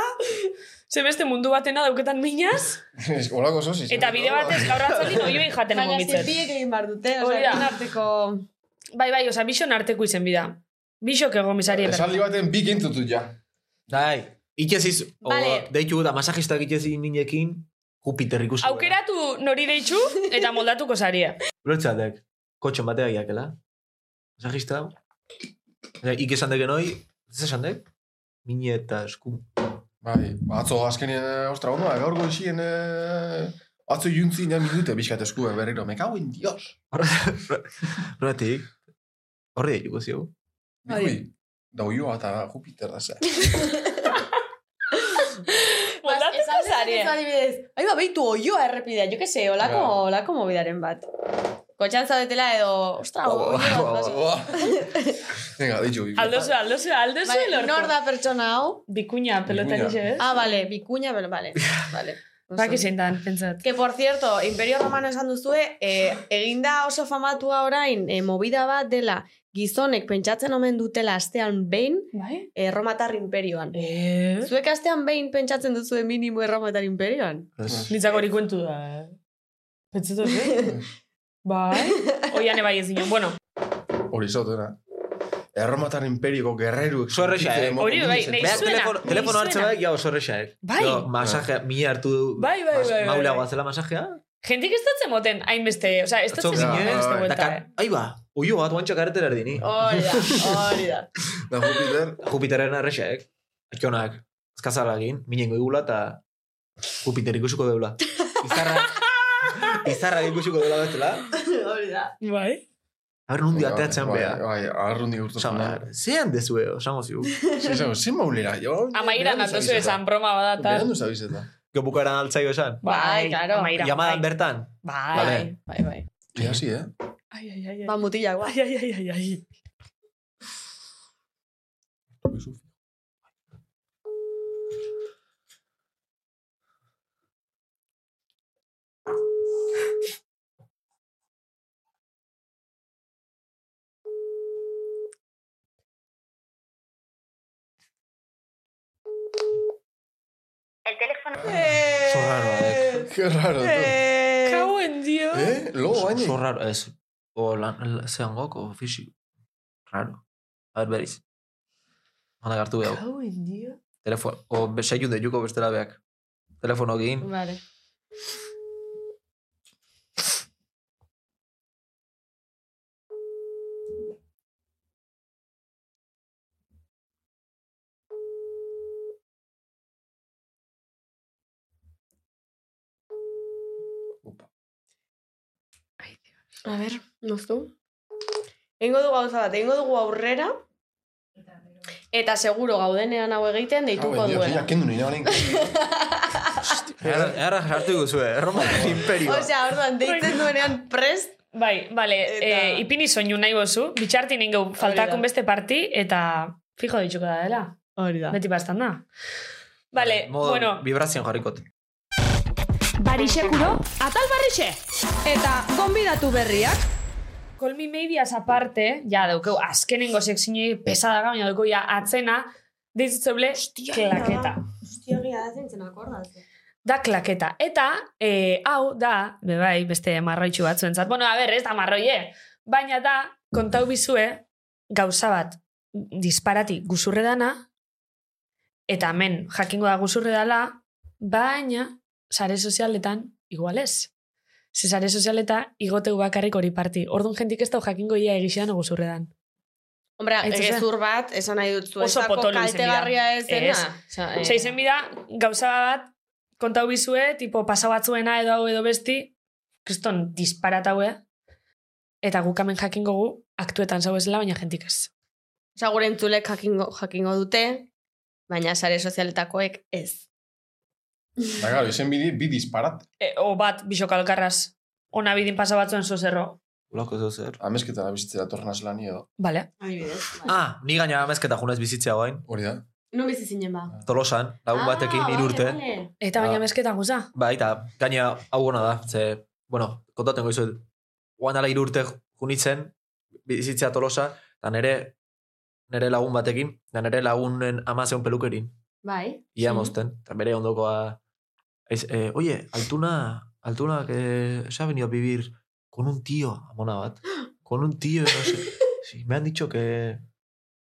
Speaker 2: ze beste mundu batena dauketan minaz,
Speaker 6: Ez, Olako zoziz.
Speaker 2: eta bide batez gaur atzalin oioi jaten
Speaker 4: Baina ez
Speaker 2: egon bitzen.
Speaker 4: biek egin behar dute,
Speaker 2: Hori
Speaker 4: oza,
Speaker 2: da.
Speaker 4: arteko...
Speaker 2: Bai, bai, oza, bixon arteko izen bida. Bixok egon bizari eber.
Speaker 6: Esaldi baten bik entzutu ja.
Speaker 5: Dai, itxeziz, Bai, o,
Speaker 4: Vale.
Speaker 5: deitu eta masajistak itxezi ninekin, Jupiter ikusi.
Speaker 2: Aukeratu nori deitxu eta moldatuko zaria.
Speaker 5: Ulertzatek, kotxon batea jakela. Masajista. Osea, Ik esan deken hoi, ez esan dek? Mine eta esku.
Speaker 6: Bai, atzo azkenien, eh, ostra, ono, gaur goizien, eh, atzo juntzi nea minute pixkat eskue berriro, me cago en dios.
Speaker 5: Horretik, horre deituko zigu.
Speaker 6: Bikui, da oioa eta Jupiter da zera.
Speaker 2: Moldatuko zaria.
Speaker 4: adibidez. Ai, ba, beitu oioa errepidea, jo que se, olako,
Speaker 6: Claro.
Speaker 4: olako mobidaren bat. Kotxan zaudetela edo... Ostra,
Speaker 5: Oh,
Speaker 4: oioa,
Speaker 5: oh,
Speaker 4: pasa.
Speaker 6: Venga, ditu. bikui.
Speaker 2: Aldozu, aldozu, aldozu
Speaker 4: Vale,
Speaker 2: elortu.
Speaker 4: Bai, nor da pertsona hau?
Speaker 2: Bikuña, pelota
Speaker 6: Bikuña.
Speaker 2: nixe, eh?
Speaker 4: Ah, vale, bikuña, pero vale. vale.
Speaker 2: Baki zein dan, pentsat.
Speaker 4: Que, por cierto, Imperio Romano esan duzue, eh, eginda oso famatua orain, eh, movida bat dela, gizonek pentsatzen omen dutela astean behin,
Speaker 2: Bai?
Speaker 4: eh, Romatar Imperioan.
Speaker 2: Eh?
Speaker 4: Zuek astean behin pentsatzen duzue minimo Erromatar Imperioan?
Speaker 5: Ez.
Speaker 2: Nitzak hori kuentu da, eh? Pentsatu, eh? Bai? Oian ebai ez nion, bueno.
Speaker 6: Hori zautena. Erromatar imperioko gerreruek.
Speaker 5: Oso erresa,
Speaker 6: sentitzen
Speaker 5: eh?
Speaker 6: modu
Speaker 2: Hori,
Speaker 6: minen
Speaker 2: bai, nahi
Speaker 6: sentitzen.
Speaker 5: Behar,
Speaker 2: zuena,
Speaker 5: telefono,
Speaker 2: nahi
Speaker 5: telefono hartze
Speaker 2: zuena.
Speaker 5: bai, jau sorresaek.
Speaker 2: Bai.
Speaker 5: Jo, masajea, mine hartu du.
Speaker 2: Bai, bai, bai, bai,
Speaker 5: Maulea
Speaker 2: bai.
Speaker 5: guazela masajea.
Speaker 2: Jentik ez datzen moten, hainbeste, oza, ez datzen
Speaker 5: Atzo
Speaker 2: zinen,
Speaker 6: ginen,
Speaker 2: ez da
Speaker 6: bai.
Speaker 2: buelta, eh?
Speaker 5: Ai ba, oio bat guantxak arretera erdini.
Speaker 4: Hori da, hori da.
Speaker 6: Da Jupiter,
Speaker 5: Jupiterren arresaek. Akionak, azkazala egin, minen goigula eta Jupiter ikusiko deula. Izarra, izarra ikusiko deula bestela.
Speaker 4: Hori da.
Speaker 2: Bai?
Speaker 5: A ber, nundi ateatzen
Speaker 6: Bai,
Speaker 5: bea.
Speaker 6: Bai, arrundi urtu
Speaker 5: Osa, zean dezue, osango zigu.
Speaker 6: Zizan, zin maulera. jo,
Speaker 2: Amairan
Speaker 6: berandu
Speaker 2: aldozu
Speaker 6: zabizeta.
Speaker 2: esan broma badata.
Speaker 6: Berandu zabizeta.
Speaker 5: Gebukaran altzaio esan.
Speaker 4: Bai, claro.
Speaker 2: amaira,
Speaker 5: Llamadan
Speaker 2: bai.
Speaker 5: bertan.
Speaker 2: Bai.
Speaker 5: Vale.
Speaker 4: Bai, bai, bai.
Speaker 6: Ia, hasi, eh?
Speaker 2: Ai, ai, ai, ai.
Speaker 4: Ba, mutila, guai.
Speaker 2: Ai, ai, ai, ai, ai.
Speaker 10: El teléfono.
Speaker 5: Zorrarroa dek.
Speaker 6: Qué raro, tú.
Speaker 4: Eh,
Speaker 2: Kau en dio.
Speaker 6: Eh? Lo, baina.
Speaker 5: Zorraro, ez. O lan, zean goko, fisik. Raro. A ber, beriz. Handa gartu behau.
Speaker 2: Kau en dio.
Speaker 5: Telefon, o besaiun deiuko bestela behak. Telefono egin,
Speaker 4: Vale. A ber, noztu. Eingo du gauza bat, eingo dugu aurrera. Eta seguro gaudenean hau egiten deituko
Speaker 6: Hau,
Speaker 4: duela.
Speaker 6: ja, kendu nire honen.
Speaker 5: Erra erra jartu guzu, eh? Erromaren imperioa.
Speaker 4: Osea, orduan, deitzen duenean prest,
Speaker 2: Bai, bale,
Speaker 4: Eta-
Speaker 2: eh, ipini soinu nahi bozu, bitxartin ingeu faltakon beste parti, eta fijo dituko da dela.
Speaker 4: Hori da.
Speaker 2: Beti bastan da. Vale,
Speaker 5: Modo,
Speaker 2: bueno,
Speaker 5: Vibrazioan jarrikot.
Speaker 8: Barixekuro, atal barrixe!
Speaker 4: Eta gonbidatu berriak.
Speaker 2: Call Me Maybe as aparte, ja, daukeu, azkenengo sekzinoi pesada gaina daukeu, ja, atzena, deizitzeble, klaketa.
Speaker 4: Hostia, gira da zintzen akordatzen.
Speaker 2: Da klaketa. Eta, eh, hau, da, bebai, beste marroitxu batzuentzat. Bueno, a ber, ez da marroie. Baina da, kontau bizue, gauza bat, disparati guzurre dana, eta hemen, jakingo da guzurre dala, baina, sare sozialetan, igualez. Ze sare sozialeta, igoteu bakarrik hori parti. Orduan jentik ez da jakingo ia egixean guzurre dan.
Speaker 4: Hombre,
Speaker 2: Hain zuzen.
Speaker 4: gezur bat, esan nahi dut zu.
Speaker 2: Oso
Speaker 4: ezako
Speaker 2: potolo izen dira.
Speaker 4: kaltegarria ez dena.
Speaker 2: Ez.
Speaker 4: Osea, eh,
Speaker 2: Osa, izen bida, gauza bat, kontau bizue, tipo, pasa batzuena edo hau edo besti, kriston disparataue, eta guk hemen jakingo gu, aktuetan zau ezela, baina jentik ez.
Speaker 4: Osea, gure entzulek jakingo, jakingo dute, baina sare sozialetakoek ez.
Speaker 6: Da, garo, izen bidi, bi disparat.
Speaker 2: E, o bat, bisokalkarraz, ona bidin pasa batzuen zozerro.
Speaker 5: Loko zeu zer.
Speaker 6: Amezketan abizitzera tornaz lan edo.
Speaker 2: Bale.
Speaker 4: Adibidez.
Speaker 5: Ah, ni gaina amezketa junez bizitzea guain.
Speaker 6: Hori da.
Speaker 4: Non bizi zinen ba.
Speaker 5: Tolosan, lagun batekin ah, irurte. Vale,
Speaker 2: Eta baina
Speaker 5: Ah.
Speaker 2: mezketan guza.
Speaker 5: Ba, eta gaina hau gona da. Ze, bueno, kontaten goizu, guan ala irurte junitzen, bizitzea tolosa, eta nere, nere lagun batekin, eta nere lagunen amazeun pelukerin.
Speaker 4: Bai.
Speaker 5: Ia mozten. Eta bere ondokoa... Ez, eh, oye, altuna, altuna, que se ha venido a vivir con un tío, amona bat. Con un tío, no sé. Sí, me han dicho que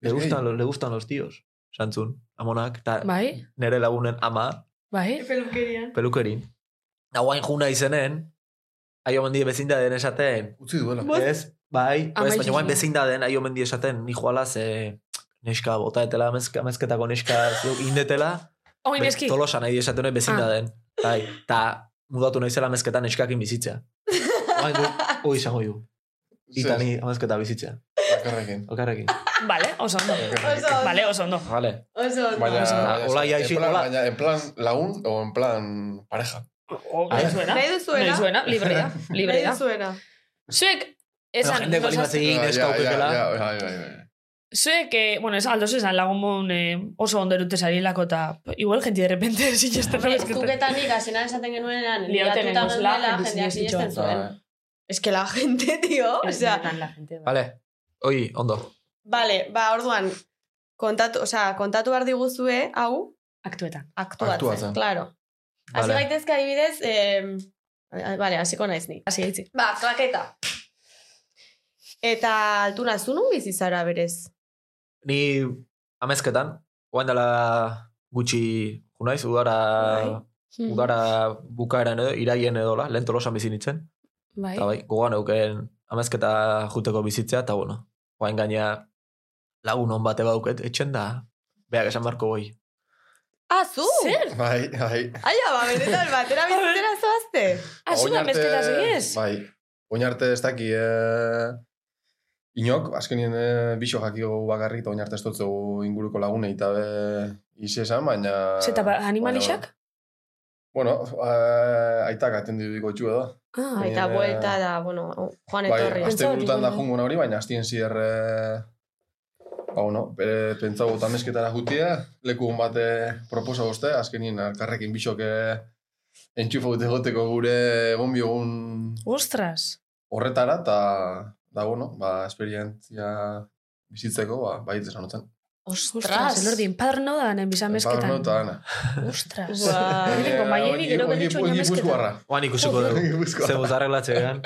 Speaker 5: le
Speaker 6: Es
Speaker 5: gustan,
Speaker 6: gay.
Speaker 5: los, le gustan los tíos. Santzun, amonak, eta
Speaker 2: Bai,
Speaker 5: nere lagunen ama,
Speaker 2: bai.
Speaker 4: Pelukerian.
Speaker 5: pelukerin. Eta guain juna izenen, aio mendi bezinda den esaten,
Speaker 6: Utzi duela.
Speaker 5: ez? Bai,
Speaker 2: Ama
Speaker 5: ez, baina guain
Speaker 2: izena.
Speaker 5: bezinda den, aio mendi esaten, ni joala ze neska botaetela, amezk- amezketako neska indetela,
Speaker 2: Oin
Speaker 5: Be-
Speaker 2: eski.
Speaker 5: Tolosa nahi esaten hori bezin da
Speaker 2: Ah.
Speaker 5: den. Bai, eta mudatu naizela mezketan eskakin bizitzea. Oain gu, hoi izango ju. Eta ni amezketa bizitzea.
Speaker 6: Bakarrekin.
Speaker 5: Okarrekin.
Speaker 2: Vale, oso ondo.
Speaker 4: Oso ondo.
Speaker 2: Vale, oso ondo.
Speaker 5: Vale.
Speaker 4: Oso. ondo.
Speaker 6: Baina,
Speaker 2: Oso-
Speaker 6: baina-
Speaker 5: Hola, ja,
Speaker 6: en
Speaker 5: ixi,
Speaker 6: plan-
Speaker 5: hola.
Speaker 6: Baina, en plan lagun o en plan pareja.
Speaker 2: O, nahi zuena.
Speaker 4: Nahi duzuena.
Speaker 2: Nahi zuena, libre da. Libre
Speaker 4: Nahi
Speaker 2: da.
Speaker 4: duzuena.
Speaker 2: Zuek,
Speaker 5: Eta
Speaker 2: esan,
Speaker 5: jende gori bat
Speaker 6: Ja,
Speaker 5: egin
Speaker 6: ja,
Speaker 5: neska
Speaker 6: ja,
Speaker 5: ukekela.
Speaker 6: ja, ja, ja, ja.
Speaker 2: Zuek, eh, bueno, esan aldozu esan lagun mon, eh, oso ondo erute zarilako eta igual jenti de repente sinesten
Speaker 4: Hombre, Zuketanik, hasieran esaten genuenean,
Speaker 2: Liauten
Speaker 4: liatuta
Speaker 2: egozela,
Speaker 4: geundela,
Speaker 2: jende
Speaker 4: jendeak
Speaker 2: sinestitxoa.
Speaker 4: sinesten zuen.
Speaker 6: Ah,
Speaker 4: Es que la gente, tío, o sea,
Speaker 5: Vale. Oi, ondo.
Speaker 4: Vale, ba, orduan, kontatu, osea, kontatu behar diguzue, hau,
Speaker 2: Aktuetan.
Speaker 4: aktuatzen,
Speaker 6: Aktuatzen.
Speaker 4: claro. Hasi
Speaker 5: Vale.
Speaker 4: gaitezke adibidez, eh, vale, hasiko naiz ni.
Speaker 2: Hasi gaitzi.
Speaker 4: Ba, klaketa. Eta altuna, zu nun bizi zara berez?
Speaker 5: Ni amezketan, oain dela gutxi junaiz, udara,
Speaker 3: Hmm.
Speaker 4: Mm-hmm.
Speaker 5: udara bukaeran edo, iraien edola, lehen tolosan bizi nintzen.
Speaker 2: Bai.
Speaker 5: Eta bai, gogoan euken amezketa juteko bizitzea, eta bueno, guain gaina lagun hon bate bauket, etxen da, beak esan barko goi.
Speaker 4: Ah, zu? Zer?
Speaker 6: Bai, bai.
Speaker 4: Aia, ba, benetan, batera bizitzera zoazte.
Speaker 2: Ah, zu
Speaker 6: Oin
Speaker 2: da
Speaker 6: arte-
Speaker 2: mezketa segiez?
Speaker 6: Bai, oin arte ez daki... Eh, inok, azkenien eh, biso jakiko bakarrik eta oin arte ez dutzegu inguruko lagunei eta be, ise esan, baina...
Speaker 2: Zeta, ba, animalixak?
Speaker 6: baina- Bueno, eh, aitak atendu diko txu edo.
Speaker 2: Ah,
Speaker 6: Bai.
Speaker 4: Eta
Speaker 6: eh,
Speaker 4: buelta da, bueno, joan
Speaker 6: Bai,
Speaker 4: etorri.
Speaker 6: azte burutan da
Speaker 2: Pentsatzen
Speaker 6: jungo hori, baina aztien zier... Eh, ba, bueno, bere pentsau eta mezketara jutia, leku hon bate proposa uste, azkenien elkarrekin bisok eh, entxufa dute goteko gure egon biogun
Speaker 2: Ostras.
Speaker 6: horretara, eta da, bueno, ba, esperientzia bizitzeko, ba, bai, esan hotzen.
Speaker 2: Ostras, elordin, padrno da ganen bizamezketan.
Speaker 6: Parno Ba, eta ana.
Speaker 2: Ostras.
Speaker 6: Eh,
Speaker 4: Bai.
Speaker 2: Lehenengo maieri, gero
Speaker 6: Ongi-
Speaker 2: gelitxo
Speaker 6: ongi
Speaker 2: oinamezketan.
Speaker 6: Gipuzkoarra.
Speaker 5: Oan ikusiko dugu.
Speaker 6: Gipuzkoa.
Speaker 5: Ze buzarrek latzean.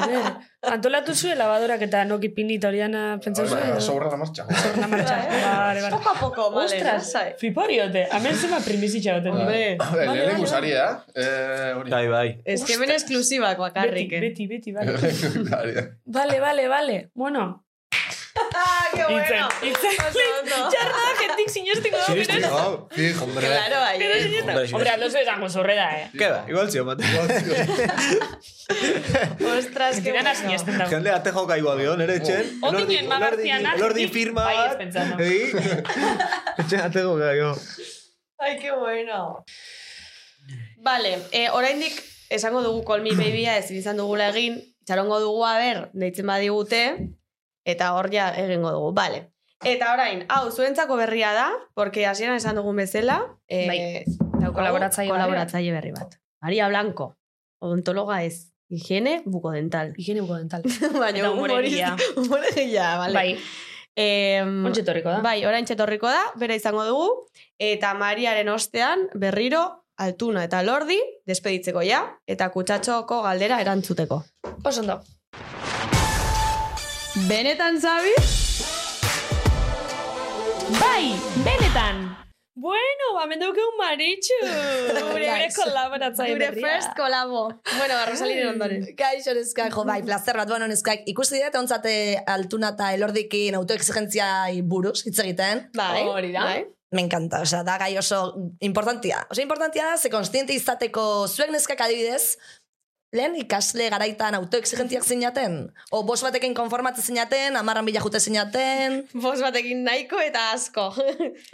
Speaker 2: Joder. Antolatu zuen labadorak eta noki pinita hori dana pentsau
Speaker 6: Ba,
Speaker 2: zuen.
Speaker 6: Sobra la marcha.
Speaker 2: Na marcha. Vale, vale.
Speaker 4: Poco a poco, vale.
Speaker 2: Ostras,
Speaker 4: lasai.
Speaker 2: flipariote. Hemen zema primizitza dut.
Speaker 4: Hombre.
Speaker 6: Lehenengo saria, eh? Hori.
Speaker 5: Bai, bai.
Speaker 4: Ez que ben esklusibak
Speaker 2: Beti,
Speaker 4: bakarrik. eh.
Speaker 2: beti, beti, vale.
Speaker 6: Lehenengo saria.
Speaker 2: Vale, vale, vale. Bueno.
Speaker 4: Ah, qué
Speaker 2: Itzen, itzen.
Speaker 4: Oso, oso.
Speaker 2: Txarra, jentik sinestiko da.
Speaker 5: Sinistu,
Speaker 2: Sinestiko.
Speaker 5: hau.
Speaker 6: Fijo, hombre.
Speaker 4: Claro,
Speaker 2: Pero
Speaker 4: ayer.
Speaker 5: Hombre,
Speaker 2: sinestiko.
Speaker 5: sinestiko.
Speaker 2: Hombre, aldozu esango zorreda, eh.
Speaker 5: Keda, igual zio, mate.
Speaker 4: Ostras, qué
Speaker 2: Zidan
Speaker 4: bueno.
Speaker 2: aziesten dago.
Speaker 5: Jende ate joka igual dio, nere etxen.
Speaker 2: Otinen magartian hartik.
Speaker 5: Lordi firma
Speaker 2: Bai, ez
Speaker 5: bat.
Speaker 2: pentsando.
Speaker 5: Egi. Etxen ate joka dio.
Speaker 4: Ai, qué bueno. Vale, eh, oraindik esango dugu Call Me Babya ezin izan dugula egin, itxarongo dugu aber, deitzen badigute, eta hor ja egingo dugu, vale. Eta orain, hau, zuentzako berria da, porque hasieran esan dugun bezala, eh,
Speaker 2: Bai.
Speaker 4: daukagu
Speaker 2: Kolaboratzaile berri bat.
Speaker 4: kolaboratzaile berri bat. Maria Blanco, odontologa ez, higiene bukodental.
Speaker 2: Higiene bukodental.
Speaker 4: Baina
Speaker 2: Eta humoregilea.
Speaker 4: humorist- Humoregilea, vale.
Speaker 2: Bai,
Speaker 4: Em,
Speaker 2: ontsi etorriko da.
Speaker 4: Bai, orain txetorriko da, bere izango dugu, eta Mariaren ostean berriro altuna eta lordi despeditzeko ja, eta kutsatxoko galdera erantzuteko.
Speaker 2: Osondo.
Speaker 8: Benetan zabi? Bai, benetan.
Speaker 2: Bueno, ba, mendaukeun maritxu. Gure
Speaker 10: Guys.
Speaker 2: kolaboratzaile
Speaker 4: Gure
Speaker 2: berria.
Speaker 4: first kolabo. Bueno, Rosalinen ondoren.
Speaker 10: Kaixo neskak, jo, bai, placer bat, bueno, neskak, ikusi dira, ontzate altuna eta elordikin autoexigentziai buruz, hitz egiten.
Speaker 4: Bai,
Speaker 10: Hori da.
Speaker 4: Bai.
Speaker 10: Me encanta, osea, da gai oso importantia. Oso importantia da, ze konstiente izateko zuek neskak adibidez, lehen ikasle garaitan autoexigentiak zinaten. O bos batekin konformatzen zinaten, amarran bila jute zinaten,
Speaker 4: Bos batekin nahiko eta asko.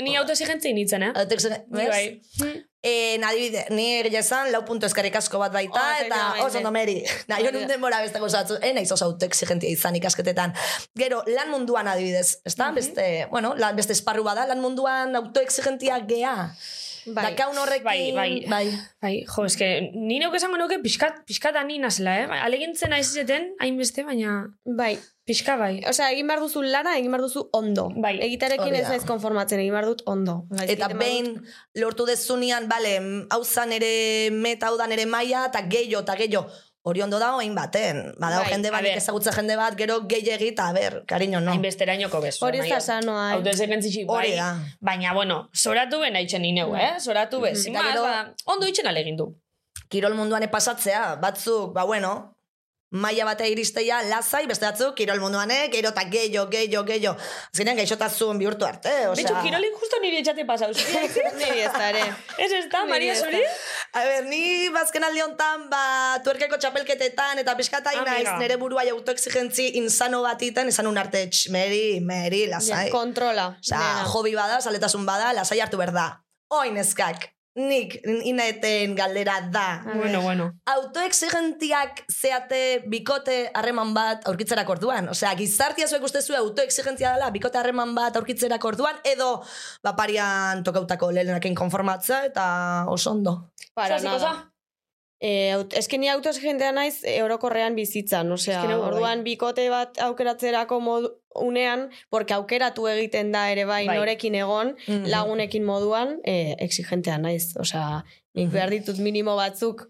Speaker 2: Ni autoexigentzi nintzen, eh? Ni
Speaker 10: autoexigentiak...
Speaker 2: bai. Mm.
Speaker 10: Eh, adibidez, ni egia esan, lau puntu eskerrik asko bat baita, eta
Speaker 4: Oh, efectivamente.
Speaker 10: oso ondo meri. Na, jo nun denbora beste gozatzu, eh, naiz oso autoexigentia izan ikasketetan. Gero, lan munduan adibidez, ezta? Beste, bueno, lan, beste esparru bada, lan munduan autoexigentia gea.
Speaker 4: Bai.
Speaker 10: Dakaun horrekin,
Speaker 2: Bai, bai. Bai, jo, eske, ni neuk esango nuke pixkat, pixkat ani nazela, eh? Alegintzen aizeten, hainbeste, baina
Speaker 4: Bai,
Speaker 2: pixka bai.
Speaker 4: osea, egin behar duzu lana, egin behar duzu ondo.
Speaker 2: Bai.
Speaker 4: Egitarekin
Speaker 10: Hori
Speaker 4: ez
Speaker 10: da.
Speaker 4: naiz konformatzen, egin behar dut ondo. Gaizki
Speaker 10: Eta
Speaker 4: egiten
Speaker 10: behin lortu dezunean, bale, mm, hau zan ere meta, hau dan ere maia, eta gehiago, eta gehiago. Hori ondo dago hain baten. Badago
Speaker 2: Bai,
Speaker 10: jende
Speaker 2: a
Speaker 10: bat,
Speaker 2: ber.
Speaker 10: ezagutza jende bat, gero gehiagi, eta a ber, kariño, no.
Speaker 2: Hainbesterainoko bezu.
Speaker 4: badut. Hori ez da
Speaker 2: Amaia.
Speaker 4: sanoa. eh.
Speaker 2: Autoexigentzitxi, bai.
Speaker 10: Hori da.
Speaker 2: Baina, bueno, zoratu ben haitzen ineu, eh? Zoratu ben, sin
Speaker 10: Mm. Mm-hmm. Eta
Speaker 2: más,
Speaker 10: gero-
Speaker 2: ba, ondo itxen alegin du.
Speaker 10: kirol munduan pasatzea, batzuk, ba bueno, maila batea iristeia, lazai, beste batzuk, kirol munduan, eh, gero eta gehiago, gehiago, gehiago. Azkenean gaixotasun bihurtu arte, osea.
Speaker 2: Betxu, kirolin justo nire etxate pasau.
Speaker 4: Niri ez da ere.
Speaker 2: Ez ez da,
Speaker 4: Niri
Speaker 2: Maria
Speaker 4: ez da.
Speaker 2: Zuri?
Speaker 10: A ber, ni bazken alde honetan, ba, tuerkeko txapelketetan, eta pixkatain
Speaker 2: Amiga.
Speaker 10: naiz, nire burua autoexigentzi insano bat iten, esan un arte, "Tx, meri, meri, lazai.
Speaker 4: Ja, Kontrola.
Speaker 10: Osea,
Speaker 4: nena.
Speaker 10: hobi bada, saletasun bada, lazai hartu behar da. Oin eskak, nik inaeten galdera da.
Speaker 2: Bueno, bueno.
Speaker 10: autoexigentiak zeate bikote harreman bat aurkitzerak orduan. Osea, gizartia zuek uste zuen autoexigentzia dela bikote harreman bat aurkitzerak orduan, edo baparian tokautako lehenakin konformatza eta oso ondo.
Speaker 4: Para
Speaker 2: Zaziko
Speaker 4: nada.
Speaker 2: za?
Speaker 4: E, aut, eske ni autoexigentea naiz e, orokorrean bizitzan, osea,
Speaker 2: Eske neu bai.
Speaker 4: orduan bikote bat aukeratzerako modu, unean, porque aukeratu egiten da ere bai,
Speaker 2: Bai. Mm-hmm.
Speaker 4: norekin egon,
Speaker 10: Mhm.
Speaker 4: lagunekin moduan, e, exigentea naiz, osea, nik behar ditut minimo batzuk,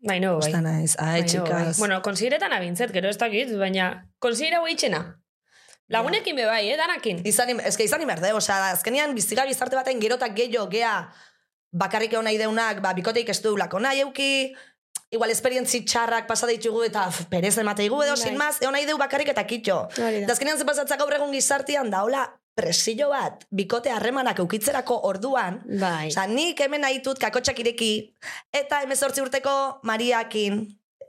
Speaker 2: Mm-hmm. Bai, no, bai.
Speaker 10: Osta naiz, ai,
Speaker 2: Baina,
Speaker 10: txikas.
Speaker 2: Bueno, konsideretan abintzet, gero ez dakit, baina konsidera hau itxena. Lagunekin be bai, eh, danakin.
Speaker 10: Izan, eske izan imerde, osea, azkenian bizigar bizarte baten gero eta gehiago gea bakarrik egon nahi deunak, ba, bikoteik ez duelako nahi euki, igual esperientzi txarrak pasa ditugu eta f, perez emateigu edo,
Speaker 4: Bai.
Speaker 10: sin maz, egon nahi deu bakarrik eta kitxo.
Speaker 4: hori
Speaker 10: Eta
Speaker 4: da.
Speaker 10: azkenean ze pasatzea gaur egun gizartian daola presillo bat, bikote harremanak eukitzerako orduan,
Speaker 4: Bai.
Speaker 10: Osa, nik hemen nahitut kakotxak ireki, eta emezortzi urteko Mariakin,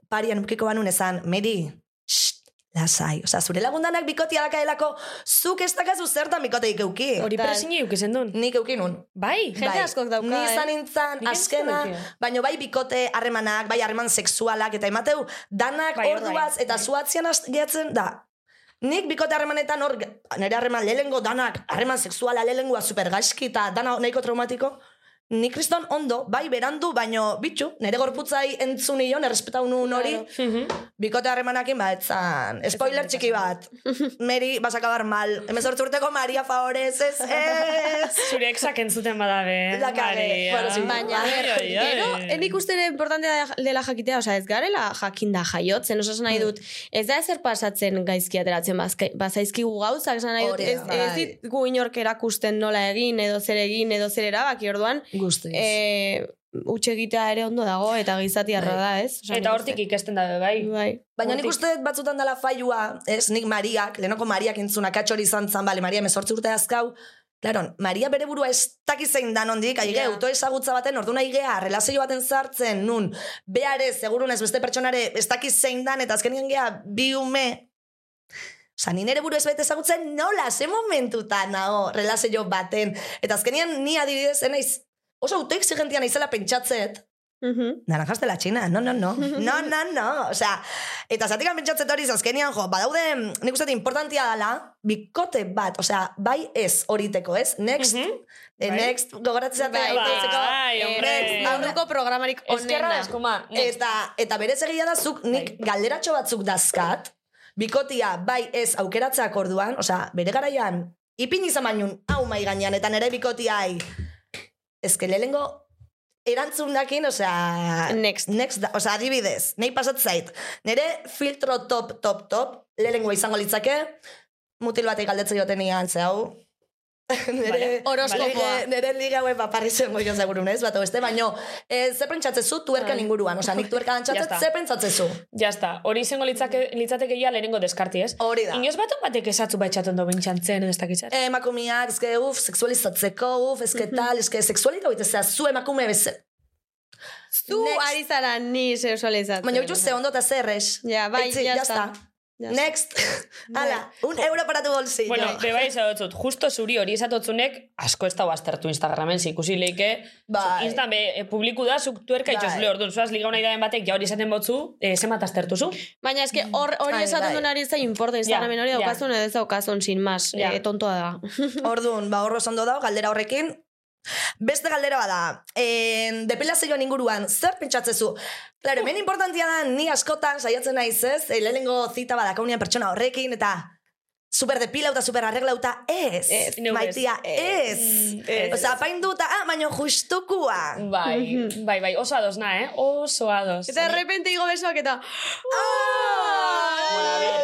Speaker 10: parian ukiko banun esan, Meri, shh, lasai. Osa, zure lagundanak bikotia dakaelako, zuk ez dakazu zertan bikoteik euki.
Speaker 2: Hori
Speaker 4: Total.
Speaker 2: presine eukizen duen.
Speaker 10: Nik eukinun.
Speaker 2: Bai,
Speaker 4: Jende askok dauka,
Speaker 10: Ni izan
Speaker 4: eh?
Speaker 10: nintzen,
Speaker 2: Nik ez
Speaker 10: azkena,
Speaker 2: dut eduki.
Speaker 10: baino bai bikote harremanak, bai harreman sexualak, eta emateu, danak
Speaker 2: Bai, horra,
Speaker 10: orduaz, eta zuatzean az- gehatzen da. Nik bikote harremanetan hor, nire harreman lehengo danak, harreman sexuala lehengoa supergaizki, eta dana nahiko traumatiko, ni kriston ondo, bai, berandu, baino, bitxu, nire gorputzai entzun nion, errespetau nun hori, bikote harremanakin ba, etzan, spoiler txiki bat, Meri, vas a acabar mal, emezortzi urteko Maria Favorez, ez, ez,
Speaker 2: Zure exak entzuten badabe.
Speaker 10: La cagué.
Speaker 2: Maria.
Speaker 10: Bueno, sí.
Speaker 4: Baina,
Speaker 2: Ai, ai, ai.
Speaker 4: gero, enik uste ere importantea da- dela jakitea, osea, ez garela jakinda jaiotzen, osea, esan nahi
Speaker 10: Hmm.
Speaker 4: dut, ez da ezer pasatzen gaizki ateratzen bazka- bazaizkigu gauzak, esan nahi dut,
Speaker 10: Hori
Speaker 4: ez,
Speaker 10: da,
Speaker 4: ez
Speaker 10: bai.
Speaker 4: digu inork erakusten nola egin, edo zer egin, edo zer erabaki, orduan,
Speaker 10: Guztiz.
Speaker 4: e, utxe egitea ere ondo dago, eta gizati arra
Speaker 10: Bai.
Speaker 4: da, ez? Osea,
Speaker 2: Eta
Speaker 4: nik
Speaker 2: hortik
Speaker 4: uste.
Speaker 2: ikasten dabe, bai.
Speaker 4: Bai.
Speaker 10: Baina nik
Speaker 2: Hortik.
Speaker 10: uste dut batzutan dela failua, ez, nik Mariak, lehenoko Mariak entzuna katxori izan zan, bale, Maria emezortzi urte azkau, Claro, Maria bere burua ez dakizein dan ondik, aige,
Speaker 4: Ja.
Speaker 10: auto ezagutza baten, ordu nahi gea, relazio baten sartzen, nun, beare, segurunez, beste pertsonare, ez dakizein dan, eta azkenien gea, bi ume, Osa, ni nere buru ez bait ezagutzen nola, ze momentutan nago, relazio baten. Eta azkenian, ni adibidez, enaiz, oso autoexigentia naizela pentsatzet,
Speaker 4: Mhm.
Speaker 10: naranjas de la China, no, no, no, no, no, no, o sea, eta zatik pentsatzen hori azkenean, jo, badaude, nik uste dut importantia dela, bikote bat, o sea, bai ez horiteko, ez? Next,
Speaker 2: Mhm.
Speaker 10: eh,
Speaker 2: Bai.
Speaker 10: next, gogoratzen zaten,
Speaker 2: Bai,
Speaker 10: autotzeko,
Speaker 2: bai, hombre.
Speaker 10: Eh, next, aurreko
Speaker 4: Aurreko programarik
Speaker 2: Ezkerra
Speaker 4: onena.
Speaker 2: eskuma. next. Bai.
Speaker 10: Eta, eta berez egia da zuk nik galderatxo batzuk dazkat, bikotia bai ez aukeratzeak orduan, osea, bere garaian, ipin izan bainun, hau mai gainean, eta nere bikotiai, ezke lehengo erantzundakin, osea...
Speaker 4: Next.
Speaker 10: Next, da, osea, adibidez, nahi pasat zait. Nere filtro top, top, top, lehengo izango litzake, mutil batek galdetzen jotenean, ze hau, nere,
Speaker 2: Vale.
Speaker 4: Horoskopoa.
Speaker 10: Nere, nere liga hue paparri zen goio segurun ez, bat beste, baino, e, ze pentsatzezu tuerkan
Speaker 4: Bai.
Speaker 10: inguruan, osea, nik tuerka
Speaker 2: Ya
Speaker 10: dantzatzet,
Speaker 2: está.
Speaker 10: ze pentsatzezu.
Speaker 2: Ja está, hori izango litzake, litzateke ja lehenengo deskarti, ez?
Speaker 10: Hori da.
Speaker 2: Inoz baten batek esatzu ba baitxaten do bintxantzen, edo ez dakitzer.
Speaker 10: E, emakumeak, ezke, uf, seksualizatzeko, uf, ezke tal, ezke, seksualita hoitezea, zu emakume bezen.
Speaker 4: Zu
Speaker 10: Next.
Speaker 4: ari zara ni sexualizatzen.
Speaker 10: Baina bitu ze ondo eta zer, ez?
Speaker 4: Ja, bai,
Speaker 10: Eitzi,
Speaker 4: ya
Speaker 10: ya
Speaker 4: está.
Speaker 10: está.
Speaker 4: Ya está.
Speaker 10: Next,
Speaker 2: Bai.
Speaker 10: ala, un euro para tu bolsillo.
Speaker 2: Bueno, beba izatotzut, justo zuri hori izatotzunek, asko ez da baztertu Instagramen, ikusi leike,
Speaker 10: Bai.
Speaker 2: eh? Instan, be, e, publiku da, zuk tuerka
Speaker 10: Bai.
Speaker 2: itxosule, orduan, zuaz liga hona idaren batek, ja hori izaten botzu, e, zemat aztertuzu?
Speaker 4: Baina eske hor hori
Speaker 10: Ai,
Speaker 4: esaten
Speaker 10: bai.
Speaker 4: duenari ez da importa Instagramen hori
Speaker 2: Ja, ja.
Speaker 4: daukazun edo ez daukazun sin más,
Speaker 2: Ja.
Speaker 4: eh, tontoa da.
Speaker 10: Orduan, ba, horro ondo dago, galdera horrekin. Beste galdera bada, en, depilazioan inguruan, zer pentsatzezu? Claro, hemen importantia da, ni askotan saiatzen naiz ez, eh, lehenengo zita badakaunean pertsona horrekin, eta super depilauta, super arreglauta, ez,
Speaker 2: Ez, neu ez.
Speaker 10: maitia, ez.
Speaker 2: Mm, ez.
Speaker 10: Osa, apainduta, ah, baino justukua.
Speaker 2: Bai,
Speaker 10: Mhm.
Speaker 2: bai, bai, oso ados na, eh? Oso ados.
Speaker 4: Eta de repente igo besoak eta...
Speaker 2: Bueno, a ver,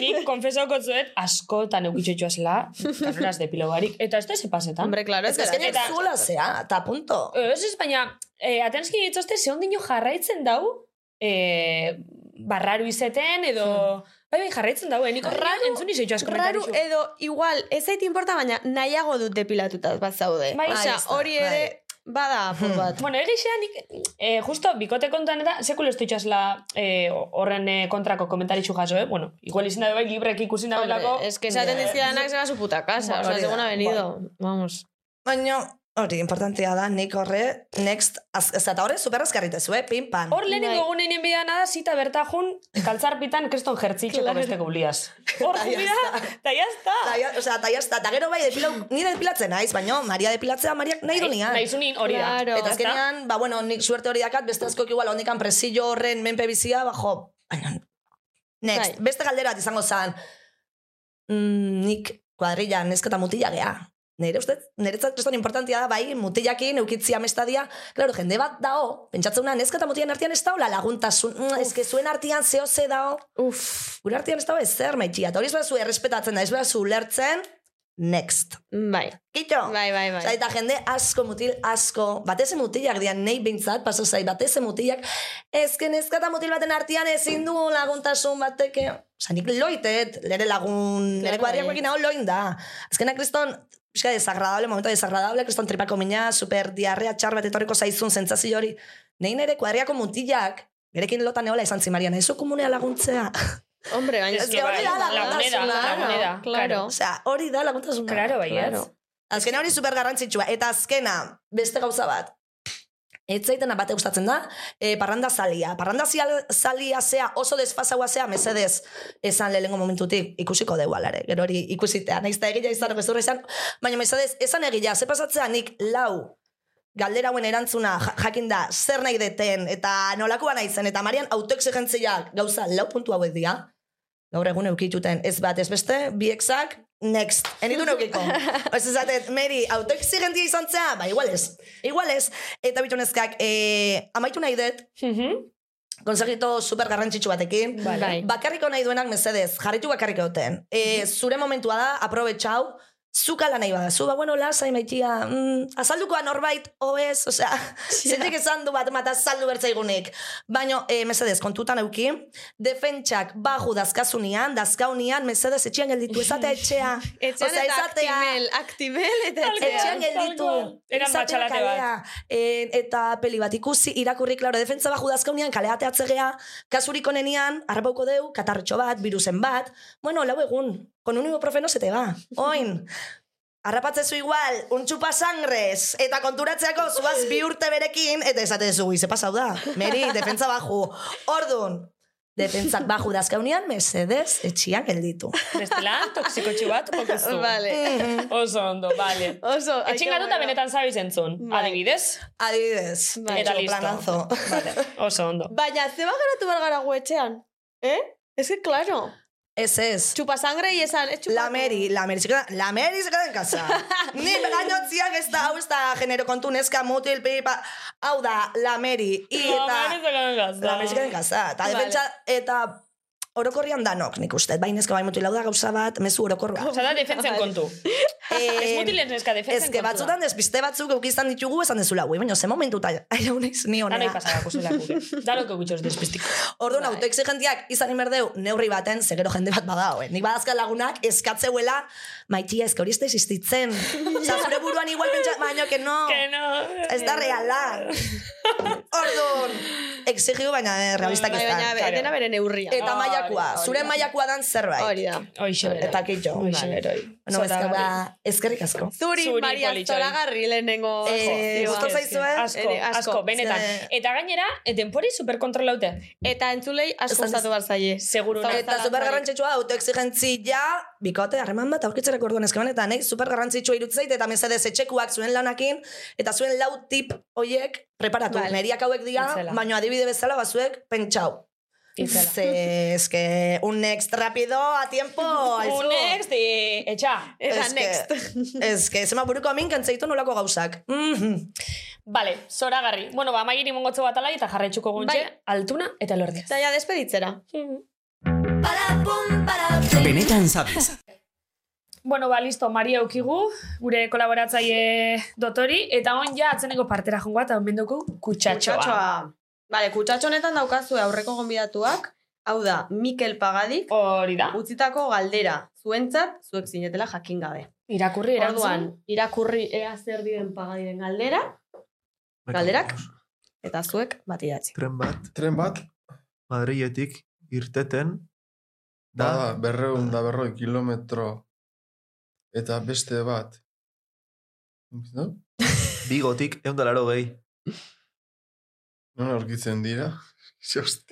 Speaker 2: nik konfesauko zuet, askotan eukitxotxoa zela, kanoraz depilo barik, eta ez da ze pasetan.
Speaker 4: Hombre, claro, ez
Speaker 10: Ez azkenean
Speaker 2: Eta-
Speaker 10: zula zea, eta punto.
Speaker 2: Ez ez, baina, e, atenski ditzoste, ze ondino jarraitzen dau, e, barraru izeten, edo... Bai, bai, jarraitzen dau, eh? Nik raru, entzun izo asko
Speaker 4: Hmm. Raru
Speaker 2: komentarixu.
Speaker 4: edo igual, ez zait importa, baina nahiago dut depilatuta bat zaude.
Speaker 2: Bai,
Speaker 4: Osea,
Speaker 10: ez da,
Speaker 4: hori ere bai. bada apur bat.
Speaker 2: Hmm. Bueno, egixea, nik, e, justo, bikote kontuan eta, sekulo ez dutxasla e, horren e, kontrako komentaritxu jaso, eh? Bueno, igual izin dabe bai, librek ikusin dabelako.
Speaker 4: Hombre, es que esaten
Speaker 2: Eh,
Speaker 10: Ja.
Speaker 2: bai.
Speaker 4: dizkidanak zera su puta casa,
Speaker 10: Bueno,
Speaker 4: osea,
Speaker 10: hori da.
Speaker 4: según ha venido. Vamos.
Speaker 10: Baino, hori, importantia da, nik horre, next, az, ez, eta horre super azkarritezu, eh, pin, pan.
Speaker 2: Hor lehenengo
Speaker 4: Bai.
Speaker 2: egun einen bidan da, zita bertajun, kaltzarpitan kriston jertzitxeko
Speaker 4: Claro.
Speaker 2: beste guliaz. Hor
Speaker 10: Ta ya
Speaker 2: jubida, eta jazta.
Speaker 10: Ta, ja, osea, ta jazta, eta gero bai, depilau, ni depilatzen naiz, baina Maria depilatzea, Mariak nahi du nian.
Speaker 2: Naizunin hori da.
Speaker 4: Claro.
Speaker 10: Eta
Speaker 2: Ya está.
Speaker 10: azkenean, ba, bueno, nik suerte hori dakat, beste askok igual, ondikan presillo horren menpe bizia, ba, jo, baina, next,
Speaker 4: Bai.
Speaker 10: beste galdera bat izango zan, mm, nik kuadrilla, neska eta mutila gea. Nire ustez, niretzat kriston importantia da, bai, mutilakin, eukitzia mestadia, claro, jende bat dao, pentsatzeuna, neska eta mutilan artean ez daula laguntasun, mm, eske zuen artean zeo ze dao,
Speaker 4: Uf,
Speaker 10: gure artean ez dao ezer maitia, eta hori ez bazu errespetatzen da, ez bazu ulertzen, next.
Speaker 4: bai,
Speaker 10: Kito?
Speaker 4: bai, bai,
Speaker 10: Osea,
Speaker 4: bai.
Speaker 10: eta jende asko, mutil asko, batez mutilak dian, nahi bintzat, paso zai, batez mutilak, ezken ezkata mutil baten artean ezin du laguntasun bateke. Osa, nik loitet, lere lagun,
Speaker 4: Claro, bai.
Speaker 10: lere kuadriakoekin hau loin da. Azkenak kriston, pixka desagradable, momento desagradable, kriston tripako mina, super diarrea txar bat etorriko zaizun zentzazio hori. Nei nere kuadriako mutilak, berekin lotan eola esan zimaria, nahi zu komunea laguntzea.
Speaker 4: Hombre, baina...
Speaker 10: Ez que hori da laguntasuna,
Speaker 2: lagunera, lagunera,
Speaker 4: Claro.
Speaker 10: Osea, hori da laguntasuna.
Speaker 2: Claro, bai,
Speaker 4: Claro.
Speaker 2: ez.
Speaker 10: Azkena hori super garrantzitsua. Eta azkena, beste gauza bat. Ez zaitena bate gustatzen da, e, parranda zalia. Parranda zial- zalia zea, oso desfasaua zea, mesedez, esan lehengo momentutik ikusiko dugu alare. Gero hori ikusitea, nahiz eta egila izan, gezurra izan, baina mesedez, esan egila, ze pasatzea nik lau galdera hauen erantzuna ja- jakin da zer nahi deten eta nolakoa naizen eta marian autoexigentziak gauza lau puntu hauek dira. Gaur egun eukituten ez bat ez beste, bi exak, next. Enitu neukiko. Ez esatet, Meri, autoexigentia izan zea, ba, igual ez. Igual ez. Eta bitunezkak, e, amaitu nahi dut,
Speaker 2: Mhm.
Speaker 10: konsejito super garrantzitsu batekin.
Speaker 2: Bai.
Speaker 10: Bakarriko nahi duenak mesedez, jarritu bakarrik egoten. E,
Speaker 11: Mm-hmm.
Speaker 10: zure momentua da, aprobetxau, zuka lan nahi badazu, ba, bueno, lasai maitia, mm, azaldukoa norbait, oez, osea, zetik esan du bat, mata azaldu bertzaigunik. Baina, e, mesedez, kontutan euki, defentsak baju dazkazunean, dazkaunean, mesedez etxean gelditu, ezatea etxea.
Speaker 11: Etxean
Speaker 10: Osea,
Speaker 11: eta
Speaker 10: esatea-
Speaker 11: aktibel, aktibel eta
Speaker 10: Etxean
Speaker 11: etxean.
Speaker 10: gelditu.
Speaker 2: Eran
Speaker 10: izatera
Speaker 2: matxalate bat.
Speaker 10: kalea, eh, eta peli bat ikusi, irakurri, klaro, defentsa baju dazkaunean, kalea teatzegea, kasurik onenean, harrapauko deu, katarretxo bat, virusen bat, bueno, lau egun, con un ibuprofeno se te va, oin. Arrapatzezu igual, untxupa sangrez, eta konturatzeako zuaz bi urte berekin, eta esatezu, ize pasau da, meri, defentsa baju. Ordun, defentsak baju dazkaunean, mesedez, etxian gelditu.
Speaker 2: Bestela, toksikotxu bat, pokezu.
Speaker 11: Vale.
Speaker 2: Oso ondo, bale.
Speaker 11: Oso, ai,
Speaker 2: Etxin
Speaker 11: qué
Speaker 2: garuta
Speaker 11: bueno.
Speaker 2: benetan zabiz entzun.
Speaker 11: Bai.
Speaker 2: Adibidez,
Speaker 10: Adibidez,
Speaker 11: Bai.
Speaker 2: eta
Speaker 10: etxo
Speaker 2: listo.
Speaker 10: planazo. Ba,
Speaker 2: Vale, oso ondo.
Speaker 11: Baina, zeba geratu behar gara guetxean? Eh? Ez que, claro.
Speaker 10: Ez ez,
Speaker 11: Chupa sangre y esan, eh, chupa.
Speaker 10: La Meri, la Meri se queda, la Meri se queda en casa. Ni gainotziak ez da, hau ez da, genero kontu neska, mutil, pipa, hau da, la Meri,
Speaker 2: Eta...
Speaker 10: eta, la Meri se queda en casa. Eta defentsa, eta orokorrian danok, nik uste, bai neska, bai mutil, hau da gauza bat, mezu orokorra.
Speaker 2: Osa da, defentzen kontu. Eh, Ez mutilen neska defentzen
Speaker 10: Ezke batzutan despiste batzuk eukiztan ditugu esan dezula, ui, baina ze momentu eta airaunez ni
Speaker 11: bai
Speaker 2: Danoi
Speaker 10: honea.
Speaker 2: pasarako zela gure. Danok egutxoz despistiko.
Speaker 10: Orduan, autoexigentiak izan inberdeu neurri baten, ze gero jende bat badao, eh? Nik badazka lagunak eskatzeuela, maitia, ezke hori ez da existitzen. Osa, zure buruan igual pentsa, baina, que no,
Speaker 2: Que no.
Speaker 10: ez da reala. Orduan, exigiu, baina eh, realistak ez
Speaker 11: Bai,
Speaker 10: da.
Speaker 11: baina, be-
Speaker 2: claro.
Speaker 11: dena bere neurria.
Speaker 10: Eta
Speaker 2: Hori,
Speaker 10: mailakoa,
Speaker 2: hori
Speaker 10: zure
Speaker 2: da.
Speaker 10: mailakoa dan zerbait.
Speaker 11: Hori da.
Speaker 2: Hoixo beroi.
Speaker 10: Eta kitxo.
Speaker 2: Hoixo beroi.
Speaker 10: No, ez
Speaker 2: Zoragarri.
Speaker 10: gara, ezkerrik asko.
Speaker 11: Zuri,
Speaker 2: Zuri,
Speaker 11: Maria,
Speaker 2: politxoi.
Speaker 11: zoragarri lehenengo.
Speaker 10: Eh,
Speaker 11: zioa.
Speaker 10: gustatu zaizue?
Speaker 2: Asko,
Speaker 11: Ene, asko.
Speaker 2: asko, benetan.
Speaker 10: Ze-
Speaker 2: Eta gainera, e, denpori superkontrolaute.
Speaker 11: Eta entzulei asko
Speaker 10: Esan ez-
Speaker 11: gustatu behar zaie.
Speaker 2: Seguru
Speaker 11: Zau-
Speaker 10: Eta super garrantzitsua autoexigentzia, bikote, harreman bat aurkitzerek orduan eskeban, eta nahi super garrantzitsua irutzeit, eta mesedez etxekuak zuen lanakin, eta zuen lau tip hoiek preparatu.
Speaker 11: Vale.
Speaker 10: Neriak hauek dira,
Speaker 2: Itzela.
Speaker 10: baino adibide bezala ba, bazuek pentsau.
Speaker 2: Itzela.
Speaker 10: Ze, eske, un next rapido a tiempo, Oh, aizu.
Speaker 2: Un next, eh, etxa.
Speaker 11: Eta
Speaker 10: Eske-
Speaker 11: next.
Speaker 10: Eske, zema buruko amin kantzeitu nolako gauzak. Mhm.
Speaker 2: Vale, zoragarri. Bueno, ba, maigiri mongotzo bat alai eta jarretxuko guntxe,
Speaker 11: Bai.
Speaker 2: altuna eta lordia.
Speaker 11: Eta ja, despeditzera.
Speaker 2: Hmm.
Speaker 3: Benetan sabes.
Speaker 2: Bueno, ba, listo, Maria ukigu, gure kolaboratzaile dotori, eta on ja atzeneko partera jongoa eta onbenduko kutsatxoa.
Speaker 11: Kutsatxoa. Vale, kutsatxo honetan daukazue aurreko gonbidatuak. Hau da, Mikel Pagadik,
Speaker 2: Hori da.
Speaker 11: utzitako galdera. Zuentzat, zuek zinetela jakin gabe.
Speaker 2: Irakurri
Speaker 11: Orduan,
Speaker 2: erantzun.
Speaker 11: irakurri ea zer diren pagadiren galdera, Galderak? eta zuek bat idatzi.
Speaker 5: Tren bat,
Speaker 6: Tren bat,
Speaker 5: Madriletik irteten,
Speaker 6: da, berreun da berroi kilometro, eta beste bat. No?
Speaker 5: bigotik egun dalaro gehi.
Speaker 6: Non aurkitzen dira? Zost,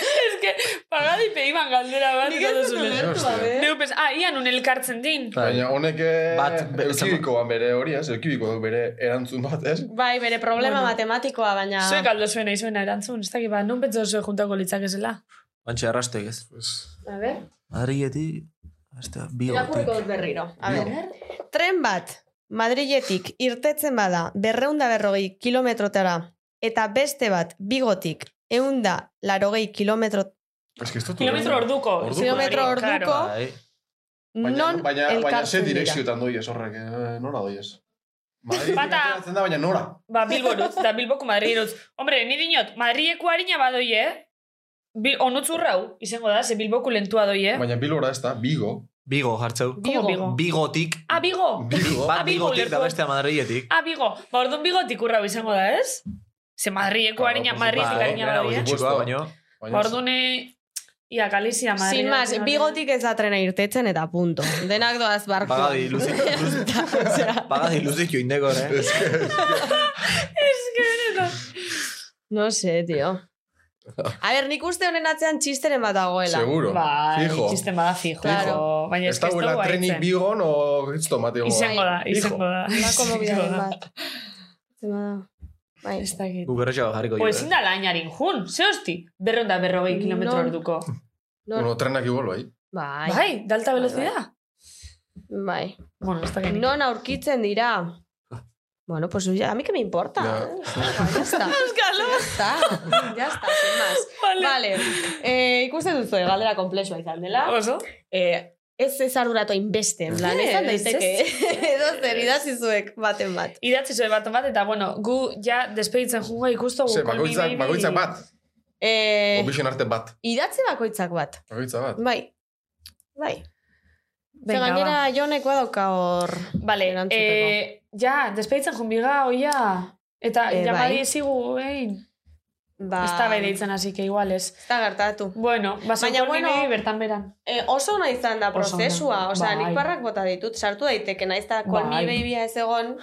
Speaker 2: Ez que, pagadi peiban galdera bat. Nik ez
Speaker 6: zost.
Speaker 2: Neupes, ah, ian un elkartzen din.
Speaker 6: Baina honek
Speaker 5: Bai.
Speaker 6: eh,
Speaker 5: Bat,
Speaker 6: bat,
Speaker 5: be-
Speaker 6: eukibikoa bere hori, ez? Eukibikoa bere erantzun bat, ez?
Speaker 11: Bai, bere problema
Speaker 2: Bueno.
Speaker 11: matematikoa, baina...
Speaker 2: Zuek aldo zuena izuena erantzun, ez dakit ba, non betzo zuek juntako litzakezela.
Speaker 5: Bantxe arrastoik ez.
Speaker 6: Pues,
Speaker 2: A ber,
Speaker 5: Madriletik, hasta bigotik.
Speaker 11: Irakurriko dut berriro. A ber. Tren bat, Madriletik irtetzen bada berreunda berrogei kilometrotara eta beste bat bigotik eunda larogei kilometro,
Speaker 6: es que esto tu-
Speaker 2: kilometro orduko.
Speaker 6: Orduko. eh.
Speaker 11: kilometro
Speaker 2: Claro.
Speaker 11: orduko
Speaker 5: Bai.
Speaker 6: Baina,
Speaker 11: non
Speaker 6: baina, baina ze
Speaker 11: elkartzen dira.
Speaker 6: direkzioetan doiez horrek, eh, nora doiez? Madrid
Speaker 2: Bata-
Speaker 6: ateratzen da, baina nora.
Speaker 2: Ba, Bilboruz, da Bilboko Madriruz. Hombre, ni dinot, Madrileko harina badoi, eh? Bi, onutzurrau, izango da, ze Bilboko lentua doi,
Speaker 5: Bai.
Speaker 2: eh?
Speaker 6: Baina bilora ez da, bigo.
Speaker 5: Bigo jartzeu.
Speaker 2: Como Bigo.
Speaker 5: Bigotik.
Speaker 2: Ah, Bigo!
Speaker 6: Bigo.
Speaker 5: Bat
Speaker 2: Ah, Bigo
Speaker 5: bigotik da
Speaker 2: lertu.
Speaker 5: bestea Madriletik.
Speaker 2: Ah, Bigo! Ba, orduan bigotik urrau izango da, ez? Ze Madrileko
Speaker 6: Claro,
Speaker 2: harina,
Speaker 6: pues,
Speaker 2: Madriletik
Speaker 6: ba,
Speaker 2: harina
Speaker 5: gara
Speaker 2: badoi, eh?
Speaker 6: gutxi.
Speaker 5: gutxikoa, baino.
Speaker 6: Baina
Speaker 2: Ba, orduan, eh, ia, Galizia, Madrid.
Speaker 11: Sin más, bigotik ez da trena irtetzen eta punto. Denak doaz barko.
Speaker 5: Bagadi luzik. luzik- Bagadi luzik join dekor, eh?
Speaker 2: Ez que, benetan.
Speaker 11: No sé, tío.
Speaker 4: A ber, nik uste honen atzean txisteren bat dagoela.
Speaker 6: Seguro.
Speaker 2: Bai,
Speaker 6: fijo.
Speaker 2: txisten bada fijo.
Speaker 6: Claro.
Speaker 2: Baina
Speaker 6: Ez
Speaker 2: ez que ez
Speaker 6: dagoela
Speaker 2: dugu
Speaker 6: trenik
Speaker 2: haitzen.
Speaker 6: bigon o kristo mateo.
Speaker 2: Izango da, izango da.
Speaker 4: Olako
Speaker 2: Izango
Speaker 4: mobidaren
Speaker 2: da.
Speaker 4: bat. Zema da. Bai.
Speaker 2: Ez dakit.
Speaker 5: Guk errotxago jarriko
Speaker 6: eh.
Speaker 5: eh.
Speaker 2: O ezin da lainarin jun, ze hosti? Berron da berrogei
Speaker 4: Non?
Speaker 2: kilometro orduko.
Speaker 6: Bueno, trenak igual, bai.
Speaker 4: Bai.
Speaker 2: Bai, de alta
Speaker 4: Bai,
Speaker 2: velocidad.
Speaker 4: Bai.
Speaker 2: Bueno, ez dakit.
Speaker 4: Non aurkitzen dira? Bueno, pues ya, a mí que me importa.
Speaker 6: Ya.
Speaker 4: eh? Ya está. Ya está. Ya está, sin más.
Speaker 2: Vale.
Speaker 4: Vale. Eh, ikusten duzu, eh, galdera komplexua izan dela.
Speaker 2: Oso?
Speaker 4: Eh, ez ez arduratu hainbeste, en plan,
Speaker 2: Ez,
Speaker 4: ez daiteke.
Speaker 2: ez.
Speaker 4: Edo zer idatzi zuek baten bat.
Speaker 2: Idatzi zuen bat bat, eta bueno, gu ja despeditzen jungo ikustu gu.
Speaker 6: Ze,
Speaker 2: Call Me
Speaker 6: bakoitzak,
Speaker 2: Maybe-
Speaker 6: bakoitzak bat.
Speaker 4: Eh,
Speaker 6: Obixen arte bat.
Speaker 4: idatzi bakoitzak bat.
Speaker 6: Bakoitza bat.
Speaker 4: Bai. Bai. Ze
Speaker 2: Venga,
Speaker 4: gainera jonekoa dauka hor.
Speaker 2: Vale,
Speaker 4: erantzuteko.
Speaker 2: eh, ja, despeditzen jun biga, Ah, oia. Eta
Speaker 4: Eh,
Speaker 2: ja
Speaker 4: bai.
Speaker 2: bai ezigu, egin.
Speaker 4: Ba,
Speaker 2: Ez da bere itzen, así que igual ez.
Speaker 4: Ez da gertatu.
Speaker 2: Bueno, baso
Speaker 4: Baina,
Speaker 2: Baina, bueno,
Speaker 4: bueno,
Speaker 2: bertan beran.
Speaker 4: Eh, oso ona izan da
Speaker 2: Oso ona.
Speaker 4: prozesua, osea,
Speaker 2: Bai.
Speaker 4: nik barrak bota ditut, sartu daiteke, naiz eta
Speaker 2: Bai.
Speaker 4: call me babya ez egon,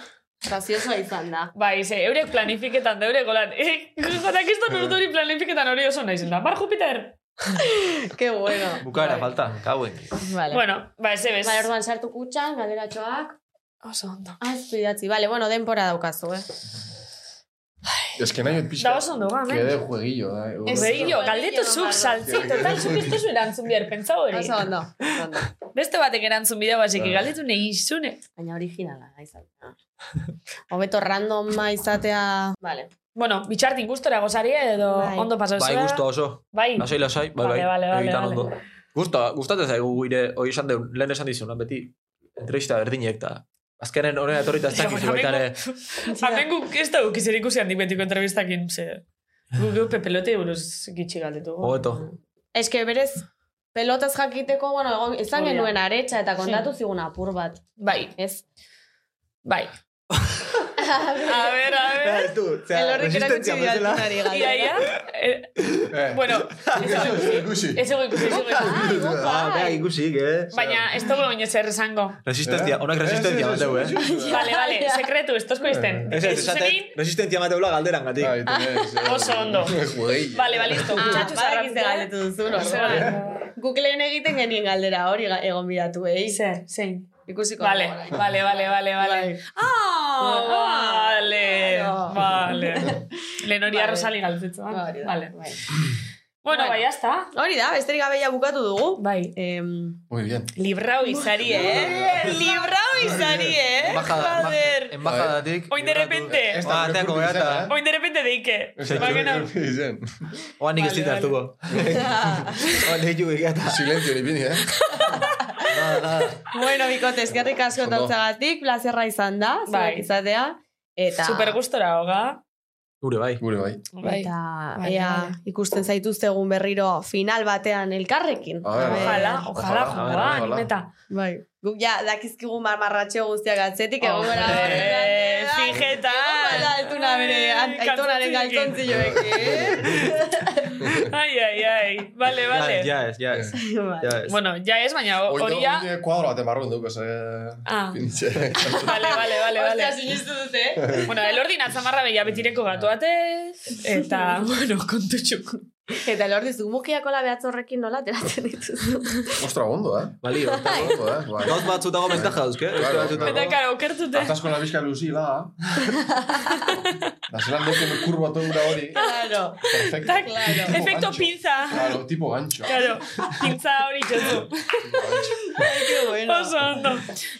Speaker 4: graziosoa izan da.
Speaker 2: Bai, ze, eurek planifiketan da, eurek golan. Eh, jodak ez da nortu hori planifiketan hori oso naizen da. Bar Jupiter!
Speaker 4: Qué bueno.
Speaker 5: Bukaera, falta, kauen.
Speaker 4: Vale.
Speaker 2: Bueno, ba, ez ebes.
Speaker 4: Bai, orduan sartu kutxan, Ah, galderatxoak,
Speaker 2: Oso ondo.
Speaker 4: aztu idatzi. Vale, bueno, denpora daukazu, eh.
Speaker 6: Ez que nahi pixka.
Speaker 2: Da oso ondo, gamen.
Speaker 6: Kede jueguillo, da.
Speaker 2: Ez bello, galdetu zuk, saltzi, total, zuk ez duzu erantzun bihar, pentsa hori.
Speaker 4: Oso ondo. oso ondo.
Speaker 2: Beste batek erantzun bideo basik, galdetu nahi izune.
Speaker 4: Baina originala, izan. Hobeto randoma izatea... Vale.
Speaker 2: Bueno, bitxartin gustora gozaria edo
Speaker 4: Bai.
Speaker 2: ondo pasau
Speaker 5: Bai,
Speaker 2: zera.
Speaker 5: gustu oso.
Speaker 2: Bai,
Speaker 5: Lasai, lasai, bai, bai.
Speaker 2: Vale, vale, vale,
Speaker 5: Egitan
Speaker 2: vale.
Speaker 5: ondo. Gusta, gustatzen zaigu gure, hoi esan deun, lehen esan dizun, han beti entrevista berdinek, eta azkenen horrela etorrita ez dakizu
Speaker 2: Baina,
Speaker 5: baita ere.
Speaker 2: Hemen guk ez da gukiz erikusi handik betiko entrevistakin, ze... Guk geu pepelote buruz gitxi galdetu.
Speaker 5: Hobeto.
Speaker 4: Ez que berez, pelotaz jakiteko, bueno, egon, izan
Speaker 2: Hori da.
Speaker 4: genuen aretsa eta kontatu
Speaker 2: Sí.
Speaker 4: zigun apur bat.
Speaker 2: Bai,
Speaker 4: Ez?
Speaker 2: bai. a ver, a ver.
Speaker 5: Ez du,
Speaker 4: Elorrik erakutsi dialtunari
Speaker 2: Ia, ia. Eh, bueno,
Speaker 6: Ikusi.
Speaker 2: ez egu ikusi, ez egu ikusi.
Speaker 5: Ah, beha ikusik, eh.
Speaker 2: Baina, ez dugu oin ezer esango.
Speaker 5: Resistencia, honak resistencia mateu, eh.
Speaker 2: Vale, vale, sekretu, ez tozko izten.
Speaker 5: Ez, ez, esaten, resistencia mateula galderan gatik.
Speaker 2: Oso ondo.
Speaker 6: Jueguillo.
Speaker 2: Vale, ba,
Speaker 4: Ah,
Speaker 2: listo. Muchacho
Speaker 4: Badakit ze galdetu duzun, orduan. Guk lehen egiten genien galdera hori ga- egon bidatu, eh?
Speaker 2: Zer, zein.
Speaker 4: Ikusiko.
Speaker 2: Vale,
Speaker 4: dugu orain. Bai.
Speaker 2: vale, vale, vale, vale. Ah, vale,
Speaker 4: Claro.
Speaker 2: vale. Lehen hori
Speaker 4: Vale.
Speaker 2: arrozali galdetu. ah?
Speaker 4: Hori da. bai.
Speaker 2: Vale. Bueno,
Speaker 4: Bueno.
Speaker 2: bai, hasta.
Speaker 4: Hori da, besterik gabe ja bukatu dugu.
Speaker 2: Bai.
Speaker 4: Em,
Speaker 6: Muy bien.
Speaker 2: Librau izari, eh? Librau izari, eh? Joder.
Speaker 5: Embajadatik.
Speaker 2: Oin de repente.
Speaker 5: Ba, ateako
Speaker 6: gure
Speaker 5: beata.
Speaker 6: kurpizena, eh?
Speaker 2: Oin de repente deike.
Speaker 6: Ez
Speaker 3: Ba
Speaker 6: da,
Speaker 2: Bakena.
Speaker 6: gure kurpizena.
Speaker 5: Oan nik ez dit
Speaker 2: Vale,
Speaker 5: hartuko. Oan nik jugu egata.
Speaker 6: Silencio hori bini, eh?
Speaker 5: Nada, nada.
Speaker 4: bueno, bikote, eskerrik asko
Speaker 6: Ondo.
Speaker 4: tautzagatik, plazerra izan da, zuek
Speaker 2: Bai.
Speaker 4: izatea. Eta,
Speaker 2: Super gustora, hoga.
Speaker 5: Gure bai.
Speaker 6: Gure bai.
Speaker 2: Bai.
Speaker 4: eta
Speaker 2: Bai,
Speaker 4: ea,
Speaker 2: vale.
Speaker 4: ikusten zaituztegun berriro final batean elkarrekin.
Speaker 6: A ver.
Speaker 4: Ah, eh, A ver.
Speaker 2: Ojalá, ojalá,
Speaker 5: Ojalá,
Speaker 2: joa,
Speaker 6: ojalá.
Speaker 2: animeta.
Speaker 4: Bai. Guk ja, dakizkigu marmarratxo guztiak atzetik, egon
Speaker 2: Hombre,
Speaker 4: gara horretan.
Speaker 2: Fijetan.
Speaker 4: Eta altuna bere,
Speaker 2: Ai,
Speaker 4: aitonaren
Speaker 2: kalzontzilekin.
Speaker 4: galtontzioek, eh?
Speaker 2: Ai, ai, ai. Vale,
Speaker 3: Ah,
Speaker 2: vale.
Speaker 5: Ja, ja, ez, ja,
Speaker 6: Eh.
Speaker 5: ez.
Speaker 4: Vale.
Speaker 5: Ja, ez.
Speaker 2: Bueno, ja ez, baina
Speaker 6: Oin
Speaker 2: hori
Speaker 6: da,
Speaker 2: ja...
Speaker 6: oin kuadro baten barruen dugu, eh?
Speaker 2: Ah,
Speaker 6: Pinche.
Speaker 2: vale, vale, vale,
Speaker 4: Ostia,
Speaker 2: vale.
Speaker 4: sinistu dute.
Speaker 2: bueno, elordin atzamarra behia betireko gatu atez, eta, bueno, kontutxuk.
Speaker 4: Eta lor dizu, mukiako la behatzorrekin nola ateratzen dituzu.
Speaker 6: Ostra, ondo, eh?
Speaker 5: Balio.
Speaker 6: Ondo, eh? Bai.
Speaker 5: Gauz batzutago bentaja eh? dauzke. Beste
Speaker 6: Claro,
Speaker 5: batzuetago.
Speaker 2: Eta, karo, okertute.
Speaker 6: Atasko la bizka luzila. Da zelan duten kurba tondura hori.
Speaker 4: Claro.
Speaker 6: Perfecto.
Speaker 2: Tak,
Speaker 6: Tipo
Speaker 2: Efecto
Speaker 6: gancho.
Speaker 2: pinza.
Speaker 6: Claro, tipo gancho.
Speaker 2: Claro, pintza hori jozu.
Speaker 6: Tipo gancho.
Speaker 2: Oso ondo.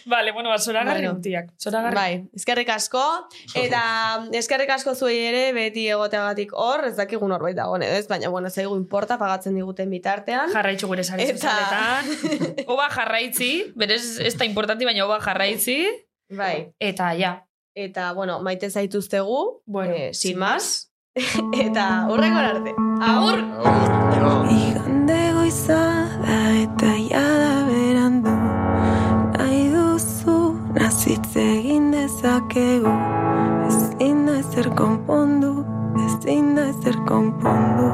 Speaker 2: Vale, bueno, ba, zoragarri
Speaker 4: Bueno.
Speaker 2: gutiak. Zoragarri.
Speaker 4: Bai, eskerrik asko. Eta eskerrik asko zuei ere, beti egoteagatik hor, ez dakigu norbait dagoen, edo ez? Baina, bueno, zaigu inporta, pagatzen diguten bitartean.
Speaker 2: Jarraitzu gure sare
Speaker 4: Eta-
Speaker 2: sozialetan. Oba jarraitzi, berez ez da importanti, baina oba jarraitzi.
Speaker 4: Bai.
Speaker 2: Eta, ja.
Speaker 4: Eta, bueno, maite zaituztegu.
Speaker 2: Bueno,
Speaker 4: eh, sin
Speaker 2: sin
Speaker 4: más. Eta, hurrengo arte. Agur!
Speaker 6: Agur.
Speaker 7: Igande goiza da eta jada berandu Nahi duzu nazitze egin dezakegu Ezin da ezer konpondu, ezin da ezer konpondu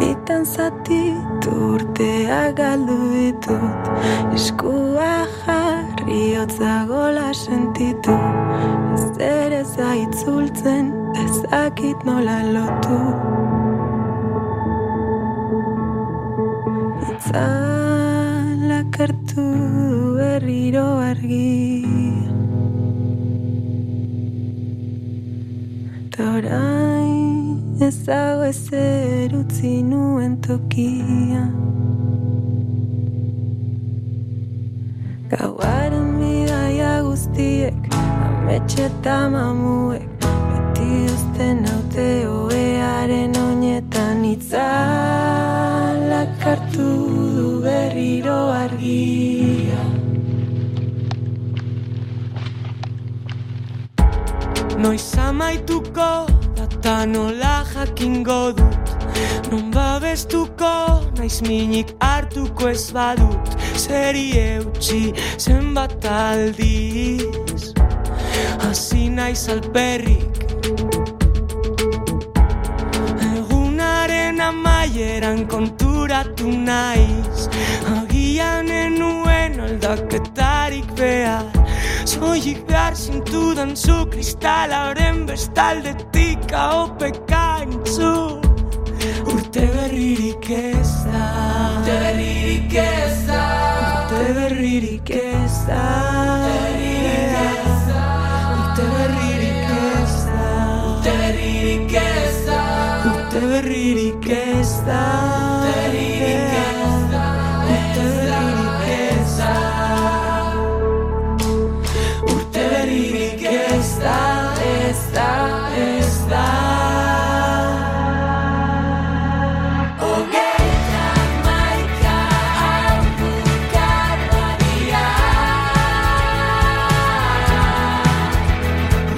Speaker 7: Bitan zatitu urtea galdu ditut Eskua jarri Eriotza gola sentitu Ez ere zaitzultzen Ezakit nola lotu Itzalak hartu du berriro argi Torain ez dago ezer utzi nuen tokia Gauaren bidaia guztiek Ametxe eta mamuek Beti uzten haute hoearen oinetan Itzalak hartu du berriro argia
Speaker 12: Noiz amaituko data nola jakingo dut Non babestuko naiz minik hartuko ez badut Zeri eutxi zenbat aldiz Hasi naiz alperrik Egunaren amaieran konturatu naiz Agian enuen aldaketarik behar Zoik behar zintudan zu kristala oren bestaldetik Aopeka entzun Urte berririk ez da Urte berririk ez da Urte berririk ez da Urte berririk ez da Urte berririk ez da Urte berririk ez da Urte berririk ez da Urte berririk ez da Ez da, ez da Hogeitak maika hau bukar badira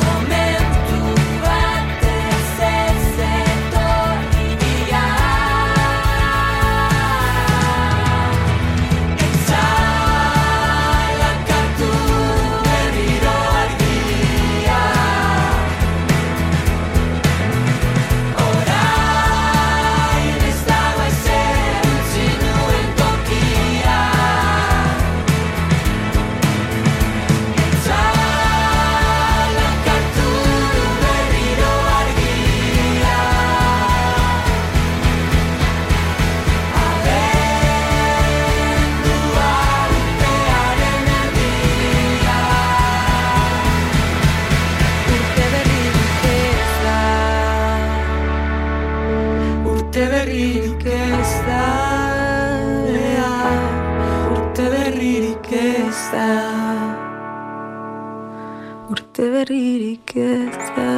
Speaker 12: Momentu batez ez etorri dira Etzalak hartu berriro argia Orain ez dago ezer utzi nuen tokia Etzalak hartu berriro argia Abendua urtearen erdia Urte berririk ez da Urte berririk ez da ea. Urte berririk ez da
Speaker 7: Urte berririk ez da